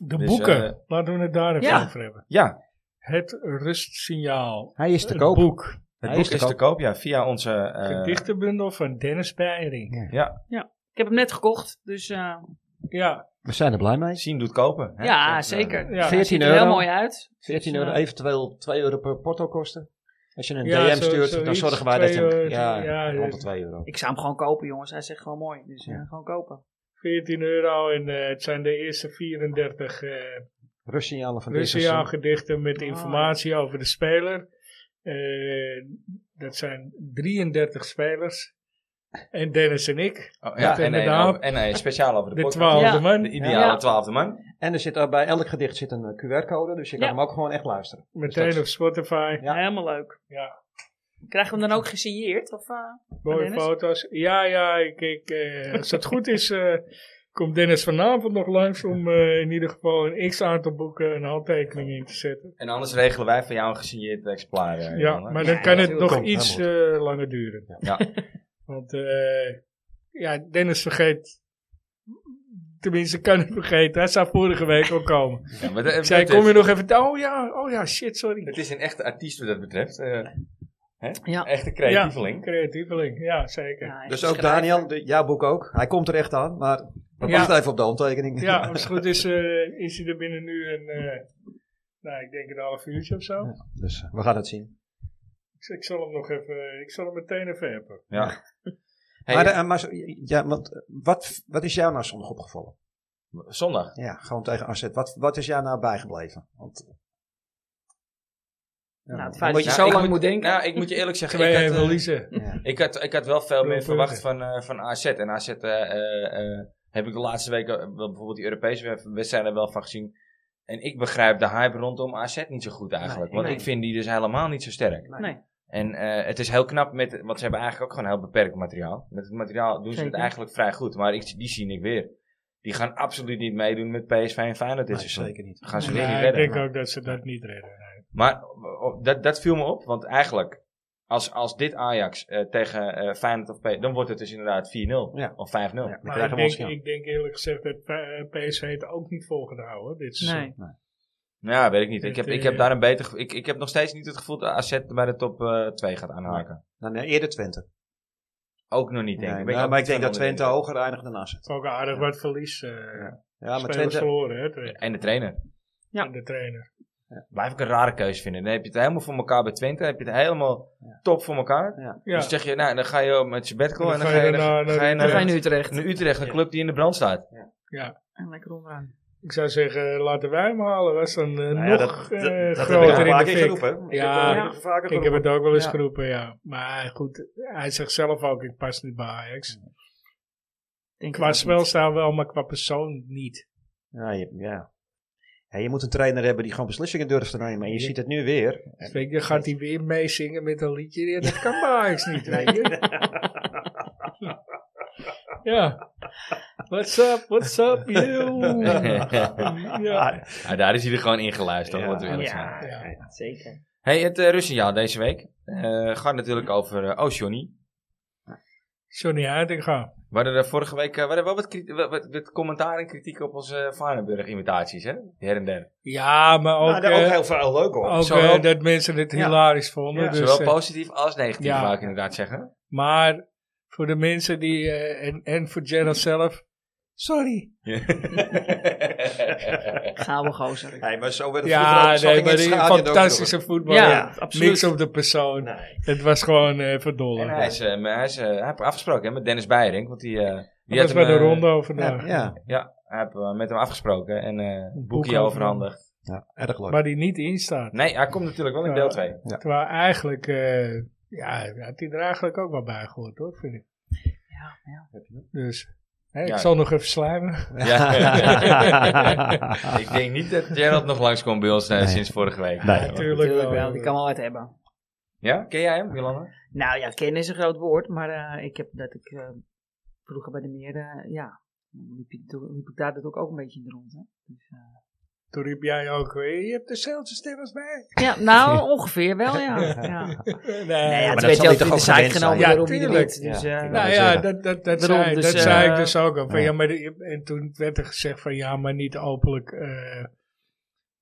[SPEAKER 2] de
[SPEAKER 1] Dus,
[SPEAKER 2] boeken.
[SPEAKER 1] eh,
[SPEAKER 2] Laten we het daar even
[SPEAKER 4] Ja.
[SPEAKER 2] over hebben.
[SPEAKER 1] Ja,
[SPEAKER 2] Het rustsignaal.
[SPEAKER 6] Hij is te
[SPEAKER 2] Het
[SPEAKER 6] koop.
[SPEAKER 2] boek.
[SPEAKER 1] het
[SPEAKER 6] Hij
[SPEAKER 1] boek
[SPEAKER 6] is te
[SPEAKER 1] is te
[SPEAKER 6] koop.
[SPEAKER 1] koop. Ja, via onze... eh,
[SPEAKER 2] Gedichtenbundel van Dennis Beiring.
[SPEAKER 1] ja,
[SPEAKER 4] Ik heb hem net gekocht, dus eh,
[SPEAKER 2] Ja,
[SPEAKER 6] We zijn er blij mee.
[SPEAKER 1] zien doet kopen. hè.
[SPEAKER 4] ja,
[SPEAKER 1] Dat, eh,
[SPEAKER 4] zeker.
[SPEAKER 2] ja.
[SPEAKER 4] Het ziet
[SPEAKER 6] 14
[SPEAKER 4] er heel
[SPEAKER 6] euro.
[SPEAKER 4] mooi uit.
[SPEAKER 6] 14 euro,
[SPEAKER 4] Ja.
[SPEAKER 6] eventueel 2 euro per porto kosten. Als je een
[SPEAKER 2] Ja,
[SPEAKER 6] DM
[SPEAKER 2] zo-
[SPEAKER 6] stuurt, dan
[SPEAKER 2] zoiets,
[SPEAKER 6] zorgen wij dat je...
[SPEAKER 2] €2,
[SPEAKER 6] hem- Ja,
[SPEAKER 2] ja,
[SPEAKER 6] rond de 2 euro.
[SPEAKER 4] Ik zou hem gewoon kopen, jongens. Hij zegt gewoon mooi. Dus eh, gewoon kopen.
[SPEAKER 2] 14 euro en eh, het zijn de eerste 34 eh
[SPEAKER 6] Russiaanlen van dit
[SPEAKER 2] Russiaal
[SPEAKER 6] seizoen.
[SPEAKER 2] gedichten met
[SPEAKER 4] Ah.
[SPEAKER 2] informatie over de speler. Eh, dat zijn 33 spelers. En Dennis en ik,
[SPEAKER 1] Oh, ja,
[SPEAKER 2] Dat
[SPEAKER 1] en, een,
[SPEAKER 2] inderdaad.
[SPEAKER 1] over- en een speciaal over de,
[SPEAKER 2] de
[SPEAKER 1] podcast.
[SPEAKER 2] twaalfde
[SPEAKER 4] Ja.
[SPEAKER 1] De
[SPEAKER 2] man.
[SPEAKER 1] ideale
[SPEAKER 4] Ja.
[SPEAKER 1] twaalfde man.
[SPEAKER 6] En er zit, er- bij elk gedicht zit een eh, QR-code, dus je kan
[SPEAKER 4] Ja.
[SPEAKER 6] hem ook gewoon echt luisteren.
[SPEAKER 2] Meteen op Spotify.
[SPEAKER 6] Ja.
[SPEAKER 4] Helemaal leuk.
[SPEAKER 2] Ja.
[SPEAKER 4] Krijgen we hem dan ook gesigneerd? Of, eh?
[SPEAKER 2] Mooie
[SPEAKER 4] Dennis?
[SPEAKER 2] foto's. Ja, ja, ik, ik, eh, als het goed is, eh, komt Dennis vanavond nog langs om eh, in ieder geval een x aantal boeken en handtekeningen in te zetten.
[SPEAKER 1] En anders regelen wij van jou een gesigneerd exemplaar. eh,
[SPEAKER 2] Ja,
[SPEAKER 1] Jan, hè.
[SPEAKER 2] maar dan kan het
[SPEAKER 6] natuurlijk.
[SPEAKER 2] nog
[SPEAKER 6] Komt,
[SPEAKER 2] iets eh, langer duren.
[SPEAKER 1] Ja.
[SPEAKER 2] *laughs* Want eh, ja, Dennis vergeet, tenminste kan het vergeten, hij zou vorige week ook komen.
[SPEAKER 1] Ja, maar dat-
[SPEAKER 2] Ik zei,
[SPEAKER 1] dat is-
[SPEAKER 2] kom je nog even, oh ja, oh ja, shit, sorry.
[SPEAKER 1] Het is een echte artiest wat dat betreft. eh, hè?
[SPEAKER 4] Ja.
[SPEAKER 1] Echte creatieveling.
[SPEAKER 2] Creatieveling, ja zeker. Ja,
[SPEAKER 4] Ja,
[SPEAKER 6] Dus
[SPEAKER 4] hij
[SPEAKER 6] ook
[SPEAKER 4] schrijft.
[SPEAKER 6] Daniel, de, jouw boek ook. Hij komt er echt aan, maar we
[SPEAKER 2] Ja.
[SPEAKER 6] wachten even op de handtekening.
[SPEAKER 2] als het goed is, eh, is hij er binnen nu een, eh, nou ik denk een half uurtje of zo.
[SPEAKER 6] *laughs* Dus eh, we gaan het zien.
[SPEAKER 2] Ik, ik zal hem nog even, ik zal hem meteen even appen.
[SPEAKER 1] Ja. Hey,
[SPEAKER 6] Maar, de- eh, maar zo- ja, want eh, wat, wat is jou nou zondag opgevallen?
[SPEAKER 1] zondag.
[SPEAKER 6] Ja, gewoon tegen AZ. Wat, wat is jou nou bijgebleven? Want, eh, ja,
[SPEAKER 4] Nou, het
[SPEAKER 6] dan
[SPEAKER 4] feit
[SPEAKER 6] moet
[SPEAKER 4] dat
[SPEAKER 6] je-
[SPEAKER 4] je zo
[SPEAKER 1] ik
[SPEAKER 4] lang
[SPEAKER 1] moet-
[SPEAKER 4] moet denken.
[SPEAKER 1] Nou, ik moet je eerlijk zeggen,
[SPEAKER 2] Twee
[SPEAKER 1] ik
[SPEAKER 2] even
[SPEAKER 1] had, eh,
[SPEAKER 2] Lize.
[SPEAKER 6] ja.
[SPEAKER 1] ik, had, ik had wel veel meer
[SPEAKER 2] Doelpunten.
[SPEAKER 1] verwacht van, eh, van AZ. En AZ eh, eh, eh, heb ik de laatste weken, eh, wel bijvoorbeeld die Europese wedstrijden, wel van gezien. En ik begrijp de hype rondom AZ niet zo goed eigenlijk.
[SPEAKER 6] Nee,
[SPEAKER 1] want
[SPEAKER 4] nee.
[SPEAKER 1] ik vind die dus helemaal niet zo sterk.
[SPEAKER 4] Nee.
[SPEAKER 1] En eh, het is heel knap, met, want ze hebben eigenlijk ook gewoon heel beperkt materiaal. Met het materiaal doen ze het
[SPEAKER 4] Zeker.
[SPEAKER 1] eigenlijk vrij goed. Maar ik, die zie ik weer. Die gaan absoluut niet meedoen met PSV en Feyenoord. dit
[SPEAKER 6] Nee,
[SPEAKER 1] seizoen.
[SPEAKER 6] zeker niet.
[SPEAKER 1] Gaan ze
[SPEAKER 4] Nee,
[SPEAKER 1] weer niet
[SPEAKER 2] Ja, Nou, ik
[SPEAKER 1] redden.
[SPEAKER 2] denk ook dat ze dat niet redden. nee.
[SPEAKER 1] Maar o- o- dat, dat viel me op, want eigenlijk, als, als dit Ajax eh, tegen eh Feyenoord of P, dan wordt het dus inderdaad 4-0
[SPEAKER 6] Ja.
[SPEAKER 1] of 5-0.
[SPEAKER 6] Ja, dan
[SPEAKER 2] Maar
[SPEAKER 6] krijgen
[SPEAKER 2] ik
[SPEAKER 6] we ons,
[SPEAKER 2] denk,
[SPEAKER 6] ja.
[SPEAKER 2] ik denk eerlijk gezegd dat eh, PSV het ook niet volgehouden hoor, dit seizoen.
[SPEAKER 4] Nee.
[SPEAKER 1] Ja, weet ik niet. Ik
[SPEAKER 2] Het,
[SPEAKER 1] heb, ik
[SPEAKER 2] eh,
[SPEAKER 1] heb daar een beter ge- ik, ik heb nog steeds niet het gevoel dat AZ bij de top eh 2 gaat aanhaken.
[SPEAKER 6] Nou, nee, eerder Twente.
[SPEAKER 1] Ook nog niet, denk ik.
[SPEAKER 6] Nee,
[SPEAKER 1] Ben
[SPEAKER 6] nou,
[SPEAKER 1] ook
[SPEAKER 6] maar ik
[SPEAKER 1] niet
[SPEAKER 6] denk
[SPEAKER 1] van
[SPEAKER 6] dat Twente
[SPEAKER 1] onder de
[SPEAKER 6] hoger eindigt dan AZ.
[SPEAKER 2] Het is ook aardig wat verlies. eh
[SPEAKER 6] Ja, maar
[SPEAKER 2] spelers
[SPEAKER 6] Twente...
[SPEAKER 2] verloren, hè, Twente.
[SPEAKER 1] indruk. En de trainer.
[SPEAKER 4] Ja.
[SPEAKER 2] En de trainer.
[SPEAKER 1] Blijf ik een rare keuze vinden. Dan heb je het helemaal voor elkaar bij Twente. Dan heb je het helemaal top voor elkaar.
[SPEAKER 2] Ja.
[SPEAKER 1] Dus zeg je, nou, dan ga je met Sabbatical en dan ga je
[SPEAKER 2] naar-
[SPEAKER 1] dan ga je
[SPEAKER 2] naar-
[SPEAKER 4] Dan ga je
[SPEAKER 1] naar
[SPEAKER 4] nu terecht.
[SPEAKER 1] naar Utrecht, een club die in de brand
[SPEAKER 6] *laughs*
[SPEAKER 1] staat.
[SPEAKER 4] En lekker onderaan.
[SPEAKER 2] Ik zou zeggen, eh, laten wij hem halen. Was dan eh,
[SPEAKER 5] Nou ja,
[SPEAKER 2] nog
[SPEAKER 5] dat-
[SPEAKER 2] eh,
[SPEAKER 5] dat- dat heb ik al
[SPEAKER 2] groter in
[SPEAKER 5] vaak
[SPEAKER 2] de
[SPEAKER 5] keer
[SPEAKER 2] fik.
[SPEAKER 5] geroepen. Ik
[SPEAKER 2] Ja.
[SPEAKER 5] heb, eh, vaker
[SPEAKER 2] Ik heb
[SPEAKER 5] geroepen.
[SPEAKER 2] het ook wel eens
[SPEAKER 6] Ja.
[SPEAKER 2] geroepen, ja. Maar goed, hij zegt zelf ook, ik pas niet bij Ajax.
[SPEAKER 4] Denk
[SPEAKER 2] Qua
[SPEAKER 4] het ook
[SPEAKER 2] spel
[SPEAKER 4] niet.
[SPEAKER 2] staan wel, maar qua persoon niet.
[SPEAKER 6] Ja, je- ja.
[SPEAKER 3] Hé, je moet een trainer hebben die gewoon beslissingen durft te nemen. En je
[SPEAKER 2] Ja.
[SPEAKER 3] ziet het nu weer.
[SPEAKER 2] Dus weet je, dan gaat hij weer meezingen met een liedje. Ja, dat kan bij Ajax niet, weet
[SPEAKER 3] *laughs*
[SPEAKER 2] je. Ja. What's up, what's up,
[SPEAKER 3] *laughs*
[SPEAKER 2] you? Ja.
[SPEAKER 3] Ah,
[SPEAKER 1] Ja, daar is hij er gewoon ingeluisterd,
[SPEAKER 3] Ja.
[SPEAKER 1] moeten we eerlijk zijn.
[SPEAKER 4] Ja,
[SPEAKER 2] Ja.
[SPEAKER 4] ja, zeker.
[SPEAKER 1] Hey, het eh Russenjaar deze week eh, gaat natuurlijk over eh, Oh Johnny.
[SPEAKER 2] Johnny Huidinga.
[SPEAKER 1] We hadden er vorige week eh, we hadden wel wat, kriti- wat, wat- wat commentaar en kritiek op onze eh, Varenburg-imitaties, hè? Her en der.
[SPEAKER 2] Ja, maar ook,
[SPEAKER 3] nou, daar ook
[SPEAKER 2] eh,
[SPEAKER 3] heel veel leuk hoor.
[SPEAKER 2] ook,
[SPEAKER 1] Zowel-
[SPEAKER 2] eh, dat mensen het hilarisch vonden.
[SPEAKER 3] Ja,
[SPEAKER 2] dus,
[SPEAKER 1] Zowel
[SPEAKER 2] eh,
[SPEAKER 1] positief als negatief,
[SPEAKER 2] ja.
[SPEAKER 1] wou ik inderdaad zeggen.
[SPEAKER 2] maar voor de mensen die, eh, en, en voor Gerald zelf, sorry.
[SPEAKER 4] Gouden gozer.
[SPEAKER 3] Hé, maar zo werd het vroeger
[SPEAKER 2] Ja,
[SPEAKER 3] ook. Zo
[SPEAKER 2] nee,
[SPEAKER 3] ging
[SPEAKER 2] maar
[SPEAKER 3] het
[SPEAKER 2] die
[SPEAKER 3] schaakje ook vroeger.
[SPEAKER 2] fantastische voetbal.
[SPEAKER 4] Ja,
[SPEAKER 2] Ja,
[SPEAKER 4] absoluut.
[SPEAKER 2] niks op de persoon.
[SPEAKER 3] Nee.
[SPEAKER 2] Het was gewoon eh verdolle.
[SPEAKER 1] *laughs* En hij is, eh, maar hij is eh, hij heeft afgesproken hè, met Dennis Beiring, want die, eh, die
[SPEAKER 2] Dat was bij de
[SPEAKER 1] eh,
[SPEAKER 2] Rondo vandaag.
[SPEAKER 3] Ja, ja,
[SPEAKER 1] Ja, hij heeft eh, met hem afgesproken en eh
[SPEAKER 2] Een
[SPEAKER 1] een
[SPEAKER 2] boek
[SPEAKER 1] boekje
[SPEAKER 2] overhandigd.
[SPEAKER 1] overhandigd.
[SPEAKER 3] ja, erg leuk. *laughs*
[SPEAKER 2] Waar die niet in staat.
[SPEAKER 1] Nee, hij komt natuurlijk wel in
[SPEAKER 2] Ja.
[SPEAKER 1] deel 2.
[SPEAKER 2] Terwijl eigenlijk, eh, ja, had hij er eigenlijk ook wel bij gehoord hoor, vind ik.
[SPEAKER 4] Ja, ja.
[SPEAKER 2] Dus, hè,
[SPEAKER 1] Ja.
[SPEAKER 2] ik zal nog even slijmen.
[SPEAKER 1] Ja. *laughs* ik denk niet dat Gerald nog langskomt bij ons eh,
[SPEAKER 3] Nee.
[SPEAKER 1] sinds vorige week.
[SPEAKER 3] Nee.
[SPEAKER 1] Ja,
[SPEAKER 2] Natuurlijk.
[SPEAKER 4] Natuurlijk
[SPEAKER 2] wel.
[SPEAKER 4] wel, die kan wel wat hebben.
[SPEAKER 1] Ja? Ken jij hem, Jolanda?
[SPEAKER 4] Nou ja, kennen is een groot woord, maar eh, ik heb dat ik eh, vroeger bij de meer, eh, ja, liep, je- toen liep ik daar dat ook, ook een beetje in de rond. Hè? Dus, eh,
[SPEAKER 2] Toen riep jij ook, eh, je hebt dezelfde stem als mij. Eh,
[SPEAKER 4] ja, nou, *laughs* ongeveer wel, ja. ja.
[SPEAKER 2] nee,
[SPEAKER 4] Nee, ja,
[SPEAKER 3] maar
[SPEAKER 4] het
[SPEAKER 3] dat
[SPEAKER 4] werd
[SPEAKER 3] zal
[SPEAKER 4] heel
[SPEAKER 3] hij
[SPEAKER 4] veel
[SPEAKER 3] toch
[SPEAKER 4] in de
[SPEAKER 3] ook
[SPEAKER 4] zaak
[SPEAKER 3] gewend zijn?
[SPEAKER 4] genomen
[SPEAKER 2] Ja,
[SPEAKER 4] door Robbie de
[SPEAKER 2] tuurlijk.
[SPEAKER 4] Wit. Dus,
[SPEAKER 3] Ja,
[SPEAKER 4] eh,
[SPEAKER 3] ik
[SPEAKER 2] Nou
[SPEAKER 3] wou
[SPEAKER 2] ja,
[SPEAKER 3] zeggen.
[SPEAKER 2] dat, dat, dat,
[SPEAKER 4] Daarom,
[SPEAKER 2] zei,
[SPEAKER 4] dus,
[SPEAKER 2] dat zei ik
[SPEAKER 4] eh,
[SPEAKER 2] dus ook al. Van,
[SPEAKER 3] ja.
[SPEAKER 2] ja. maar de- en toen werd er gezegd van ja, maar niet openlijk eh,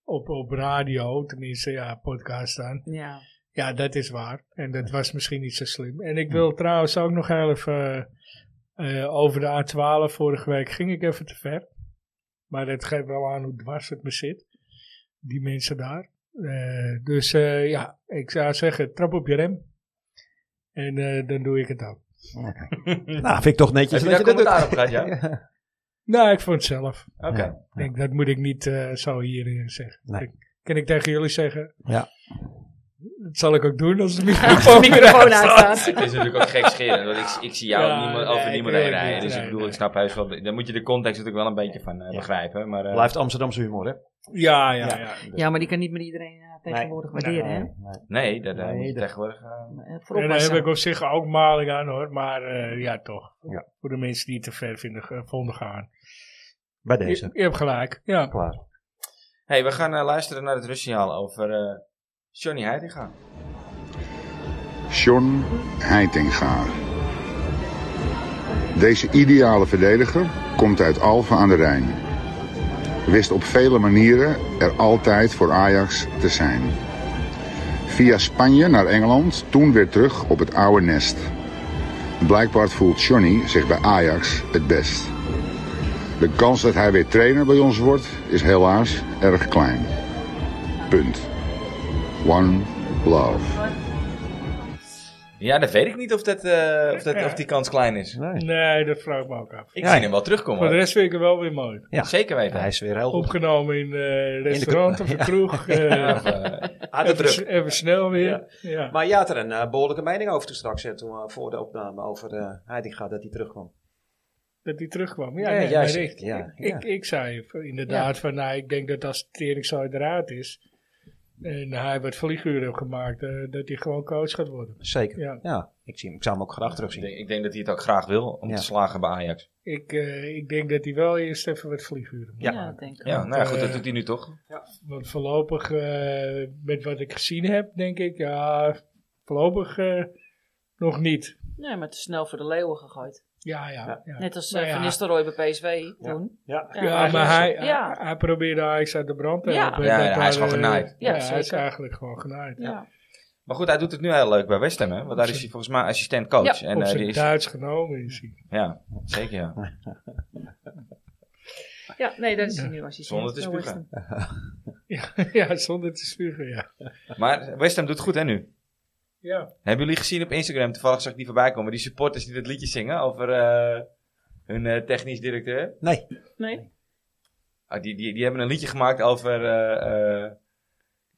[SPEAKER 2] op, op radio, tenminste ja, podcast dan.
[SPEAKER 4] ja.
[SPEAKER 2] Ja, dat is waar. En dat was misschien niet zo slim. En ik wil trouwens ook nog heel even eh, eh, over de A12. Vorige week ging ik even te ver. Maar dat geeft wel aan hoe dwars het me zit. Die mensen daar. Eh, dus eh, ja, ik zou zeggen, trap op je rem. En eh, dan doe ik het ook.
[SPEAKER 6] Nou, vind ik toch
[SPEAKER 1] Heb
[SPEAKER 6] netjes
[SPEAKER 1] je
[SPEAKER 6] dat
[SPEAKER 1] daar
[SPEAKER 6] je dat doet.
[SPEAKER 1] commentaar op gehad, ja?
[SPEAKER 3] *laughs*
[SPEAKER 2] Nou, ik vond het zelf.
[SPEAKER 1] Oké.
[SPEAKER 2] Ik denk, dat moet ik niet eh, zo hierin zeggen.
[SPEAKER 6] Nee.
[SPEAKER 2] Dat kan ik tegen jullie zeggen.
[SPEAKER 6] Ja.
[SPEAKER 2] Dat zal ik ook doen als de
[SPEAKER 4] Als de
[SPEAKER 2] microfoon
[SPEAKER 4] microfoon uitstaat.
[SPEAKER 1] Het is natuurlijk ook gek scheren, want ik, ik zie jou
[SPEAKER 2] Ja,
[SPEAKER 1] niemand,
[SPEAKER 2] nee,
[SPEAKER 1] over niemand heen
[SPEAKER 2] tuurlijk
[SPEAKER 1] rijden.
[SPEAKER 2] niet,
[SPEAKER 1] Dus ik
[SPEAKER 2] nee,
[SPEAKER 1] bedoel,
[SPEAKER 2] nee.
[SPEAKER 1] ik snap heus wel, daar moet je de context natuurlijk wel een beetje van eh,
[SPEAKER 3] Ja.
[SPEAKER 1] begrijpen. Maar, eh,
[SPEAKER 3] Blijft Amsterdamse humor, hè?
[SPEAKER 2] Ja, ja, ja.
[SPEAKER 4] Ja, maar die kan niet meer iedereen eh, tegenwoordig waarderen, hè.
[SPEAKER 1] Nee, dat eh,
[SPEAKER 3] Nee,
[SPEAKER 1] moet je
[SPEAKER 3] dat-
[SPEAKER 1] tegenwoordig... eh,
[SPEAKER 4] Eh, Voorop
[SPEAKER 2] En daar heb
[SPEAKER 4] wassen.
[SPEAKER 2] ik op zich ook maling aan hoor, maar eh, ja toch.
[SPEAKER 3] Ja.
[SPEAKER 2] Voor de mensen die het te ver vinden, ge- vonden gaan.
[SPEAKER 3] Bij
[SPEAKER 2] Je,
[SPEAKER 3] deze.
[SPEAKER 2] je hebt gelijk, ja.
[SPEAKER 3] Klaar.
[SPEAKER 1] hey, we gaan eh, luisteren naar het Russiaal over eh, Johnny Heitinga.
[SPEAKER 7] John Heitinga. Deze ideale verdediger komt uit Alphen aan de Rijn. Wist op vele manieren er altijd voor Ajax te zijn. Via Spanje naar Engeland, toen weer terug op het oude nest. Blijkbaar voelt Johnny zich bij Ajax het best. De kans dat hij weer trainer bij ons wordt is helaas erg klein. Punt. One love.
[SPEAKER 1] Ja, dat weet ik niet of, dat, eh, of, dat, of die kans klein is.
[SPEAKER 2] Nee, dat vraag ik me ook af.
[SPEAKER 1] Ik
[SPEAKER 6] Ja.
[SPEAKER 1] zie hem wel
[SPEAKER 2] Maar
[SPEAKER 1] terugkomen.
[SPEAKER 2] de
[SPEAKER 1] hoor.
[SPEAKER 2] rest vind ik het wel weer mooi.
[SPEAKER 6] Ja.
[SPEAKER 1] Zeker weten.
[SPEAKER 3] Hij is weer heel goed.
[SPEAKER 2] Opgenomen in eh restaurant of een
[SPEAKER 3] *laughs*
[SPEAKER 2] kroeg. eh,
[SPEAKER 1] Of, eh,
[SPEAKER 3] Ah, de
[SPEAKER 2] even,
[SPEAKER 3] druk.
[SPEAKER 2] s- even snel weer. Ja.
[SPEAKER 3] Maar je had er een eh, behoorlijke mening over toen straks, hè, toen, eh, voor de opname, over eh Heidinga, dat hij terugkwam.
[SPEAKER 2] Dat die terugkwam. Ja,
[SPEAKER 3] Ja,
[SPEAKER 2] nee,
[SPEAKER 3] jij
[SPEAKER 2] maar
[SPEAKER 3] zegt-
[SPEAKER 2] ik,
[SPEAKER 3] ja,
[SPEAKER 2] ik,
[SPEAKER 3] ja.
[SPEAKER 2] Ik, ik zei v- inderdaad van, nou, ik denk dat als Tering zo eruit is, en hij wat vlieguren heeft gemaakt, eh, dat hij gewoon coach gaat worden.
[SPEAKER 3] Zeker.
[SPEAKER 2] Ja.
[SPEAKER 3] Ja. Ik, zie hem, ik zou hem ook graag terugzien.
[SPEAKER 1] Ik denk, ik denk dat hij het ook graag wil om
[SPEAKER 3] Ja.
[SPEAKER 1] te slagen bij Ajax.
[SPEAKER 2] Ik, eh, ik denk dat hij wel eerst even wat vlieguren moet
[SPEAKER 4] Ja,
[SPEAKER 2] maken.
[SPEAKER 4] dat denk ik.
[SPEAKER 1] Ja,
[SPEAKER 4] Ja.
[SPEAKER 1] nou ja, goed, dat
[SPEAKER 2] eh,
[SPEAKER 1] doet hij nu toch?
[SPEAKER 2] Want voorlopig, eh, met wat ik gezien heb, denk ik, ja, voorlopig eh, nog niet.
[SPEAKER 4] Nee, maar te snel voor de leeuwen gegooid.
[SPEAKER 2] Ja, ja. ja.
[SPEAKER 4] Net als
[SPEAKER 2] Nou
[SPEAKER 4] eh, Van
[SPEAKER 2] ja.
[SPEAKER 4] Nistelrooy bij PSV toen.
[SPEAKER 3] Ja.
[SPEAKER 2] Ja, maar hij,
[SPEAKER 4] Ja.
[SPEAKER 2] hij, hij probeerde Ajax uit de brand te
[SPEAKER 4] Ja.
[SPEAKER 2] helpen.
[SPEAKER 1] Ja,
[SPEAKER 2] Dat
[SPEAKER 1] ja, hij is gewoon
[SPEAKER 2] eh,
[SPEAKER 1] genaaid.
[SPEAKER 2] Ja,
[SPEAKER 4] Ja,
[SPEAKER 2] hij is
[SPEAKER 4] zeker.
[SPEAKER 2] eigenlijk gewoon genaaid.
[SPEAKER 4] Ja.
[SPEAKER 1] Maar goed, hij doet het nu heel leuk bij West Ham, hè? Want daar is hij volgens mij assistent coach. en,
[SPEAKER 2] Op
[SPEAKER 1] eh,
[SPEAKER 2] zijn
[SPEAKER 1] die is,
[SPEAKER 2] Duits genomen is hij. *laughs*
[SPEAKER 1] ja, zeker ja.
[SPEAKER 4] Ja, nee, dat is hij nu als je
[SPEAKER 1] Zonder te
[SPEAKER 4] Zo is
[SPEAKER 1] spugen.
[SPEAKER 4] het.
[SPEAKER 2] ja, zonder te spugen, ja.
[SPEAKER 1] Maar West Ham doet goed, hè, nu?
[SPEAKER 2] Ja,
[SPEAKER 1] Hebben jullie gezien op Instagram, toevallig zag ik die voorbij komen, die supporters die dat liedje zingen over eh, hun eh, technisch directeur?
[SPEAKER 3] Nee.
[SPEAKER 4] Nee?
[SPEAKER 1] Ah, die, die, die hebben een liedje gemaakt over, eh, eh,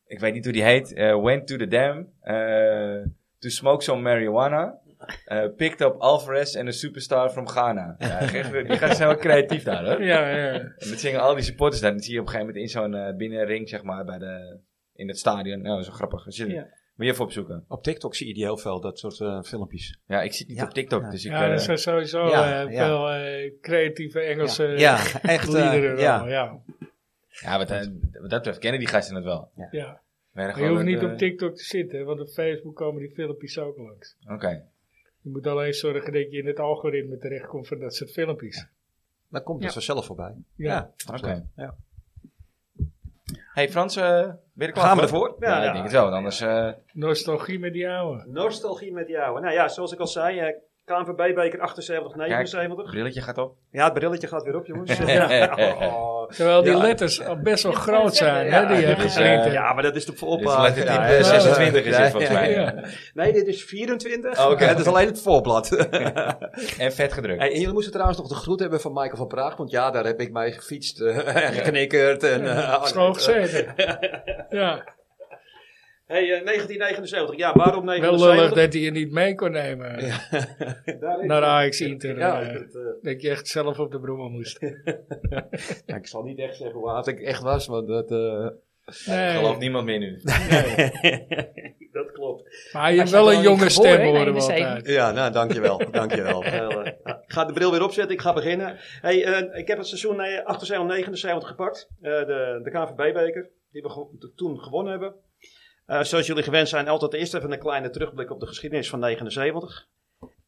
[SPEAKER 1] ik weet niet hoe die heet, eh, Went to the Dam eh, to smoke some marijuana. eh, picked up Alvarez en een superstar from Ghana. Ja, echt, die gaan zijn wel creatief daar hoor.
[SPEAKER 2] Ja, ja.
[SPEAKER 1] En dat zingen al die supporters daar. Dat zie je op een gegeven moment in zo'n eh, binnenring, zeg maar, bij de, in het stadion. Nou, zo grappig. Zit
[SPEAKER 4] Ja.
[SPEAKER 1] Moet je even opzoeken.
[SPEAKER 8] Op TikTok zie je die heel veel, dat soort eh, filmpjes.
[SPEAKER 1] Ja, ik zit niet
[SPEAKER 9] Ja.
[SPEAKER 1] op Tiktok,
[SPEAKER 9] Ja.
[SPEAKER 1] dus ik...
[SPEAKER 2] ja
[SPEAKER 1] eh,
[SPEAKER 2] dat zijn sowieso
[SPEAKER 9] Ja,
[SPEAKER 2] eh,
[SPEAKER 9] ja.
[SPEAKER 2] veel eh, creatieve Engelse
[SPEAKER 9] ja, echt. eh,
[SPEAKER 2] liederen wel.
[SPEAKER 9] ja.
[SPEAKER 2] Ja.
[SPEAKER 1] ja wat, eh, wat dat betreft kennen die gasten het wel.
[SPEAKER 2] Ja.
[SPEAKER 1] Maar
[SPEAKER 2] Maar je hoeft niet
[SPEAKER 1] eh,
[SPEAKER 2] op TikTok te zitten, hè, want op Facebook komen die filmpjes ook langs.
[SPEAKER 1] Oké.
[SPEAKER 2] Je moet alleen zorgen dat je in het algoritme terechtkomt van dat soort filmpjes.
[SPEAKER 9] Dan komt het vanzelf voorbij.
[SPEAKER 2] Ja.
[SPEAKER 9] Ja.
[SPEAKER 1] Oké.
[SPEAKER 9] Ja.
[SPEAKER 1] Hey Frans, eh ben je er klaar
[SPEAKER 9] Gaan we
[SPEAKER 1] voor?
[SPEAKER 9] ervoor?
[SPEAKER 1] Ja,
[SPEAKER 3] Ja,
[SPEAKER 1] ik
[SPEAKER 3] ja.
[SPEAKER 1] denk het wel. want Anders, eh,
[SPEAKER 2] Nostalgie met die oude.
[SPEAKER 3] Nostalgie met jou. Nou ja, zoals ik al zei, eh, KNVB-beker 78, 79.
[SPEAKER 1] brilletje gaat op.
[SPEAKER 8] Ja, het brilletje gaat weer op, jongens.
[SPEAKER 1] Ja.
[SPEAKER 8] ja. Oh.
[SPEAKER 2] Terwijl die
[SPEAKER 8] Ja.
[SPEAKER 2] letters al best wel
[SPEAKER 4] Ja,
[SPEAKER 2] groot zijn,
[SPEAKER 4] ja,
[SPEAKER 2] hè, die
[SPEAKER 1] ja,
[SPEAKER 2] je
[SPEAKER 1] dit is,
[SPEAKER 2] geprint
[SPEAKER 1] eh,
[SPEAKER 2] hebt.
[SPEAKER 8] Ja, maar dat is toch voor
[SPEAKER 1] Dit
[SPEAKER 8] op.
[SPEAKER 1] is lettertype
[SPEAKER 8] ja,
[SPEAKER 1] eh,
[SPEAKER 8] ja.
[SPEAKER 1] 26 is
[SPEAKER 8] Ja,
[SPEAKER 1] dit volgens
[SPEAKER 8] ja,
[SPEAKER 1] mij.
[SPEAKER 8] ja.
[SPEAKER 2] Ja.
[SPEAKER 8] Nee, dit is 24.
[SPEAKER 1] Oh,
[SPEAKER 8] *laughs*
[SPEAKER 1] oké.
[SPEAKER 8] Het is alleen het *laughs* voorblad.
[SPEAKER 1] En vet gedrukt.
[SPEAKER 8] Hey, en jullie moesten trouwens nog de groet hebben van Michael van Praag. Want ja, daar heb ik mij gefietst eh, *laughs* en geknikkerd. En, eh, *laughs*
[SPEAKER 2] Schoon gezeten. Ja,
[SPEAKER 3] Hey, eh, 1979. Ja, waarom
[SPEAKER 2] wel eh, lullig
[SPEAKER 3] 79?
[SPEAKER 2] dat hij je niet mee kon nemen
[SPEAKER 3] Daar is-
[SPEAKER 2] naar Ajax Inter.
[SPEAKER 3] Ja,
[SPEAKER 2] eh,
[SPEAKER 3] dat,
[SPEAKER 8] *laughs*
[SPEAKER 3] eh,
[SPEAKER 2] dat je echt zelf op de brommel moest.
[SPEAKER 8] Nou, ik zal niet echt zeggen hoe laat ik echt was. Want dat, eh,
[SPEAKER 1] Ik
[SPEAKER 2] Nee.
[SPEAKER 1] geloof niemand meer nu.
[SPEAKER 3] dat klopt.
[SPEAKER 2] Maar je hebt
[SPEAKER 4] Was jij
[SPEAKER 2] wel een
[SPEAKER 4] gewoon
[SPEAKER 2] jonge
[SPEAKER 4] niet geboren
[SPEAKER 2] stem
[SPEAKER 4] in
[SPEAKER 2] horen we
[SPEAKER 4] 71?
[SPEAKER 2] altijd.
[SPEAKER 8] ja, nou, dankjewel.
[SPEAKER 3] *laughs*
[SPEAKER 8] dankjewel.
[SPEAKER 3] Wel, eh, ja. ik ga de bril weer opzetten, ik ga beginnen. Hey, eh, ik heb het seizoen eh, 78, 79 gepakt. Eh, de de KNVB-beker, die we gewo- to- toen gewonnen hebben. Eh, zoals jullie gewend zijn, altijd eerst even een kleine terugblik op de geschiedenis van 79.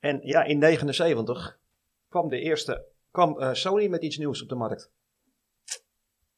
[SPEAKER 3] En ja, in 79 kwam de eerste, kwam eh, Sony met iets nieuws op de markt.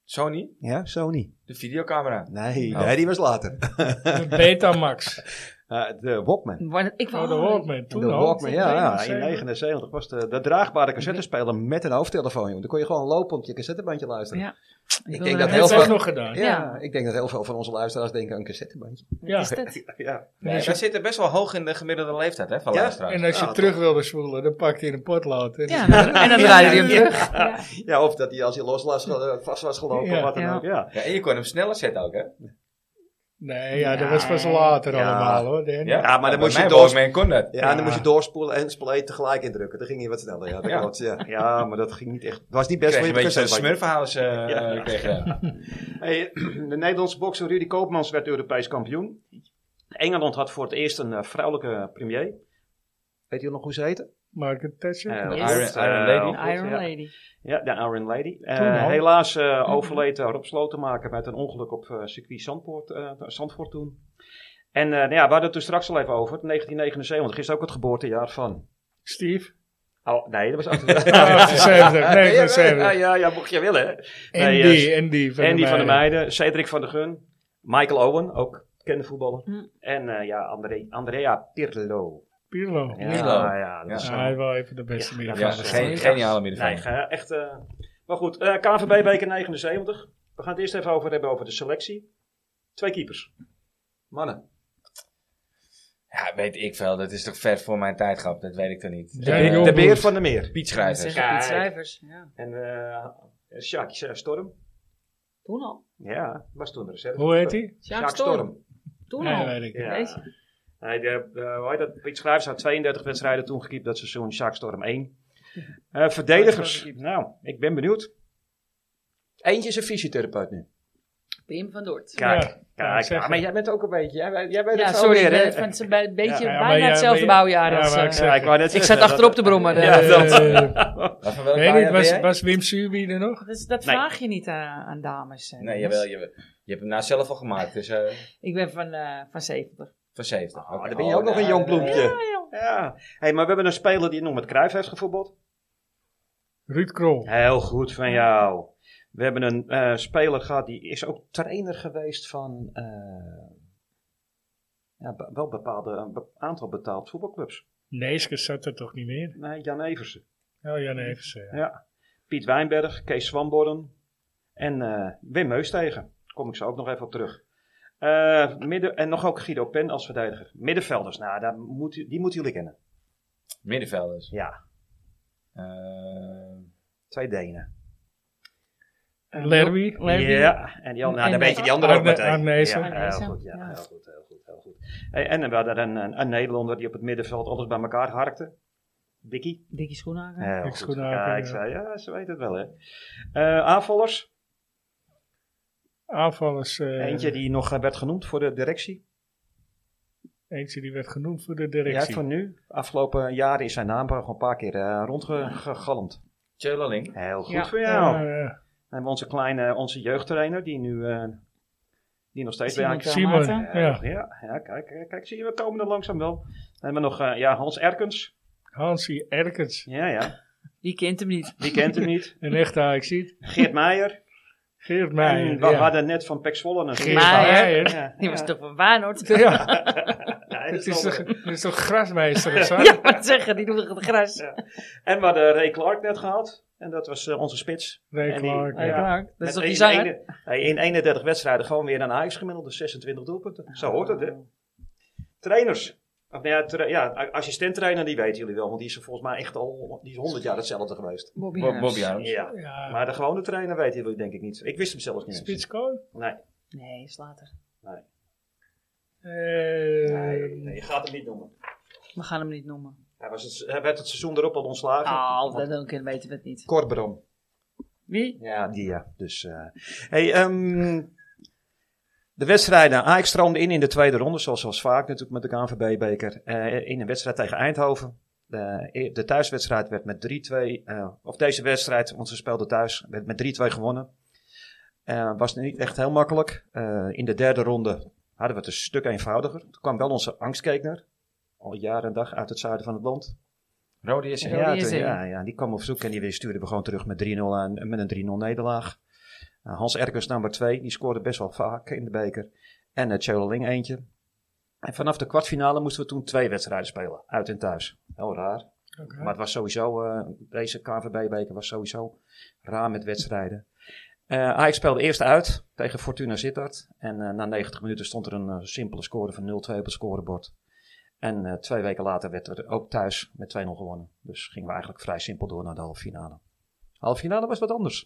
[SPEAKER 1] Sony,
[SPEAKER 9] Ja, Sony.
[SPEAKER 1] de videocamera.
[SPEAKER 9] Nee,
[SPEAKER 1] Oh.
[SPEAKER 9] nee, die was later.
[SPEAKER 2] Een Betamax.
[SPEAKER 8] Eh, de Walkman.
[SPEAKER 4] Maar Ik
[SPEAKER 2] Oh, de
[SPEAKER 4] wou
[SPEAKER 2] Walkman. Toen
[SPEAKER 8] De
[SPEAKER 2] al.
[SPEAKER 8] Walkman, ja, ja.
[SPEAKER 2] In
[SPEAKER 8] In 79 was de, de draagbare cassettespeler met een hoofdtelefoon. Joh. Dan kon je gewoon lopen op je cassettebandje luisteren.
[SPEAKER 4] Ja.
[SPEAKER 8] Ik
[SPEAKER 4] wilde
[SPEAKER 8] denk
[SPEAKER 4] dat
[SPEAKER 8] dat
[SPEAKER 2] Dat
[SPEAKER 8] heel
[SPEAKER 2] heeft hij ook
[SPEAKER 8] veel...
[SPEAKER 2] nog gedaan.
[SPEAKER 9] Ja,
[SPEAKER 4] Ja.
[SPEAKER 9] ik denk dat heel veel van onze luisteraars denken aan een cassettebandje.
[SPEAKER 4] Wat
[SPEAKER 2] Ja.
[SPEAKER 4] Is dat?
[SPEAKER 3] Ja,
[SPEAKER 1] Nee, wij zitten best wel hoog in de gemiddelde leeftijd hè, van
[SPEAKER 3] Ja?
[SPEAKER 1] luisteraars.
[SPEAKER 2] En als je
[SPEAKER 3] Ah,
[SPEAKER 2] terug wilde zwoelen, dan pakte je een potlood. En
[SPEAKER 4] Ja, en dan- en dan draaide hij hem terug. Ja.
[SPEAKER 8] ja, of dat hij als hij los was, eh, vast was gelopen
[SPEAKER 2] Ja.
[SPEAKER 8] of wat dan
[SPEAKER 4] Ja.
[SPEAKER 8] ook. Ja.
[SPEAKER 1] Ja, en je kon hem sneller zetten ook, hè?
[SPEAKER 2] Nee, ja, dat was pas later
[SPEAKER 8] Ja.
[SPEAKER 2] allemaal hoor. Dan.
[SPEAKER 1] Ja,
[SPEAKER 8] maar dan
[SPEAKER 1] bij
[SPEAKER 8] moest je
[SPEAKER 1] mijn
[SPEAKER 8] door-
[SPEAKER 1] Walkman kon dat.
[SPEAKER 8] Ja, en dan moest je doorspoelen en play tegelijk indrukken. Dan ging hij wat sneller. Ja, dat
[SPEAKER 1] Ja.
[SPEAKER 8] klopt, ja. ja, maar dat ging niet echt. Dat was niet
[SPEAKER 1] Dan
[SPEAKER 8] best
[SPEAKER 1] kreeg je
[SPEAKER 8] voor
[SPEAKER 1] een
[SPEAKER 8] je
[SPEAKER 1] beetje zo'n
[SPEAKER 8] cassettebandje.
[SPEAKER 1] smurfenhuis. eh,
[SPEAKER 3] Ja.
[SPEAKER 1] kreeg je.
[SPEAKER 8] *clears throat*
[SPEAKER 3] Hey, de Nederlandse bokser Rudy Koopmans werd Europees kampioen. Engeland had voor het eerst een eh, vrouwelijke premier.
[SPEAKER 8] Weet je nog hoe ze heette?
[SPEAKER 2] Margaret Thatcher.
[SPEAKER 3] Eh,
[SPEAKER 4] Yes.
[SPEAKER 3] Iron-
[SPEAKER 1] Iron
[SPEAKER 3] eh,
[SPEAKER 1] Lady.
[SPEAKER 3] goed,
[SPEAKER 4] Iron
[SPEAKER 3] ja.
[SPEAKER 4] Lady.
[SPEAKER 3] Ja, de Iron Lady. Eh,
[SPEAKER 2] Toen al.
[SPEAKER 3] helaas eh, overleed eh, Rob Slotenmaker met een ongeluk op eh, circuit Zandvoort, eh, Zandvoort toen. En eh, nou ja, we hadden het er straks al even over. 1979 is ook het geboortejaar van.
[SPEAKER 2] Steve.
[SPEAKER 3] Oh, nee, dat was
[SPEAKER 2] Ah, 78,
[SPEAKER 3] Nee, *laughs* ja,
[SPEAKER 2] 79.
[SPEAKER 3] ja, ja, ja, mocht je willen.
[SPEAKER 2] En
[SPEAKER 3] Nee,
[SPEAKER 2] die,
[SPEAKER 3] eh,
[SPEAKER 2] en die van
[SPEAKER 3] Andy
[SPEAKER 2] de
[SPEAKER 3] van der
[SPEAKER 2] Meijden.
[SPEAKER 3] Meijden, Cedric van der Gun, Michael Owen, ook bekende voetballer.
[SPEAKER 4] Hm.
[SPEAKER 3] En eh, ja, André, Andrea Pirlo.
[SPEAKER 2] Pirlo. Ja.
[SPEAKER 3] Ja,
[SPEAKER 1] Pirlo.
[SPEAKER 3] ja, dat
[SPEAKER 1] Ja.
[SPEAKER 3] is, eh,
[SPEAKER 2] hij wel even de beste
[SPEAKER 3] Ja,
[SPEAKER 1] Ja,
[SPEAKER 3] dat
[SPEAKER 2] middenvelder.
[SPEAKER 1] ja,
[SPEAKER 3] was,
[SPEAKER 1] geen,
[SPEAKER 3] eh,
[SPEAKER 1] geniale
[SPEAKER 3] nee,
[SPEAKER 1] middenvelder.
[SPEAKER 3] ga- echt. eh, maar goed, eh KVB beker 79. We gaan het eerst even over hebben over de selectie. Twee keepers.
[SPEAKER 8] Mannen.
[SPEAKER 1] Ja, weet ik veel. Dat is toch ver voor mijn tijd gehad. Dat weet ik toch niet.
[SPEAKER 2] Ja,
[SPEAKER 1] Eh,
[SPEAKER 2] joh.
[SPEAKER 8] De Beer
[SPEAKER 2] Jongbloed.
[SPEAKER 8] van de Meer.
[SPEAKER 1] Piet
[SPEAKER 4] Dat
[SPEAKER 1] Schrijvers.
[SPEAKER 3] Kijk.
[SPEAKER 4] zeggen Piet Schrijvers. Ja.
[SPEAKER 3] En eh Sjaak eh, Storm.
[SPEAKER 4] Toen al.
[SPEAKER 3] Ja, was toen de reserve.
[SPEAKER 2] Hoe heet hij?
[SPEAKER 4] Sjaak
[SPEAKER 3] Sjaak Storm.
[SPEAKER 4] Storm. Toen
[SPEAKER 2] Nee,
[SPEAKER 4] al.
[SPEAKER 2] weet ik. niet.
[SPEAKER 3] Ja.
[SPEAKER 4] Deze.
[SPEAKER 3] Nee, de, eh, hoe heet dat? Piet Schrijvers had 32 wedstrijden toen gekiept dat seizoen. Sjaak Storm 1. Eh, verdedigers. Nou, ik ben benieuwd.
[SPEAKER 8] Eentje is een fysiotherapeut nu.
[SPEAKER 4] Pim van Dort.
[SPEAKER 3] Kijk,
[SPEAKER 2] Ja,
[SPEAKER 3] kijk.
[SPEAKER 2] ik zeg
[SPEAKER 3] ah, maar jij bent ook een beetje. Jij, jij bent
[SPEAKER 4] Ja,
[SPEAKER 3] het
[SPEAKER 4] sorry.
[SPEAKER 3] alweer, hè?
[SPEAKER 4] de- van- ze- bij- Een beetje
[SPEAKER 3] Ja, ja,
[SPEAKER 2] maar
[SPEAKER 4] bijna
[SPEAKER 2] ja,
[SPEAKER 4] hetzelfde
[SPEAKER 2] maar ja,
[SPEAKER 4] bouwjaar
[SPEAKER 2] ja,
[SPEAKER 4] als...
[SPEAKER 2] maar
[SPEAKER 4] eh,
[SPEAKER 2] ik zeg-
[SPEAKER 3] Ja, ik wou net
[SPEAKER 4] Ik
[SPEAKER 3] zeggen,
[SPEAKER 4] zat achterop te
[SPEAKER 3] dat-
[SPEAKER 4] brommen.
[SPEAKER 3] Ja,
[SPEAKER 4] eh,
[SPEAKER 3] dat-
[SPEAKER 1] Maar van welk
[SPEAKER 2] Weet
[SPEAKER 1] jaar
[SPEAKER 2] niet, was,
[SPEAKER 1] ben jij?
[SPEAKER 2] was Wim Subi er nog?
[SPEAKER 4] Dat, is- dat
[SPEAKER 3] Nee.
[SPEAKER 4] vraag je niet aan, aan dames. eh,
[SPEAKER 1] Nee,
[SPEAKER 4] jongens.
[SPEAKER 1] jawel, jawel. Je hebt hem nou zelf al gemaakt. Dus eh,
[SPEAKER 4] Ik ben van, eh, van 70.
[SPEAKER 1] van 70.
[SPEAKER 8] Oh,
[SPEAKER 1] Oké.
[SPEAKER 8] dan ben je ook nog
[SPEAKER 1] nou,
[SPEAKER 8] een jong bloempje.
[SPEAKER 3] Ja, hey, maar we hebben een speler die nog met Cruijff heeft gevoetbald.
[SPEAKER 2] Ruud Krol.
[SPEAKER 3] Heel goed van jou. We hebben een eh, speler gehad die is ook trainer geweest van eh, ja, be- wel bepaalde, een be- aantal betaald voetbalclubs.
[SPEAKER 2] Neeskens zat er toch niet meer?
[SPEAKER 3] Nee, Jan Eversen,
[SPEAKER 2] Oh, Jan Eversen. ja.
[SPEAKER 3] Piet Wijnberg, Kees Swamborn en eh, Wim Heustegen. Daar kom ik zo ook nog even op terug. Eh, midden, en nog ook Guido Pen als verdediger. Middenvelders, nou, daar moet, u- die moeten jullie kennen.
[SPEAKER 1] Middenvelders.
[SPEAKER 3] Ja,
[SPEAKER 1] Eh,
[SPEAKER 3] twee Denen.
[SPEAKER 2] Lerby.
[SPEAKER 4] Levy.
[SPEAKER 3] Ja, en die andere, nou,
[SPEAKER 4] En
[SPEAKER 3] dan weet je die andere ook
[SPEAKER 2] Arne-
[SPEAKER 3] meteen.
[SPEAKER 2] Arnezen.
[SPEAKER 3] Ja, heel
[SPEAKER 4] Arnezen,
[SPEAKER 3] goed, ja,
[SPEAKER 4] ja.
[SPEAKER 3] heel goed, heel goed, heel goed. Hey, en we hadden een, een, een Nederlander die op het middenveld alles bij elkaar harkte. Dikkie.
[SPEAKER 4] Dikkie Schoenhagen.
[SPEAKER 3] Heel
[SPEAKER 2] Dick
[SPEAKER 3] goed.
[SPEAKER 2] Schoenhaken,
[SPEAKER 3] Ja, ik
[SPEAKER 2] ja.
[SPEAKER 3] zei, ja, ze weet het wel, hè. Eh, aanvallers.
[SPEAKER 2] Aanvallers. eh,
[SPEAKER 3] Eentje die nog eh, werd genoemd voor de directie.
[SPEAKER 2] eentje die werd genoemd voor de
[SPEAKER 3] Ja,
[SPEAKER 2] directie.
[SPEAKER 3] van nu. Afgelopen jaren is zijn naam gewoon een paar keer eh rondgegalmd.
[SPEAKER 1] Tjelaling.
[SPEAKER 3] Heel goed
[SPEAKER 4] Ja.
[SPEAKER 3] voor jou.
[SPEAKER 2] Ja, eh, ja.
[SPEAKER 3] En we onze kleine, onze jeugdtrainer, die nu eh, die nog steeds bij
[SPEAKER 4] Simon
[SPEAKER 3] AXC
[SPEAKER 2] Simon,
[SPEAKER 4] Dalmaten.
[SPEAKER 2] ja.
[SPEAKER 3] Ja, ja, kijk, eh, kijk, zie je, we komen er langzaam wel. Dan hebben we nog eh, ja, Hans Erkens.
[SPEAKER 2] Hansie Erkens.
[SPEAKER 3] Ja, ja,
[SPEAKER 4] Die kent hem niet.
[SPEAKER 3] die kent hem
[SPEAKER 2] *laughs*
[SPEAKER 3] niet.
[SPEAKER 2] Een echte AXI.
[SPEAKER 3] Geert Meijer.
[SPEAKER 2] Geert
[SPEAKER 3] En
[SPEAKER 2] Meijer.
[SPEAKER 3] we
[SPEAKER 2] ja.
[SPEAKER 3] hadden net van Pek Zwolle een
[SPEAKER 2] Geert
[SPEAKER 4] Meijer.
[SPEAKER 2] Meijer.
[SPEAKER 3] Ja,
[SPEAKER 4] Die was
[SPEAKER 3] ja.
[SPEAKER 4] toch van
[SPEAKER 3] *laughs*
[SPEAKER 4] Waanhoord?
[SPEAKER 2] Ja,
[SPEAKER 3] Ja, dat
[SPEAKER 2] het
[SPEAKER 3] is
[SPEAKER 2] is
[SPEAKER 3] wel-
[SPEAKER 2] toch, het is toch
[SPEAKER 3] *laughs*
[SPEAKER 2] grasmeester of zo?
[SPEAKER 4] *laughs* Ja, wat zeggen, die doen het gras.
[SPEAKER 3] Ja. En we hadden Ray Clark net gehad. En dat was eh, onze spits.
[SPEAKER 2] Nee,
[SPEAKER 3] En die-
[SPEAKER 2] Clark,
[SPEAKER 3] ja.
[SPEAKER 2] ja.
[SPEAKER 4] Clark, dat
[SPEAKER 3] Met
[SPEAKER 4] is toch die
[SPEAKER 3] een-
[SPEAKER 4] zanger?
[SPEAKER 3] ene- hey, in 31 wedstrijden gewoon weer een Ajax gemiddelde 26 doelpunten. Zo hoort het, hè? Trainers. Of, nou ja, tra- ja, a- assistent-trainer, die weten jullie wel. Want die is er volgens mij echt al die is 100 jaar hetzelfde geweest.
[SPEAKER 4] Bobby
[SPEAKER 1] Bo- Bobby
[SPEAKER 4] Harms.
[SPEAKER 1] Harms.
[SPEAKER 3] Ja.
[SPEAKER 2] Ja.
[SPEAKER 3] Maar de gewone trainer weten jullie denk ik niet. Ik wist hem zelfs niet. eens.
[SPEAKER 2] Spitskoon?
[SPEAKER 3] Nee.
[SPEAKER 4] Nee, is later.
[SPEAKER 2] Eh,
[SPEAKER 3] Nee, nee, je gaat hem niet noemen.
[SPEAKER 4] We gaan hem niet noemen.
[SPEAKER 3] Hij, was het, se- hij werd het seizoen erop al ontslagen.
[SPEAKER 4] Oh, dat dan kunnen weten we het niet.
[SPEAKER 3] Korbram.
[SPEAKER 4] Wie?
[SPEAKER 3] Ja, die ja. Dus, eh, hey, ehm, de wedstrijden. Ajax stroomde in in de tweede ronde, zoals, zoals vaak natuurlijk met de KNVB-beker. eh, in een wedstrijd tegen Eindhoven. De, eh, de thuiswedstrijd werd met 3-2, eh, of deze wedstrijd, want ze speelden thuis, werd met 3-2 gewonnen. Eh, was niet echt heel makkelijk. Eh, in de derde ronde hadden we het een stuk eenvoudiger. Toen kwam wel onze angstkekener, al jaren en dag uit het zuiden van het land.
[SPEAKER 1] Rode is
[SPEAKER 4] Ja,
[SPEAKER 1] er.
[SPEAKER 3] Ja,
[SPEAKER 4] die is
[SPEAKER 3] toen-
[SPEAKER 4] er.
[SPEAKER 3] ja, ja, die kwam op zoek en die stuurde we gewoon terug met, 3-0 aan, eh, met een 3-0 nederlaag. Uh, Hans Erkens nummer 2, die scoorde best wel vaak in de beker. En uh, Tjoleling eentje. En vanaf de kwartfinale moesten we toen twee wedstrijden spelen, uit en thuis. Heel raar.
[SPEAKER 2] oké.
[SPEAKER 3] Maar het was sowieso, eh, deze KNVB-beker was sowieso raar met wedstrijden. Eh Ajax speelde eerst uit tegen Fortuna Sittard. En eh, na 90 minuten stond er een eh, simpele score van 0-2 op het scorebord. En eh, twee weken later werd er ook thuis met 2-0 gewonnen. Dus gingen we eigenlijk vrij simpel door naar de halve finale. Halve finale was wat anders.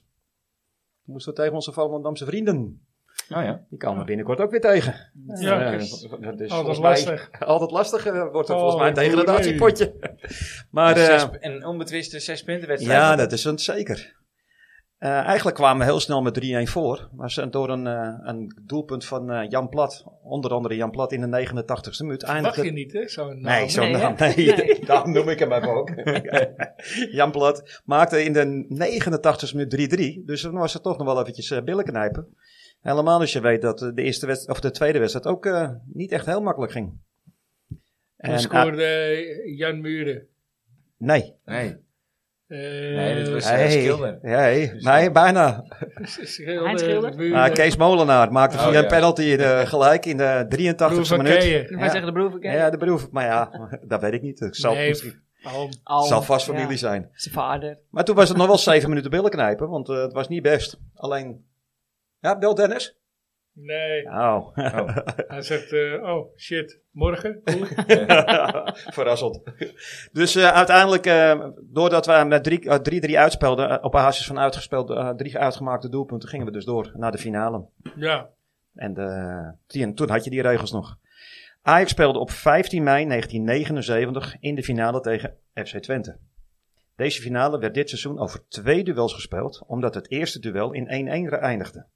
[SPEAKER 3] Toen moesten we tegen onze Volendamse vrienden.
[SPEAKER 1] Nou ja.
[SPEAKER 3] Die komen we binnenkort ook weer tegen.
[SPEAKER 2] Ja,
[SPEAKER 3] Eh,
[SPEAKER 2] dus-
[SPEAKER 3] eh, dus
[SPEAKER 2] altijd
[SPEAKER 3] volgens mij-
[SPEAKER 2] lastig.
[SPEAKER 3] Altijd lastig eh, wordt het
[SPEAKER 2] Oh,
[SPEAKER 3] volgens mij een degradatiepotje. *laughs* Maar, eh,
[SPEAKER 1] Zes- een onbetwiste zes punten wedstrijd.
[SPEAKER 3] ja, dat is het zeker. Eh, eigenlijk kwamen we heel snel met 3-1 voor. Maar ze- door een, eh, een doelpunt van eh, Jan Plat, onder andere Jan Plat in de 89ste minuut,
[SPEAKER 2] Mag
[SPEAKER 3] eindigde
[SPEAKER 2] je niet, hè? Zo'n naam.
[SPEAKER 3] Nou, Nee, zo'n
[SPEAKER 4] Nee,
[SPEAKER 3] naam. *laughs* Nee, daarom noem ik hem even ook. *laughs* Jan Plat maakte in de 89 minuut 3-3. Dus dan was het toch nog wel eventjes eh, billen knijpen. Helemaal als je weet dat eh, de, eerste wedst- of de tweede wedstrijd ook eh, niet echt heel makkelijk ging.
[SPEAKER 2] Toen
[SPEAKER 3] En, ah,
[SPEAKER 2] scoorde eh, Jan Muren.
[SPEAKER 3] nee.
[SPEAKER 1] Nee.
[SPEAKER 2] Eh,
[SPEAKER 1] Nee, dat was- eh,
[SPEAKER 3] Hey,
[SPEAKER 1] Schilder.
[SPEAKER 3] hey, nee, bijna.
[SPEAKER 2] *laughs* Schilder,
[SPEAKER 4] Heinz Schilder?
[SPEAKER 2] Muren,
[SPEAKER 3] Maar Kees Molenaar maakte
[SPEAKER 1] Oh,
[SPEAKER 3] via een
[SPEAKER 1] ja.
[SPEAKER 3] penalty in de- gelijk in de 83 e
[SPEAKER 2] Roeven
[SPEAKER 3] minuut.
[SPEAKER 2] Keeën.
[SPEAKER 4] Maar
[SPEAKER 3] Ja.
[SPEAKER 4] zeggen de broer
[SPEAKER 3] Ja, ja, de broer. Maar ja, *laughs* dat weet ik niet. Het zal,
[SPEAKER 2] Nee,
[SPEAKER 3] misschien-
[SPEAKER 2] Alm.
[SPEAKER 3] het zal vast familie zijn.
[SPEAKER 4] Zijn vader.
[SPEAKER 3] Maar toen was het nog wel zeven minuten billen knijpen, want eh, het was niet best. Alleen. Ja, wel Dennis?
[SPEAKER 2] Nee,
[SPEAKER 3] Nou,
[SPEAKER 2] hij zegt, eh, oh shit, morgen?
[SPEAKER 3] *laughs* verrassend. Dus eh, uiteindelijk, eh, doordat we met drie- eh, 3-3 uitspelden, eh, op basis van uitgespeeld, eh, drie uitgemaakte doelpunten, gingen we dus door naar de finale.
[SPEAKER 2] Ja,
[SPEAKER 3] En de, die- en toen had je die regels nog. Ajax speelde op 15 mei 1979 in de finale tegen FC Twente. Deze finale werd dit seizoen over twee duels gespeeld, omdat het eerste duel in 1-1 eindigde.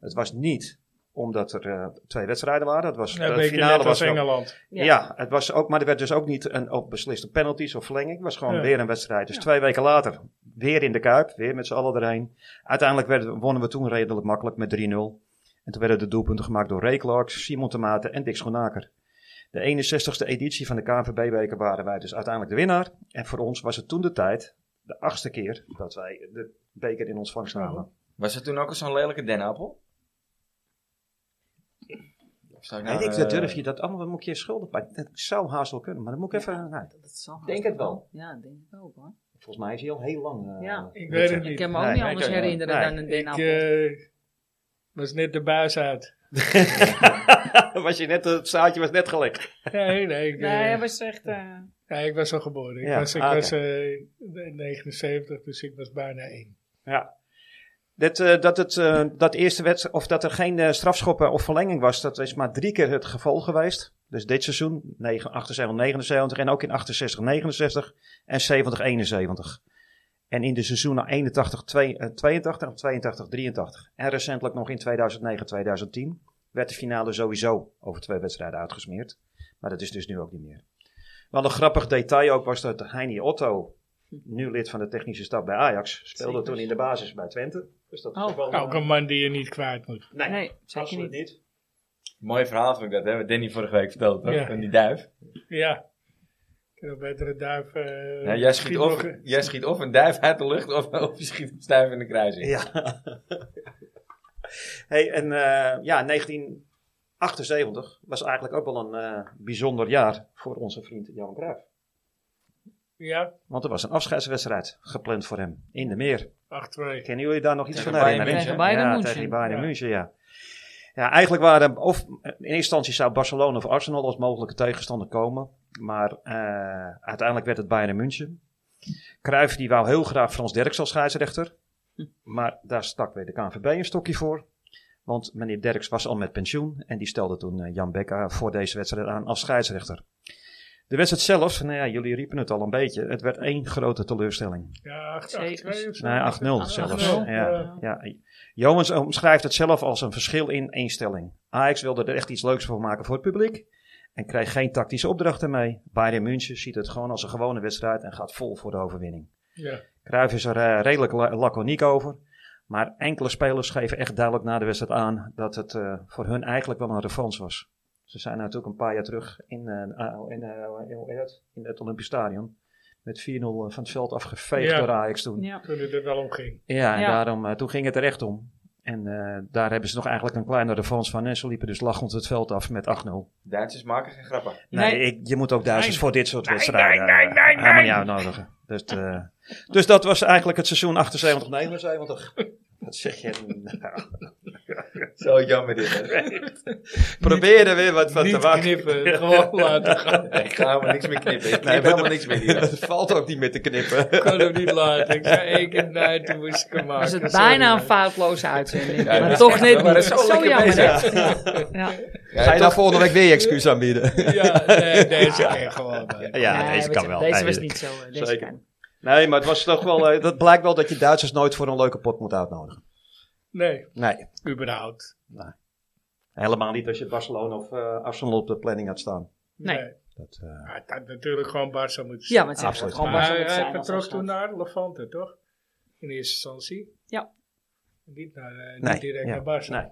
[SPEAKER 3] Het was niet omdat er eh, twee wedstrijden waren. Het was,
[SPEAKER 2] een
[SPEAKER 3] de
[SPEAKER 2] beetje net
[SPEAKER 3] finale was
[SPEAKER 2] als
[SPEAKER 3] wel-
[SPEAKER 2] Engeland.
[SPEAKER 4] Ja.
[SPEAKER 3] ja. het was ook, maar er werd dus ook niet een, op beslist op penalties of verlenging. Het was gewoon
[SPEAKER 2] Ja.
[SPEAKER 3] weer een wedstrijd. Dus twee weken later, weer in de Kuip, weer met z'n allen erheen. Uiteindelijk werden, wonnen we toen redelijk makkelijk met 3-0. En toen werden de doelpunten gemaakt door Ray Clark, Simon Temate en Dick Schoenaker. De 61ste editie van de KNVB-beker waren wij dus uiteindelijk de winnaar. En voor ons was het toen de tijd, de achtste keer, dat wij de beker in ontvangst namen.
[SPEAKER 1] Was het toen ook al zo'n lelijke denappel? Of sta ik nou,
[SPEAKER 3] Nee, ik
[SPEAKER 1] eh,
[SPEAKER 3] durf je dat allemaal, dan moet ik je schuldig bij. Dat zou haast wel kunnen, maar dan moet ik even... nou,
[SPEAKER 4] Dat zal
[SPEAKER 3] Denk het wel.
[SPEAKER 4] Ja, denk het wel hoor.
[SPEAKER 3] volgens mij is hij al heel lang... eh,
[SPEAKER 4] Ja.
[SPEAKER 2] Ik weet het niet.
[SPEAKER 4] Ik kan me ook
[SPEAKER 3] Nee,
[SPEAKER 4] niet
[SPEAKER 1] nee,
[SPEAKER 4] anders
[SPEAKER 1] ik ook niet.
[SPEAKER 4] herinneren
[SPEAKER 3] Nee,
[SPEAKER 4] dan een
[SPEAKER 2] Ik
[SPEAKER 4] DNA.
[SPEAKER 2] eh, was net de buis uit.
[SPEAKER 3] was je net, het zaadje was net gelegd.
[SPEAKER 2] Nee, nee. Ik, eh,
[SPEAKER 4] nee, hij was echt... eh,
[SPEAKER 2] ja, ik was al geboren. Ik
[SPEAKER 3] Ja,
[SPEAKER 2] was, ik
[SPEAKER 3] ah,
[SPEAKER 2] was eh, 79, dus ik was bijna één.
[SPEAKER 3] Ja. Dat, eh, dat, het, eh, dat, eerste wedst- of dat er geen eh, strafschoppen of verlenging was, dat is maar drie keer het geval geweest. Dus dit seizoen, 9, 78, 79 en ook in 68, 69 en 70, 71. En in de seizoenen 81, 2, eh, 82 en 82, 83. En recentelijk nog in 2009, 2010 werd de finale sowieso over twee wedstrijden uitgesmeerd. Maar dat is dus nu ook niet meer. Wel een grappig detail ook was dat Heini Otto, nu lid van de technische staf bij Ajax, speelde
[SPEAKER 4] Zeker.
[SPEAKER 3] toen in de basis bij Twente. Dus dat is
[SPEAKER 4] Oh.
[SPEAKER 3] ook wel
[SPEAKER 2] Ook een man die je niet kwijt moet.
[SPEAKER 3] Nee,
[SPEAKER 4] Nee, zeker
[SPEAKER 3] absoluut
[SPEAKER 4] niet.
[SPEAKER 3] niet.
[SPEAKER 1] Mooi verhaal vind ik dat, hebben Danny vorige week verteld, toch?
[SPEAKER 2] Ja.
[SPEAKER 1] Van die duif.
[SPEAKER 2] Ja. Ik heb een betere duif. eh,
[SPEAKER 1] Ja, jij, schiet
[SPEAKER 2] misschien
[SPEAKER 1] of,
[SPEAKER 2] nog-
[SPEAKER 1] jij schiet of een duif uit de lucht, of, *laughs* of je schiet hem stijf in de kruising.
[SPEAKER 3] Ja. *laughs* hey, en eh, ja, 1978 was eigenlijk ook wel een eh, bijzonder jaar voor onze vriend Johan Cruijff.
[SPEAKER 2] Ja,
[SPEAKER 3] Want er was een afscheidswedstrijd gepland voor hem in de meer.
[SPEAKER 2] 8-2.
[SPEAKER 3] Kennen jullie daar nog iets
[SPEAKER 1] Tegen
[SPEAKER 3] van herinneren?
[SPEAKER 1] Bayern
[SPEAKER 4] Tegen Bayern
[SPEAKER 3] ja,
[SPEAKER 4] München.
[SPEAKER 3] tegen Bayern
[SPEAKER 2] Ja.
[SPEAKER 3] München, ja. Ja, eigenlijk waren, of in eerste instantie zou Barcelona of Arsenal als mogelijke tegenstander komen. Maar eh, uiteindelijk werd het Bayern München. Cruijff die wou heel graag Frans Derks als scheidsrechter. Maar daar stak weer de KNVB een stokje voor. Want meneer Derks was al met pensioen. En die stelde toen eh, Jan Becker voor deze wedstrijd aan als scheidsrechter. De wedstrijd zelf, nou ja, jullie riepen het al een beetje. Het werd één grote teleurstelling.
[SPEAKER 2] Ja, 8-2 of zo.
[SPEAKER 3] Nee, 8-0 zelfs.
[SPEAKER 2] 8-0,
[SPEAKER 3] Ja, ja. Jomens omschrijft het zelf als een verschil in instelling. Ajax wilde er echt iets leuks voor maken voor het publiek. En kreeg geen tactische opdrachten mee. Bayern München ziet het gewoon als een gewone wedstrijd en gaat vol voor de overwinning.
[SPEAKER 2] Ja.
[SPEAKER 3] Cruijff is er eh, redelijk la- laconiek over. Maar enkele spelers geven echt duidelijk na de wedstrijd aan dat het eh, voor hun eigenlijk wel een revanche was. Ze zijn natuurlijk een paar jaar terug in, eh, ah, in, eh, hoe heet het? in het Olympisch Stadion. Met 4-0 van het veld afgeveegd
[SPEAKER 2] Ja.
[SPEAKER 3] door Ajax toen.
[SPEAKER 4] Ja.
[SPEAKER 2] Toen het er wel om ging.
[SPEAKER 3] Ja, en
[SPEAKER 4] Ja.
[SPEAKER 3] daarom, eh, toen ging het er echt om. En eh, daar hebben ze nog eigenlijk een kleine revanche van. En ze liepen dus lachend het veld af met 8-0.
[SPEAKER 1] Duitsers maken geen
[SPEAKER 3] *laughs*
[SPEAKER 1] grappen.
[SPEAKER 3] Nee,
[SPEAKER 4] Nee.
[SPEAKER 3] ik- je moet ook Duitsers
[SPEAKER 2] Nee.
[SPEAKER 3] voor dit soort
[SPEAKER 2] Nee,
[SPEAKER 3] wedstrijden
[SPEAKER 2] nee, nee,
[SPEAKER 3] eh,
[SPEAKER 2] nee, nee.
[SPEAKER 3] helemaal niet uitnodigen. Dus, eh, dus dat was eigenlijk het seizoen 78 79 Wat zeg je nou?
[SPEAKER 1] Zo jammer dit.
[SPEAKER 3] *laughs*
[SPEAKER 1] hè.
[SPEAKER 3] Probeer er weer wat van te
[SPEAKER 2] niet
[SPEAKER 3] maken.
[SPEAKER 2] knippen, gewoon laten gaan.
[SPEAKER 1] Nee, ik ga helemaal niks meer knippen. Ik knip
[SPEAKER 3] Nee, maar
[SPEAKER 1] helemaal
[SPEAKER 3] dat-
[SPEAKER 1] niks meer hier.
[SPEAKER 3] *laughs* Dat valt ook niet meer te knippen.
[SPEAKER 2] Ik kon hem niet laten. Ik zei één keer nee, toen moest ik hem maken.
[SPEAKER 4] Was het
[SPEAKER 2] Sorry,
[SPEAKER 4] bijna een
[SPEAKER 2] man.
[SPEAKER 4] foutloze uitzending.
[SPEAKER 1] Ja,
[SPEAKER 4] maar
[SPEAKER 1] dat
[SPEAKER 4] toch
[SPEAKER 1] is
[SPEAKER 4] net
[SPEAKER 1] echt- we waren
[SPEAKER 4] niet.
[SPEAKER 1] zo
[SPEAKER 4] Zo,
[SPEAKER 1] lekker
[SPEAKER 4] jammer.
[SPEAKER 1] bezig.
[SPEAKER 4] hè? Ja.
[SPEAKER 1] Ja, toch-
[SPEAKER 3] volgende week weer je excuus aanbieden?
[SPEAKER 2] Ja, nee, deze keer gewoon. man.
[SPEAKER 3] *laughs* Ja,
[SPEAKER 4] Nee,
[SPEAKER 3] deze
[SPEAKER 4] weet
[SPEAKER 3] kan
[SPEAKER 4] je,
[SPEAKER 3] wel.
[SPEAKER 4] Deze
[SPEAKER 3] Nee,
[SPEAKER 4] was niet zo. eh, Deze
[SPEAKER 3] Zeker.
[SPEAKER 4] kan.
[SPEAKER 3] Nee, maar het was toch wel, eh, dat blijkt wel dat je Duitsers nooit voor een leuke pot moet uitnodigen.
[SPEAKER 2] Nee,
[SPEAKER 3] Nee.
[SPEAKER 2] überhaupt.
[SPEAKER 3] Helemaal niet als je Barcelona of eh, Arsenal op de planning had staan.
[SPEAKER 4] Nee.
[SPEAKER 3] Dat, eh,
[SPEAKER 2] Hij had natuurlijk gewoon Barça moeten
[SPEAKER 4] Ja,
[SPEAKER 2] zijn.
[SPEAKER 4] maar het is
[SPEAKER 3] Absoluut.
[SPEAKER 4] gewoon
[SPEAKER 2] maar
[SPEAKER 4] was
[SPEAKER 2] hij,
[SPEAKER 4] het
[SPEAKER 2] hij
[SPEAKER 4] zijn als
[SPEAKER 2] vertrok
[SPEAKER 4] dat
[SPEAKER 2] toen
[SPEAKER 4] gaat.
[SPEAKER 2] naar Levante, toch? In eerste instantie.
[SPEAKER 4] Ja.
[SPEAKER 2] Niet, naar, eh, niet
[SPEAKER 3] Nee,
[SPEAKER 2] direct
[SPEAKER 3] ja,
[SPEAKER 2] naar Barça.
[SPEAKER 3] nee.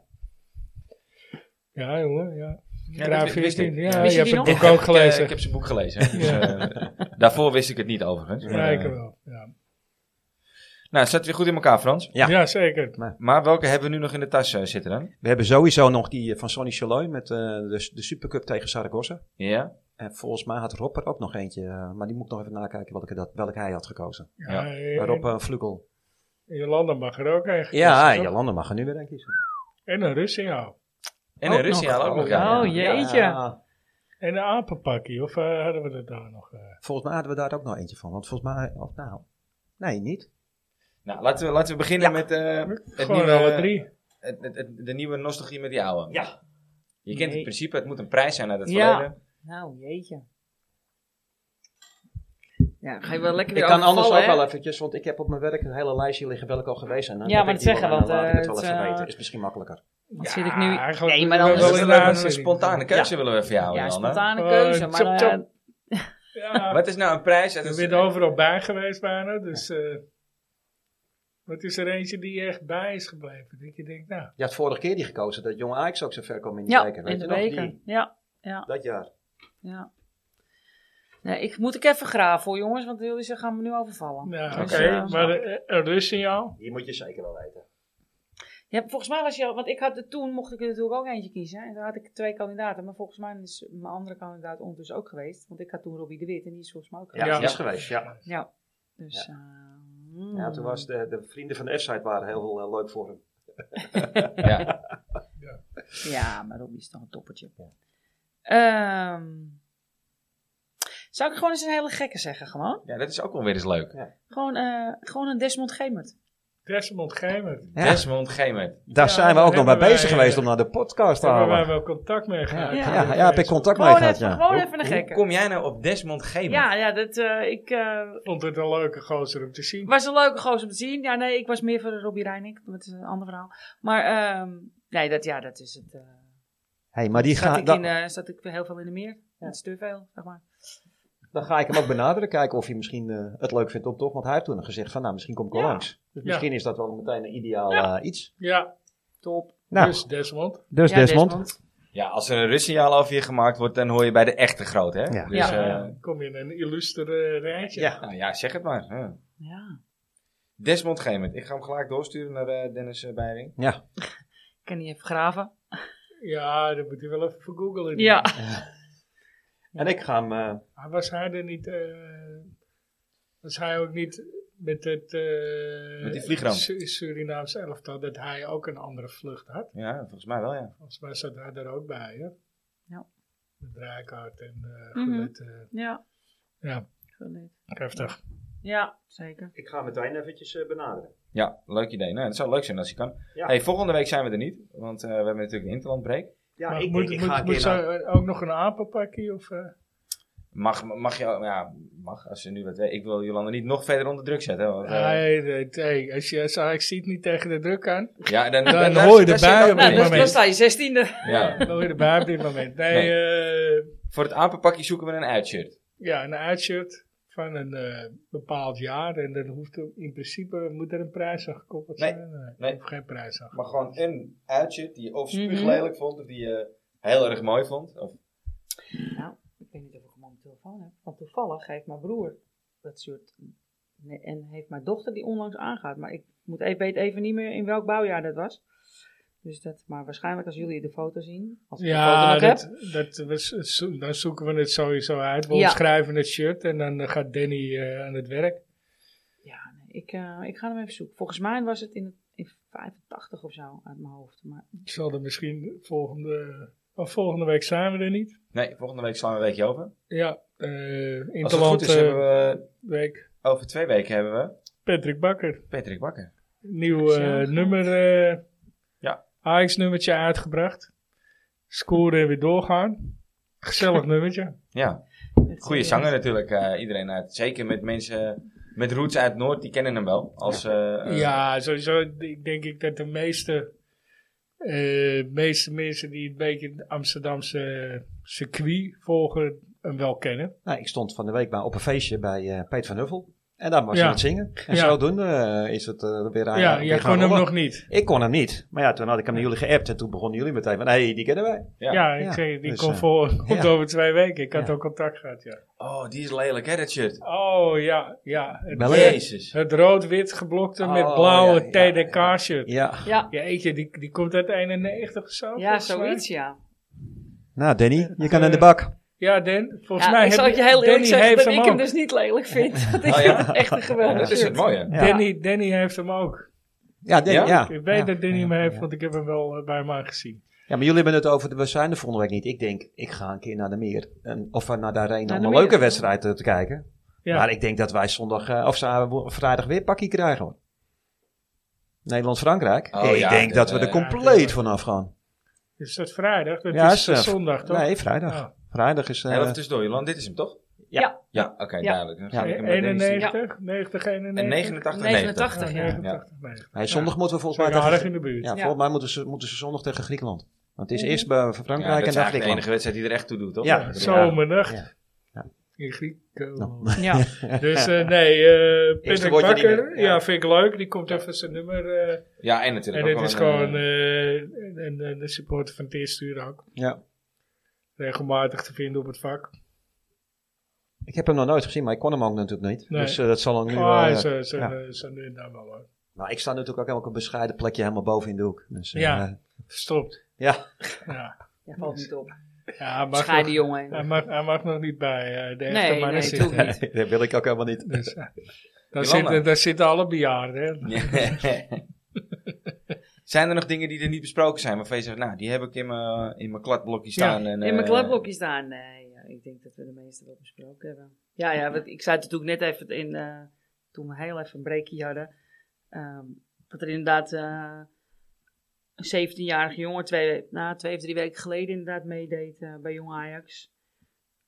[SPEAKER 2] Ja, jongen, ja.
[SPEAKER 1] Ja,
[SPEAKER 2] Graaf
[SPEAKER 1] dat wist
[SPEAKER 2] is
[SPEAKER 1] ik.
[SPEAKER 2] niet. Ja,
[SPEAKER 4] Wist
[SPEAKER 2] je
[SPEAKER 4] je
[SPEAKER 2] hebt
[SPEAKER 4] die
[SPEAKER 2] het
[SPEAKER 4] nog?
[SPEAKER 2] boek ook
[SPEAKER 1] Ik, eh,
[SPEAKER 2] gelezen.
[SPEAKER 1] ik heb zijn boek gelezen.
[SPEAKER 3] *laughs*
[SPEAKER 1] hè. Dus,
[SPEAKER 2] Ja.
[SPEAKER 1] eh, daarvoor wist ik het niet overigens.
[SPEAKER 2] Ja,
[SPEAKER 1] Maar,
[SPEAKER 2] ik
[SPEAKER 1] eh,
[SPEAKER 2] wel. Ja.
[SPEAKER 1] nou, het zat weer goed in elkaar, Frans.
[SPEAKER 3] Ja.
[SPEAKER 2] ja, zeker.
[SPEAKER 1] Maar welke hebben we nu nog in de tas eh, zitten dan?
[SPEAKER 3] we hebben sowieso nog die eh, van Sonny Chaloy met eh, de, de Supercup tegen Saragossa.
[SPEAKER 1] Ja?
[SPEAKER 3] En volgens mij had Rob er ook nog eentje, eh, maar die moet ik nog even nakijken welke, dat, welke hij had gekozen. Eh,
[SPEAKER 1] Ja.
[SPEAKER 2] Ja,
[SPEAKER 3] Rob
[SPEAKER 2] en-
[SPEAKER 3] Vlukel. Vlugel.
[SPEAKER 2] en Jolanda mag er ook eigenlijk.
[SPEAKER 3] Ja, Jolanda mag er nu weer een kiezen.
[SPEAKER 2] En een Russinghouw.
[SPEAKER 1] En
[SPEAKER 4] Ook
[SPEAKER 1] een Russia
[SPEAKER 4] nog.
[SPEAKER 1] ook nog. ja.
[SPEAKER 4] Oh, jeetje.
[SPEAKER 3] Ja,
[SPEAKER 2] En een apenpakkie. Of eh, hadden we dat daar nog? eh?
[SPEAKER 3] volgens mij hadden we daar ook nog eentje van. Want volgens mij, of nou, nee, niet.
[SPEAKER 1] Nou, laten we, laten we beginnen met eh, het
[SPEAKER 2] Gewoon
[SPEAKER 1] nieuwe,
[SPEAKER 2] alle drie.
[SPEAKER 1] het- het- het- de nieuwe nostalgie met die oude.
[SPEAKER 3] Ja.
[SPEAKER 1] Je kent
[SPEAKER 4] Nee.
[SPEAKER 1] het principe, het moet een prijs zijn uit het
[SPEAKER 4] Ja.
[SPEAKER 1] verleden.
[SPEAKER 4] Nou, jeetje. Ja, ga je wel lekker weer
[SPEAKER 3] Ik kan anders ook
[SPEAKER 4] overvallen,
[SPEAKER 3] wel
[SPEAKER 4] hè?
[SPEAKER 3] eventjes, want ik heb op mijn werk een hele lijstje liggen welke al geweest zijn. Dan
[SPEAKER 4] Ja,
[SPEAKER 3] heb
[SPEAKER 4] maar
[SPEAKER 3] ik
[SPEAKER 4] dat
[SPEAKER 3] die
[SPEAKER 4] zeggen,
[SPEAKER 3] wel en dan
[SPEAKER 4] want,
[SPEAKER 3] laat ik het
[SPEAKER 4] eh,
[SPEAKER 3] wel
[SPEAKER 4] het,
[SPEAKER 3] even
[SPEAKER 4] eh,
[SPEAKER 3] weten, is misschien makkelijker.
[SPEAKER 4] Wat
[SPEAKER 2] Ja,
[SPEAKER 4] zit ik nu...
[SPEAKER 2] eigenlijk
[SPEAKER 4] Nee, maar
[SPEAKER 2] willen we
[SPEAKER 4] dan
[SPEAKER 1] Dat is
[SPEAKER 2] wel
[SPEAKER 4] is
[SPEAKER 1] een,
[SPEAKER 2] een
[SPEAKER 1] leuke- een
[SPEAKER 2] uitzending.
[SPEAKER 1] spontane keuze willen we voor
[SPEAKER 3] Nou,
[SPEAKER 1] jou,
[SPEAKER 4] Ja,
[SPEAKER 1] Jolanda.
[SPEAKER 4] spontane
[SPEAKER 2] Eh,
[SPEAKER 4] keuze.
[SPEAKER 2] chop,
[SPEAKER 4] Maar eh,
[SPEAKER 2] chop. Ja,
[SPEAKER 1] Wat is nou een prijs uit
[SPEAKER 2] je
[SPEAKER 4] dus,
[SPEAKER 1] het
[SPEAKER 2] bent overal bij geweest bijna. Dus eh, wat is er eentje die echt bij is gebleven? Dat je denkt, nou,
[SPEAKER 3] Je had vorige keer die gekozen, dat Jong Ajax ook zo ver kwam in die
[SPEAKER 4] ja,
[SPEAKER 3] beker. Weet
[SPEAKER 4] in de
[SPEAKER 3] je nog? Die-
[SPEAKER 4] beker. Ja,
[SPEAKER 3] dat jaar.
[SPEAKER 4] ja. Nee, ik moet ik even graven hoor, jongens, want jullie ze gaan me nu overvallen.
[SPEAKER 2] ja, nou, oké.
[SPEAKER 4] Dus, eh,
[SPEAKER 2] maar eh, een rustsignaal?
[SPEAKER 3] Die moet je zeker wel weten.
[SPEAKER 4] Ja, volgens mij was je al, want ik had er toen, mocht ik er natuurlijk ook eentje kiezen. En daar had ik twee kandidaten. Maar volgens mij is mijn andere kandidaat ondertussen ook geweest. Want ik had toen Robbie de Wit en die is volgens mij ook
[SPEAKER 3] Ja,
[SPEAKER 4] geweest.
[SPEAKER 3] die is geweest, ja.
[SPEAKER 4] Ja. Dus, eh, mm.
[SPEAKER 3] Ja, toen was de, de vrienden van de F-site waren heel eh, leuk voor hem.
[SPEAKER 1] Ja.
[SPEAKER 4] Ja, maar Robbie is toch een toppertje. Ehm, zou ik gewoon eens een hele gekke zeggen, gewoon?
[SPEAKER 1] ja, dat is ook wel weer eens leuk.
[SPEAKER 4] Gewoon, eh, gewoon een Desmond Gemert.
[SPEAKER 2] Desmond Geimert.
[SPEAKER 3] Ja,
[SPEAKER 1] Desmond Gemert.
[SPEAKER 3] daar
[SPEAKER 2] Ja,
[SPEAKER 3] zijn we
[SPEAKER 2] daar
[SPEAKER 3] ook nog mee
[SPEAKER 2] hebben
[SPEAKER 3] bezig
[SPEAKER 2] wij,
[SPEAKER 3] geweest
[SPEAKER 2] eh,
[SPEAKER 3] om naar de podcast te
[SPEAKER 2] Daar hebben wij
[SPEAKER 3] halen.
[SPEAKER 2] wel contact mee gehad.
[SPEAKER 4] Ja.
[SPEAKER 3] Ja, ja, heb ik contact mee
[SPEAKER 4] Gewoon
[SPEAKER 3] gehad,
[SPEAKER 4] even,
[SPEAKER 3] ja.
[SPEAKER 4] gewoon even een
[SPEAKER 1] Hoe
[SPEAKER 4] gekke.
[SPEAKER 1] kom jij nou op Desmond Gemert?
[SPEAKER 4] Ja, ja dat, eh, ik eh,
[SPEAKER 2] Vond het een leuke gozer om te zien.
[SPEAKER 4] was een leuke gozer om te zien. Ja, nee, ik was meer voor Robbie Reining. Dat is een ander verhaal. Maar ehm, nee, dat, ja, dat is het. eh.
[SPEAKER 3] Hey, maar die
[SPEAKER 4] zat,
[SPEAKER 3] ga,
[SPEAKER 4] ik
[SPEAKER 3] dan,
[SPEAKER 4] in, eh, zat ik heel veel in de meer. Dat is te veel, zeg maar.
[SPEAKER 3] dan ga ik hem ook benaderen. Kijken of hij misschien eh, het leuk vindt om toch. Want hij heeft toen gezegd van nou, misschien kom ik wel
[SPEAKER 4] Ja.
[SPEAKER 3] langs. Dus
[SPEAKER 2] Ja.
[SPEAKER 3] misschien is dat wel meteen een ideaal eh, iets.
[SPEAKER 2] Ja,
[SPEAKER 4] Top.
[SPEAKER 3] Nou,
[SPEAKER 2] dus Desmond.
[SPEAKER 3] dus
[SPEAKER 4] Ja,
[SPEAKER 1] Ja, als er een rustsignaal over je gemaakt wordt, dan hoor je bij de echte groot, hè?
[SPEAKER 3] Ja.
[SPEAKER 1] Dus,
[SPEAKER 2] Ja,
[SPEAKER 1] ja.
[SPEAKER 2] dan eh, kom je in een illustere rijtje.
[SPEAKER 3] Ja.
[SPEAKER 1] nou ja, zeg het maar. Ja.
[SPEAKER 4] Ja,
[SPEAKER 1] Desmond Gemert. Ik ga hem gelijk doorsturen naar eh, Dennis eh, Beiring.
[SPEAKER 3] Ja,
[SPEAKER 4] ik kan niet even graven.
[SPEAKER 2] Ja, dat moet je wel even voor googlen.
[SPEAKER 4] Ja.
[SPEAKER 3] en ik ga hem... eh,
[SPEAKER 2] Maar was hij er niet... eh, was hij ook niet met het... eh,
[SPEAKER 1] Met die vliegramp.
[SPEAKER 2] Su- Surinaamse elftal, dat hij ook een andere vlucht had.
[SPEAKER 1] Ja, volgens mij wel, ja.
[SPEAKER 2] Volgens mij zat hij er ook bij, hè?
[SPEAKER 4] Ja.
[SPEAKER 2] Met Rijkaard en eh
[SPEAKER 4] Mhm.
[SPEAKER 2] Gullit, eh,
[SPEAKER 4] Ja.
[SPEAKER 2] Ja.
[SPEAKER 4] Gelukkig.
[SPEAKER 2] heftig.
[SPEAKER 4] Ja, zeker.
[SPEAKER 5] Ik ga meteen eventjes eh, benaderen.
[SPEAKER 1] Ja, leuk idee. Nou, het zou leuk zijn als je kan.
[SPEAKER 5] Ja.
[SPEAKER 1] Hey, volgende week zijn we er niet, want eh, we hebben natuurlijk een interlandbreak.
[SPEAKER 5] Ja,
[SPEAKER 2] Maar
[SPEAKER 5] ik, ik,
[SPEAKER 2] moet,
[SPEAKER 5] ik
[SPEAKER 2] moet,
[SPEAKER 5] ga een
[SPEAKER 2] moet
[SPEAKER 5] keer naar-
[SPEAKER 2] ze ook nog een apenpakje? Of, eh?
[SPEAKER 1] Mag, mag je, ja, mag, als je nu wat weet. Ik wil Jolanda niet nog verder onder druk zetten. hè, Want, eh,
[SPEAKER 2] nee, nee, nee, als je als Ajax ziet niet tegen de druk aan,
[SPEAKER 1] ja, dan,
[SPEAKER 2] Dan hoor je
[SPEAKER 1] daar
[SPEAKER 2] erbij
[SPEAKER 1] zit ook
[SPEAKER 2] op
[SPEAKER 1] niet in.
[SPEAKER 2] dit
[SPEAKER 4] Nou, dus,
[SPEAKER 2] moment.
[SPEAKER 4] dan sta je zestiende.
[SPEAKER 1] Ja.
[SPEAKER 2] dan word je erbij op dit moment. Nee, eh,
[SPEAKER 1] Voor het apenpakje zoeken we een uitshirt.
[SPEAKER 2] ja, een uitshirt van een eh, bepaald jaar en dan hoeft er, in principe moet er een prijs aan gekoppeld
[SPEAKER 1] Nee,
[SPEAKER 2] zijn. Nee,
[SPEAKER 1] nee.
[SPEAKER 2] er hoeft geen prijs aan.
[SPEAKER 1] Maar gewoon een uitshirt die je of
[SPEAKER 4] Mhm.
[SPEAKER 1] spuuglelijk vond, of die je heel erg mooi vond. Of,
[SPEAKER 4] Nou, ik weet niet of ik hem op de telefoon heb. Want toevallig heeft mijn broer dat soort... Nee, en heeft mijn dochter die onlangs aangaat. Maar ik moet even, weet even niet meer in welk bouwjaar dat was. Dus dat, maar waarschijnlijk als jullie de foto zien. Als ik de foto
[SPEAKER 2] Ja,
[SPEAKER 4] nog
[SPEAKER 2] dat,
[SPEAKER 4] heb.
[SPEAKER 2] dat we, zo- dan zoeken we het sowieso uit. We
[SPEAKER 4] Ja.
[SPEAKER 2] schrijven het shirt en dan eh, gaat Danny eh, aan het werk.
[SPEAKER 4] Ja, nee, ik, eh, ik ga hem even zoeken. Volgens mij was het in, het- in 85 of zo uit mijn hoofd. Maar
[SPEAKER 2] zal er misschien volgende, of volgende week zijn we er niet.
[SPEAKER 1] nee, volgende week slaan we een weekje over.
[SPEAKER 2] Ja, eh
[SPEAKER 1] Als het goed
[SPEAKER 2] Interland
[SPEAKER 1] is, hebben we,
[SPEAKER 2] week.
[SPEAKER 1] over twee weken hebben we
[SPEAKER 2] Patrick Bakker,
[SPEAKER 1] Patrick Bakker.
[SPEAKER 2] nieuw eh,
[SPEAKER 4] Ja, goed.
[SPEAKER 2] nummer, eh
[SPEAKER 1] Ja.
[SPEAKER 2] AX-nummertje uitgebracht. Scoren en weer doorgaan. *laughs* Gezellig nummertje.
[SPEAKER 1] Ja.
[SPEAKER 4] het-
[SPEAKER 1] Goede zanger natuurlijk, eh, iedereen uit. Zeker met mensen met roots uit Noord, die kennen hem wel. Als, eh, eh,
[SPEAKER 2] ja, sowieso ik denk ik dat de meeste, eh, meeste mensen die een beetje het Amsterdamse eh, circuit volgen, hem wel kennen.
[SPEAKER 3] nou, ik stond van de week bij, op een feestje bij eh Peet van Huffel. En daar was hij
[SPEAKER 2] Ja.
[SPEAKER 3] aan het zingen. En
[SPEAKER 2] Ja.
[SPEAKER 3] zodoende eh, is het eh, weer aan.
[SPEAKER 2] ja,
[SPEAKER 3] weer
[SPEAKER 2] jij
[SPEAKER 3] gaan
[SPEAKER 2] kon hem
[SPEAKER 3] rollen.
[SPEAKER 2] nog niet.
[SPEAKER 3] Ik kon hem niet. Maar ja, toen had ik hem naar jullie geappt en toen begonnen jullie meteen van, hé, hey, die kennen wij.
[SPEAKER 1] Ja.
[SPEAKER 2] Ja, ik
[SPEAKER 3] Ja,
[SPEAKER 2] zeg, die
[SPEAKER 3] dus,
[SPEAKER 2] komt
[SPEAKER 3] eh,
[SPEAKER 2] voor- *laughs* komt
[SPEAKER 3] ja.
[SPEAKER 2] over twee weken. Ik had
[SPEAKER 3] Ja.
[SPEAKER 2] ook contact gehad, ja.
[SPEAKER 1] Oh, die is lelijk hè, dat shirt.
[SPEAKER 2] Oh ja, ja. Het,
[SPEAKER 3] Wel
[SPEAKER 2] eh,
[SPEAKER 1] Jezus.
[SPEAKER 2] het rood-wit geblokte
[SPEAKER 3] Oh,
[SPEAKER 2] met blauwe
[SPEAKER 3] ja, ja,
[SPEAKER 2] TDK-shirt. Ja,
[SPEAKER 3] Ja.
[SPEAKER 4] Ja,
[SPEAKER 2] eentje, die, die komt uit 91 of zo.
[SPEAKER 4] ja
[SPEAKER 2] volgens mij.
[SPEAKER 4] zoiets ja.
[SPEAKER 3] Nou,
[SPEAKER 2] Eh,
[SPEAKER 3] Danny, je kan in de bak.
[SPEAKER 2] Ja, Dan, volgens
[SPEAKER 4] ja
[SPEAKER 2] mij
[SPEAKER 4] ik
[SPEAKER 2] heb
[SPEAKER 4] zal het je heel eerlijk
[SPEAKER 2] Danny
[SPEAKER 4] zeggen
[SPEAKER 2] heeft
[SPEAKER 4] dat
[SPEAKER 2] hem
[SPEAKER 4] ik
[SPEAKER 2] ook.
[SPEAKER 4] hem dus niet lelijk vind. *laughs* Want ik
[SPEAKER 1] Oh, ja?
[SPEAKER 4] vind het echt een
[SPEAKER 1] Ja,
[SPEAKER 4] geweldig
[SPEAKER 1] dat is het
[SPEAKER 4] shirt.
[SPEAKER 1] mooie.
[SPEAKER 3] Ja.
[SPEAKER 2] Danny, Danny heeft hem ook.
[SPEAKER 3] Ja, Danny,
[SPEAKER 1] Ja?
[SPEAKER 3] ja.
[SPEAKER 2] Ik weet
[SPEAKER 3] Ja.
[SPEAKER 2] dat Danny
[SPEAKER 3] Ja,
[SPEAKER 2] hem heeft,
[SPEAKER 3] ja.
[SPEAKER 2] want ik heb hem wel eh, bij mij gezien.
[SPEAKER 3] Ja, maar jullie hebben het over, de- we zijn er volgende week niet. Ik denk, ik ga een keer naar de meer. En, of eh, naar de arena
[SPEAKER 4] Naar
[SPEAKER 3] om
[SPEAKER 4] de
[SPEAKER 3] een
[SPEAKER 4] meer.
[SPEAKER 3] leuke wedstrijd eh, te kijken.
[SPEAKER 2] Ja.
[SPEAKER 3] Maar ik denk dat wij zondag, eh, of za- wo- vrijdag weer pakkie krijgen hoor. Nederland-Frankrijk.
[SPEAKER 1] Oh,
[SPEAKER 3] ik
[SPEAKER 1] ja,
[SPEAKER 3] denk dat we
[SPEAKER 1] dat,
[SPEAKER 3] er
[SPEAKER 1] eh,
[SPEAKER 3] compleet vanaf gaan.
[SPEAKER 2] Is dat vrijdag? Dat
[SPEAKER 3] Ja,
[SPEAKER 2] is
[SPEAKER 3] is, eh,
[SPEAKER 2] zondag, toch?
[SPEAKER 3] Nee, vrijdag.
[SPEAKER 2] Ah,
[SPEAKER 3] Vrijdag is... eh,
[SPEAKER 1] Heel even tussendoor, Jolan. Dit is hem, toch?
[SPEAKER 3] Ja.
[SPEAKER 4] Ja.
[SPEAKER 1] Ja, oké,
[SPEAKER 4] Ja.
[SPEAKER 1] duidelijk. Dan ga ik hem naar Dennis sturen.
[SPEAKER 2] 91, 90, 91.
[SPEAKER 1] En 89, 90.
[SPEAKER 4] 89, ja.
[SPEAKER 2] 89,
[SPEAKER 3] nee, zondag moeten we volgens
[SPEAKER 2] Zijn
[SPEAKER 3] mij...
[SPEAKER 2] aardig
[SPEAKER 3] Tegen,
[SPEAKER 2] in de buurt.
[SPEAKER 3] ja,
[SPEAKER 2] Ja,
[SPEAKER 3] volgens mij moeten ze, moeten ze zondag tegen Griekenland. Want het is eerst bij
[SPEAKER 1] Ja,
[SPEAKER 3] Frankrijk
[SPEAKER 1] dat
[SPEAKER 3] en
[SPEAKER 1] is
[SPEAKER 3] dan
[SPEAKER 1] eigenlijk de
[SPEAKER 3] Griekenland.
[SPEAKER 1] enige wedstrijd die er echt toe doet, toch?
[SPEAKER 3] Ja,
[SPEAKER 2] Zomernacht.
[SPEAKER 3] Ja. Ja.
[SPEAKER 2] In Griekenland.
[SPEAKER 1] *laughs*
[SPEAKER 4] Ja.
[SPEAKER 2] Dus
[SPEAKER 3] *laughs*
[SPEAKER 2] eh, nee, eh
[SPEAKER 3] Eerste
[SPEAKER 2] Patrick
[SPEAKER 3] woordje niet
[SPEAKER 2] Bakker,
[SPEAKER 3] meer,
[SPEAKER 2] ja.
[SPEAKER 3] ja.
[SPEAKER 2] vind ik leuk. Die komt even zijn nummer. eh,
[SPEAKER 1] Ja, en
[SPEAKER 2] en
[SPEAKER 1] natuurlijk
[SPEAKER 2] dit
[SPEAKER 1] ook
[SPEAKER 2] is
[SPEAKER 1] wel een,
[SPEAKER 2] gewoon *laughs*
[SPEAKER 1] eh,
[SPEAKER 2] eh, een, een, een supporter van het eerste uur ook.
[SPEAKER 3] Ja.
[SPEAKER 2] Regelmatig te vinden op het vak.
[SPEAKER 3] Ik heb hem nog nooit gezien, maar ik kon hem ook natuurlijk niet.
[SPEAKER 2] Nee.
[SPEAKER 3] Dus eh, dat zal dan nu wel...
[SPEAKER 2] Ah,
[SPEAKER 3] eh,
[SPEAKER 2] zo, zo,
[SPEAKER 3] ja.
[SPEAKER 2] eh, zo nu en dan wel hoor.
[SPEAKER 3] Maar ik sta natuurlijk ook op een bescheiden plekje helemaal boven in de hoek. Dus, eh,
[SPEAKER 2] Ja. Verstopt.
[SPEAKER 3] *laughs* ja. *laughs*
[SPEAKER 2] Ja,
[SPEAKER 4] Ja, valt niet op.
[SPEAKER 2] ja hij, mag
[SPEAKER 4] Scheide
[SPEAKER 2] nog,
[SPEAKER 4] jongen.
[SPEAKER 2] hij, mag, hij mag nog niet bij eh, de echte
[SPEAKER 4] Nee,
[SPEAKER 2] mannen
[SPEAKER 4] nee,
[SPEAKER 2] zitten.
[SPEAKER 4] natuurlijk niet.
[SPEAKER 3] dat wil ik ook helemaal niet.
[SPEAKER 2] *laughs* Dus, eh, daar,
[SPEAKER 1] Jolanda.
[SPEAKER 2] zitten, daar zitten alle bejaarden. hè.
[SPEAKER 1] zijn er nog dingen die er niet besproken zijn? Waarvan je zegt, nou, die heb ik in mijn in mijn kladblokje staan. en,
[SPEAKER 4] In mijn
[SPEAKER 1] eh,
[SPEAKER 4] kladblokjes daar? Nee, ja, ik denk dat we de meeste wel besproken hebben. Ja, ja want ik zei het natuurlijk net even in, eh, toen we heel even een breakje hadden. ehm, Dat er inderdaad eh, een 17-jarige jongen twee, na twee of drie weken geleden inderdaad meedeed eh, bij Jong Ajax.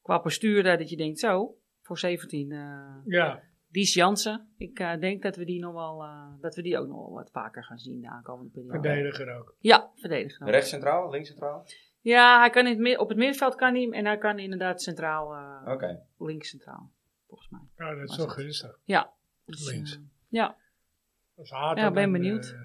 [SPEAKER 4] Qua postuur daar dat je denkt, zo, voor 17. eh
[SPEAKER 2] Ja,
[SPEAKER 4] Dies Jansen. Ik eh, denk dat we, die nog wel, eh, dat we die ook nog wel wat vaker gaan zien de aankomende periode.
[SPEAKER 2] verdediger ook.
[SPEAKER 4] Ja, verdediger.
[SPEAKER 1] Rechts centraal, links centraal?
[SPEAKER 4] Ja, hij kan in het, mid- op het middenveld kan hij en hij kan inderdaad centraal, eh,
[SPEAKER 1] Oké.
[SPEAKER 4] links centraal, volgens mij.
[SPEAKER 2] Nou, dat is wel gunstig.
[SPEAKER 4] Dus,
[SPEAKER 2] Links.
[SPEAKER 4] eh, ja.
[SPEAKER 2] Dat is Hato
[SPEAKER 4] Ja, ben
[SPEAKER 2] dan,
[SPEAKER 4] benieuwd.
[SPEAKER 2] eh,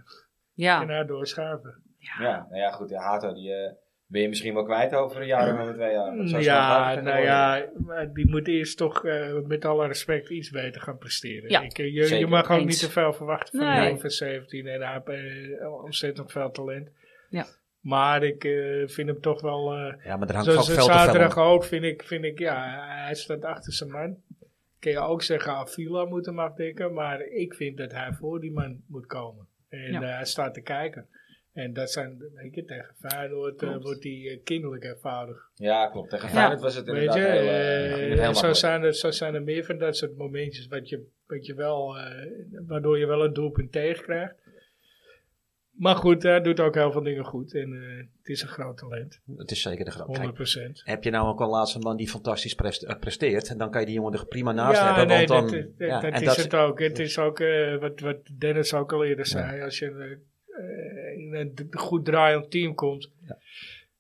[SPEAKER 4] Ja.
[SPEAKER 2] en haar doorschuiven.
[SPEAKER 1] Ja, nou ja, goed. Ja, Hato, die eh, ben je misschien wel kwijt over een jaar of over twee jaar. want zo snel gaat het
[SPEAKER 2] Ja,
[SPEAKER 1] niet
[SPEAKER 2] nou
[SPEAKER 1] worden.
[SPEAKER 2] ja, maar die moet eerst toch eh, met alle respect iets beter gaan presteren.
[SPEAKER 4] Ja,
[SPEAKER 2] Ik, eh, je, je
[SPEAKER 1] zeker.
[SPEAKER 2] mag ook
[SPEAKER 4] Eens.
[SPEAKER 2] niet te veel verwachten van
[SPEAKER 4] Nee.
[SPEAKER 2] een jongen van 17 en hij heeft eh, ontzettend veel talent.
[SPEAKER 4] Ja.
[SPEAKER 2] Maar ik eh, vind hem toch wel, eh,
[SPEAKER 3] Ja, maar er hangt ook
[SPEAKER 2] zoals
[SPEAKER 3] veel
[SPEAKER 2] het
[SPEAKER 3] te veel
[SPEAKER 2] zaterdag
[SPEAKER 3] om.
[SPEAKER 2] ook, vind ik, vind ik, ja, hij staat achter zijn man. Kun je ook zeggen, Avila moet hem afdekken, maar ik vind dat hij voor die man moet komen. En
[SPEAKER 4] Ja.
[SPEAKER 2] eh, hij staat te kijken. En dat zijn, weet je, tegen Feyenoord eh,
[SPEAKER 4] Klopt.
[SPEAKER 2] wordt hij eh, kinderlijk eenvoudig.
[SPEAKER 1] Ja, klopt. Tegen
[SPEAKER 4] Ja.
[SPEAKER 1] Feyenoord was het
[SPEAKER 2] Weet
[SPEAKER 1] inderdaad
[SPEAKER 2] je,
[SPEAKER 1] heel,
[SPEAKER 2] eh,
[SPEAKER 1] eh, ging het heel
[SPEAKER 2] en zo,
[SPEAKER 1] makkelijk.
[SPEAKER 2] zijn er, zo zijn er meer van dat soort momentjes wat je, wat je wel, eh, waardoor je wel een doelpunt tegenkrijgt. Maar goed, hij doet ook heel veel dingen goed. En eh, het is een groot talent, 100%.
[SPEAKER 3] Het is zeker de grap. Nou, Kijk, heb je nou ook een laatste man die fantastisch prest- eh, presteert, dan kan je die jongen er prima naast
[SPEAKER 2] ja,
[SPEAKER 3] hebben.
[SPEAKER 2] nee,
[SPEAKER 3] want dan,
[SPEAKER 2] dat, dat-
[SPEAKER 3] ja,
[SPEAKER 2] dat
[SPEAKER 3] en
[SPEAKER 2] is
[SPEAKER 3] dat-
[SPEAKER 2] het ook. Het is ook eh, wat, wat Dennis ook al eerder zei. Als je eh, eh, in een d- goed draaiend team komt,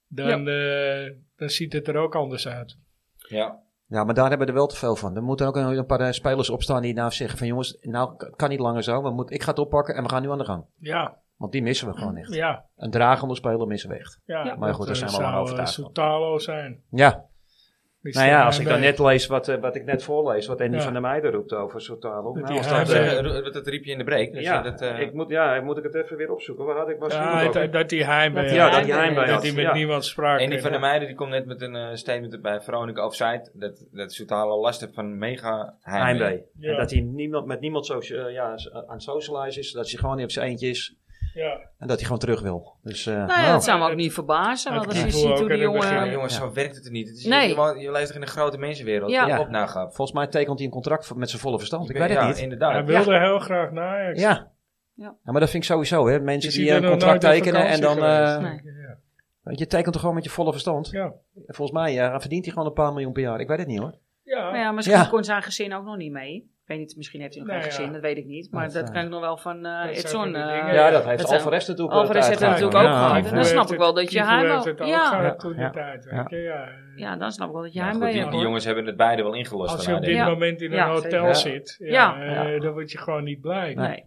[SPEAKER 2] dan, eh, dan ziet het er ook anders uit.
[SPEAKER 1] Ja.
[SPEAKER 3] Ja, maar daar hebben we er wel te veel van. Er moeten ook een, een paar eh, spelers opstaan die nou zeggen van jongens, nou k- kan niet langer zo. We moet, ik ga het oppakken en we gaan nu aan de gang.
[SPEAKER 2] Ja,
[SPEAKER 3] Want die missen we gewoon echt.
[SPEAKER 2] ja.
[SPEAKER 3] Een dragende speler missen we echt.
[SPEAKER 2] Ja,
[SPEAKER 4] Ja.
[SPEAKER 3] Maar goed, daar
[SPEAKER 2] dat,
[SPEAKER 3] zijn
[SPEAKER 2] eh,
[SPEAKER 3] we lang
[SPEAKER 2] zou,
[SPEAKER 3] overtuigd
[SPEAKER 2] eh,
[SPEAKER 3] van.
[SPEAKER 2] Soutalo zijn.
[SPEAKER 3] Ja,
[SPEAKER 2] Die
[SPEAKER 3] nou
[SPEAKER 2] staat
[SPEAKER 3] ja, als ik dan
[SPEAKER 2] daarbij.
[SPEAKER 3] net lees wat, eh, wat ik net voorlees, wat Andy
[SPEAKER 2] Ja.
[SPEAKER 3] van der Meijden roept over Sotalo.
[SPEAKER 2] Dat
[SPEAKER 3] Nou,
[SPEAKER 2] die
[SPEAKER 3] als
[SPEAKER 1] Dat,
[SPEAKER 3] dat,
[SPEAKER 2] hij-
[SPEAKER 3] eh,
[SPEAKER 1] eh, ro- dat riep je in de break. Dus
[SPEAKER 5] ja,
[SPEAKER 1] ja, dat, eh,
[SPEAKER 5] ik moet, ja, moet ik het even weer opzoeken. Waar had ik was
[SPEAKER 2] Ja,
[SPEAKER 5] ook.
[SPEAKER 2] dat, dat die heimwee
[SPEAKER 4] Dat
[SPEAKER 2] had.
[SPEAKER 4] die
[SPEAKER 3] Ja, dat hij
[SPEAKER 4] hij
[SPEAKER 3] heimwee
[SPEAKER 2] Dat
[SPEAKER 3] had.
[SPEAKER 2] hij met
[SPEAKER 5] ja.
[SPEAKER 2] niemand sprak.
[SPEAKER 1] en die van
[SPEAKER 2] En,
[SPEAKER 1] der Meijden die komt net met een eh, statement bij Veronica Offside. Dat, dat Soutalo last heeft van mega heimwee.
[SPEAKER 3] Heimwee.
[SPEAKER 2] Ja.
[SPEAKER 3] En dat hij niemand, met niemand socia- eh, ja, s- aan het socialize is. Dat hij gewoon niet op zijn eentje is.
[SPEAKER 2] Ja,
[SPEAKER 3] En dat hij gewoon terug wil. Dus, eh,
[SPEAKER 4] Nou ja,
[SPEAKER 3] nou.
[SPEAKER 4] dat zou me ook niet verbazen.
[SPEAKER 2] Dat
[SPEAKER 4] Want als je
[SPEAKER 2] klinkt
[SPEAKER 4] ziet
[SPEAKER 2] ook
[SPEAKER 4] hoe die
[SPEAKER 2] in het
[SPEAKER 4] jongen...
[SPEAKER 1] Ja,
[SPEAKER 2] begin.
[SPEAKER 1] jongens,
[SPEAKER 3] Ja.
[SPEAKER 1] zo werkt het er niet. Het is
[SPEAKER 4] Nee.
[SPEAKER 1] je, je leeft toch in een grote mensenwereld.
[SPEAKER 4] Ja.
[SPEAKER 1] Ja. Op nagap.
[SPEAKER 3] Volgens mij tekent hij een contract voor- met zijn volle verstand. Ik, weet het
[SPEAKER 1] ja,
[SPEAKER 3] niet.
[SPEAKER 1] inderdaad.
[SPEAKER 2] hij wilde heel graag naar Ajax.
[SPEAKER 3] Ja.
[SPEAKER 4] Ja.
[SPEAKER 3] ja. Maar dat vind ik sowieso, hè. Mensen
[SPEAKER 2] Ik
[SPEAKER 3] die
[SPEAKER 2] zie
[SPEAKER 3] eh,
[SPEAKER 2] er
[SPEAKER 3] een
[SPEAKER 2] nog
[SPEAKER 3] contract
[SPEAKER 2] nooit op
[SPEAKER 3] tekenen en dan...
[SPEAKER 2] vakantie
[SPEAKER 3] eh,
[SPEAKER 4] geweest.
[SPEAKER 2] Ja.
[SPEAKER 3] want je tekent toch gewoon met je volle verstand.
[SPEAKER 2] Ja.
[SPEAKER 3] Volgens mij eh, verdient hij gewoon een paar miljoen per jaar. Ik weet het niet, hoor.
[SPEAKER 2] Ja.
[SPEAKER 4] Nou ja, misschien
[SPEAKER 3] Ja.
[SPEAKER 4] kon zijn gezin ook nog niet mee. Ik weet niet, misschien heeft hij nog
[SPEAKER 2] Nou
[SPEAKER 4] geen
[SPEAKER 2] ja.
[SPEAKER 4] gezin, dat weet ik niet. Maar
[SPEAKER 3] Dat,
[SPEAKER 4] dat
[SPEAKER 3] eh,
[SPEAKER 4] kan ik nog wel van eh,
[SPEAKER 2] dat zijn
[SPEAKER 4] Edson...
[SPEAKER 2] van die
[SPEAKER 4] eh,
[SPEAKER 2] dingen.
[SPEAKER 3] Ja, dat heeft
[SPEAKER 4] dat zijn-
[SPEAKER 3] Alvarez natuurlijk eh,
[SPEAKER 4] Alvarez heeft het
[SPEAKER 3] uiteraard
[SPEAKER 4] natuurlijk ook
[SPEAKER 3] gedaan.
[SPEAKER 4] gehad. En dan
[SPEAKER 2] Ivo
[SPEAKER 4] snap
[SPEAKER 2] heeft
[SPEAKER 4] ik wel dat je
[SPEAKER 2] Ivo
[SPEAKER 4] heimwee-
[SPEAKER 2] heeft het ook
[SPEAKER 4] Ja.
[SPEAKER 2] gehad
[SPEAKER 3] Ja.
[SPEAKER 2] toen
[SPEAKER 3] Ja.
[SPEAKER 2] die tijd. weet je, ja.
[SPEAKER 4] Ja, dan snap ik wel dat je
[SPEAKER 1] Ja, goed,
[SPEAKER 4] heimwee
[SPEAKER 1] die,
[SPEAKER 4] hebt.
[SPEAKER 1] die jongens hebben het beide wel ingelost.
[SPEAKER 2] Als je
[SPEAKER 1] daarna,
[SPEAKER 2] op dit
[SPEAKER 3] nou
[SPEAKER 1] denk ik.
[SPEAKER 2] moment
[SPEAKER 4] Ja.
[SPEAKER 2] in een
[SPEAKER 4] Ja,
[SPEAKER 2] hotel
[SPEAKER 3] zeker.
[SPEAKER 2] zit, ja,
[SPEAKER 4] Ja.
[SPEAKER 2] eh, dan word je gewoon niet blij.
[SPEAKER 4] Nee.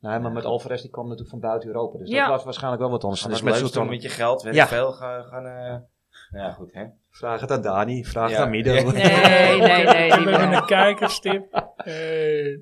[SPEAKER 3] Nee, maar met Alvarez die kwam natuurlijk van buiten Europa. Dus
[SPEAKER 4] Ja.
[SPEAKER 3] dat was waarschijnlijk wel wat anders.
[SPEAKER 1] Gaan
[SPEAKER 3] Dus
[SPEAKER 1] wat
[SPEAKER 3] met
[SPEAKER 1] leuks doen
[SPEAKER 3] Sultan.
[SPEAKER 1] met je geld. Weet
[SPEAKER 3] Ja. Oh.
[SPEAKER 1] ik veel gaan... gaan eh, ja, goed hè.
[SPEAKER 3] Vraag het aan Dani. Vraag
[SPEAKER 1] Ja.
[SPEAKER 3] het aan Mido. *laughs*
[SPEAKER 1] Ja.
[SPEAKER 4] Nee, nee, nee.
[SPEAKER 2] We *laughs*
[SPEAKER 4] die
[SPEAKER 2] hebben
[SPEAKER 4] wel.
[SPEAKER 2] een kijkerstip. Eh,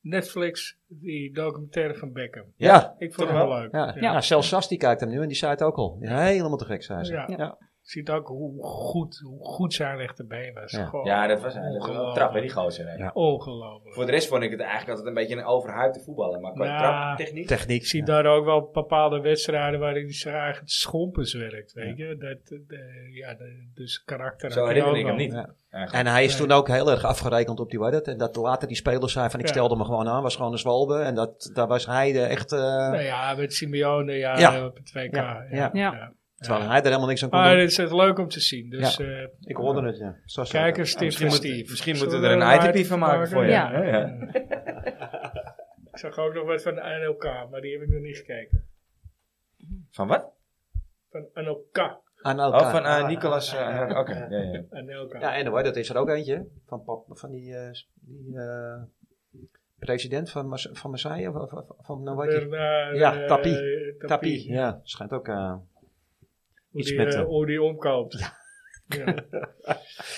[SPEAKER 2] Netflix, die documentaire van Beckham.
[SPEAKER 3] Ja.
[SPEAKER 2] Ik vond hem wel leuk.
[SPEAKER 3] Ja.
[SPEAKER 2] Ja.
[SPEAKER 3] Nou, zelfs Sas die kijkt hem nu en die zei het ook al. Helemaal te gek, zei ze.
[SPEAKER 2] Ja.
[SPEAKER 3] Ja.
[SPEAKER 2] ziet ook hoe goed, hoe goed zijn rechterbeen was.
[SPEAKER 3] Ja.
[SPEAKER 2] Gewoon
[SPEAKER 1] Ja, dat was, dat was wel een trap hè, die gozer. hè.
[SPEAKER 3] Ja.
[SPEAKER 2] Ongelooflijk.
[SPEAKER 1] Voor de rest vond ik het eigenlijk altijd een beetje een overhypte voetballer. Maar qua
[SPEAKER 2] Ja.
[SPEAKER 1] trap, techniek...
[SPEAKER 3] Techniek.
[SPEAKER 2] Ik zie
[SPEAKER 3] Ja.
[SPEAKER 2] daar ook wel bepaalde wedstrijden waarin hij dus zijn eigen schompens werkt. Weet je? Dat, eh, ja, de- dus karakter.
[SPEAKER 1] Zo
[SPEAKER 2] had hij
[SPEAKER 1] herinner ik
[SPEAKER 2] ook
[SPEAKER 1] hem
[SPEAKER 2] wel.
[SPEAKER 1] niet.
[SPEAKER 3] Ja.
[SPEAKER 1] eigenlijk.
[SPEAKER 3] En hij is
[SPEAKER 2] Nee.
[SPEAKER 3] toen ook heel erg afgerekend op die weet het. En dat later die spelers zei van ik
[SPEAKER 2] Ja.
[SPEAKER 3] stelde me gewoon aan, was gewoon een zwalbe. En dat, daar was hij de echt, eh,
[SPEAKER 2] Nou ja, met Simeone ja,
[SPEAKER 3] Ja.
[SPEAKER 2] op het WK.
[SPEAKER 3] Ja,
[SPEAKER 2] Ja.
[SPEAKER 3] ja.
[SPEAKER 4] Ja.
[SPEAKER 3] terwijl hij er helemaal niks aan kon
[SPEAKER 2] Maar
[SPEAKER 3] doen.
[SPEAKER 2] het is het leuk om te zien. Dus eh
[SPEAKER 3] Ik hoorde het, ja. Zo zei hij.
[SPEAKER 2] kijkers,
[SPEAKER 1] Ja,
[SPEAKER 2] tip
[SPEAKER 1] misschien
[SPEAKER 2] voor
[SPEAKER 1] moet-
[SPEAKER 2] Steve.
[SPEAKER 1] misschien
[SPEAKER 2] Zullen
[SPEAKER 1] moeten we er een
[SPEAKER 2] item
[SPEAKER 1] item van maken voor
[SPEAKER 4] je?
[SPEAKER 2] Ja.
[SPEAKER 1] Ja, ja.
[SPEAKER 2] Ik zag ook nog wat van NLK, maar die heb ik nog niet gekeken.
[SPEAKER 1] Van wat?
[SPEAKER 2] Van NLK.
[SPEAKER 3] Aan elkaar. Ah,
[SPEAKER 1] Oh, van eh, Nicolas... eh, Oké, ja, ja.
[SPEAKER 2] NLK.
[SPEAKER 3] Ja, anyway, dat is er ook eentje. hè. Van, pap, van die, eh, die eh, president van, Mas- van Marseille. Of, of- of- van, nou, weet je.
[SPEAKER 2] Bernard,
[SPEAKER 3] Ja,
[SPEAKER 2] eh,
[SPEAKER 3] Tapie.
[SPEAKER 2] Tapie.
[SPEAKER 3] Tapie. Ja, schijnt ook. eh,
[SPEAKER 2] Hoe
[SPEAKER 3] Iets
[SPEAKER 2] die,
[SPEAKER 3] met,
[SPEAKER 2] eh,
[SPEAKER 3] eh,
[SPEAKER 2] hoe die omkoopt. Ja.
[SPEAKER 3] *laughs*
[SPEAKER 2] Nou,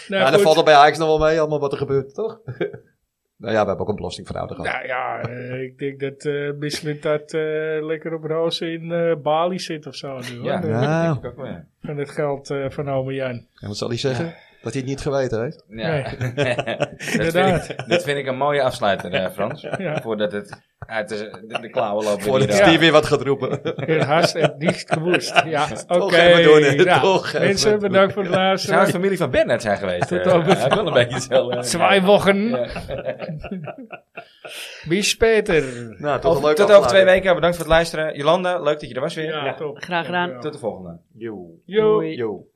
[SPEAKER 3] nou,
[SPEAKER 2] goed.
[SPEAKER 3] dat valt er bij Ajax nog wel mee, allemaal wat er gebeurt, toch? *laughs* nou ja, we hebben ook een belastingfraude gehad.
[SPEAKER 2] Nou ja, eh, ik denk dat eh Michelin dat eh, lekker op rozen in eh, Bali zit of zo nu.
[SPEAKER 1] Ja,
[SPEAKER 2] hoor.
[SPEAKER 1] dat
[SPEAKER 3] Nou.
[SPEAKER 1] denk ik ook wel, ja.
[SPEAKER 2] Van het geld eh, van Ome Jan.
[SPEAKER 3] En wat zal hij zeggen? Dat hij het niet geweten heeft.
[SPEAKER 1] Ja.
[SPEAKER 2] Nee.
[SPEAKER 1] *laughs* dat, vind
[SPEAKER 2] Inderdaad.
[SPEAKER 1] ik, dat vind ik een mooie afsluiter, eh, Frans.
[SPEAKER 2] Ja.
[SPEAKER 1] Voordat het uit de, de, de klauwen loopt.
[SPEAKER 3] Voordat
[SPEAKER 1] Ja.
[SPEAKER 3] Steve weer wat gaat *laughs* roepen.
[SPEAKER 2] Het hart heeft niet gewoest. Ja, oké.
[SPEAKER 3] even doen, hè.
[SPEAKER 2] Nou,
[SPEAKER 3] Toch even
[SPEAKER 2] mensen,
[SPEAKER 3] doen.
[SPEAKER 2] bedankt voor het
[SPEAKER 1] Zou het
[SPEAKER 2] luisteren.
[SPEAKER 1] familie van Bernard zijn geweest?
[SPEAKER 2] Tot
[SPEAKER 1] Eh,
[SPEAKER 2] dan.
[SPEAKER 1] hij wil een beetje zo. eh,
[SPEAKER 2] Twee wochen.
[SPEAKER 1] ja.
[SPEAKER 2] Wie speter?
[SPEAKER 3] Nou, tot, een
[SPEAKER 1] Over- Tot
[SPEAKER 3] leuke
[SPEAKER 1] over twee
[SPEAKER 3] afsluiting.
[SPEAKER 1] weken. Bedankt voor het luisteren. Jolanda, leuk dat je er was weer.
[SPEAKER 2] Ja, top.
[SPEAKER 4] Graag gedaan.
[SPEAKER 1] Tot de volgende.
[SPEAKER 2] Yo.
[SPEAKER 4] Doei.
[SPEAKER 3] Yo.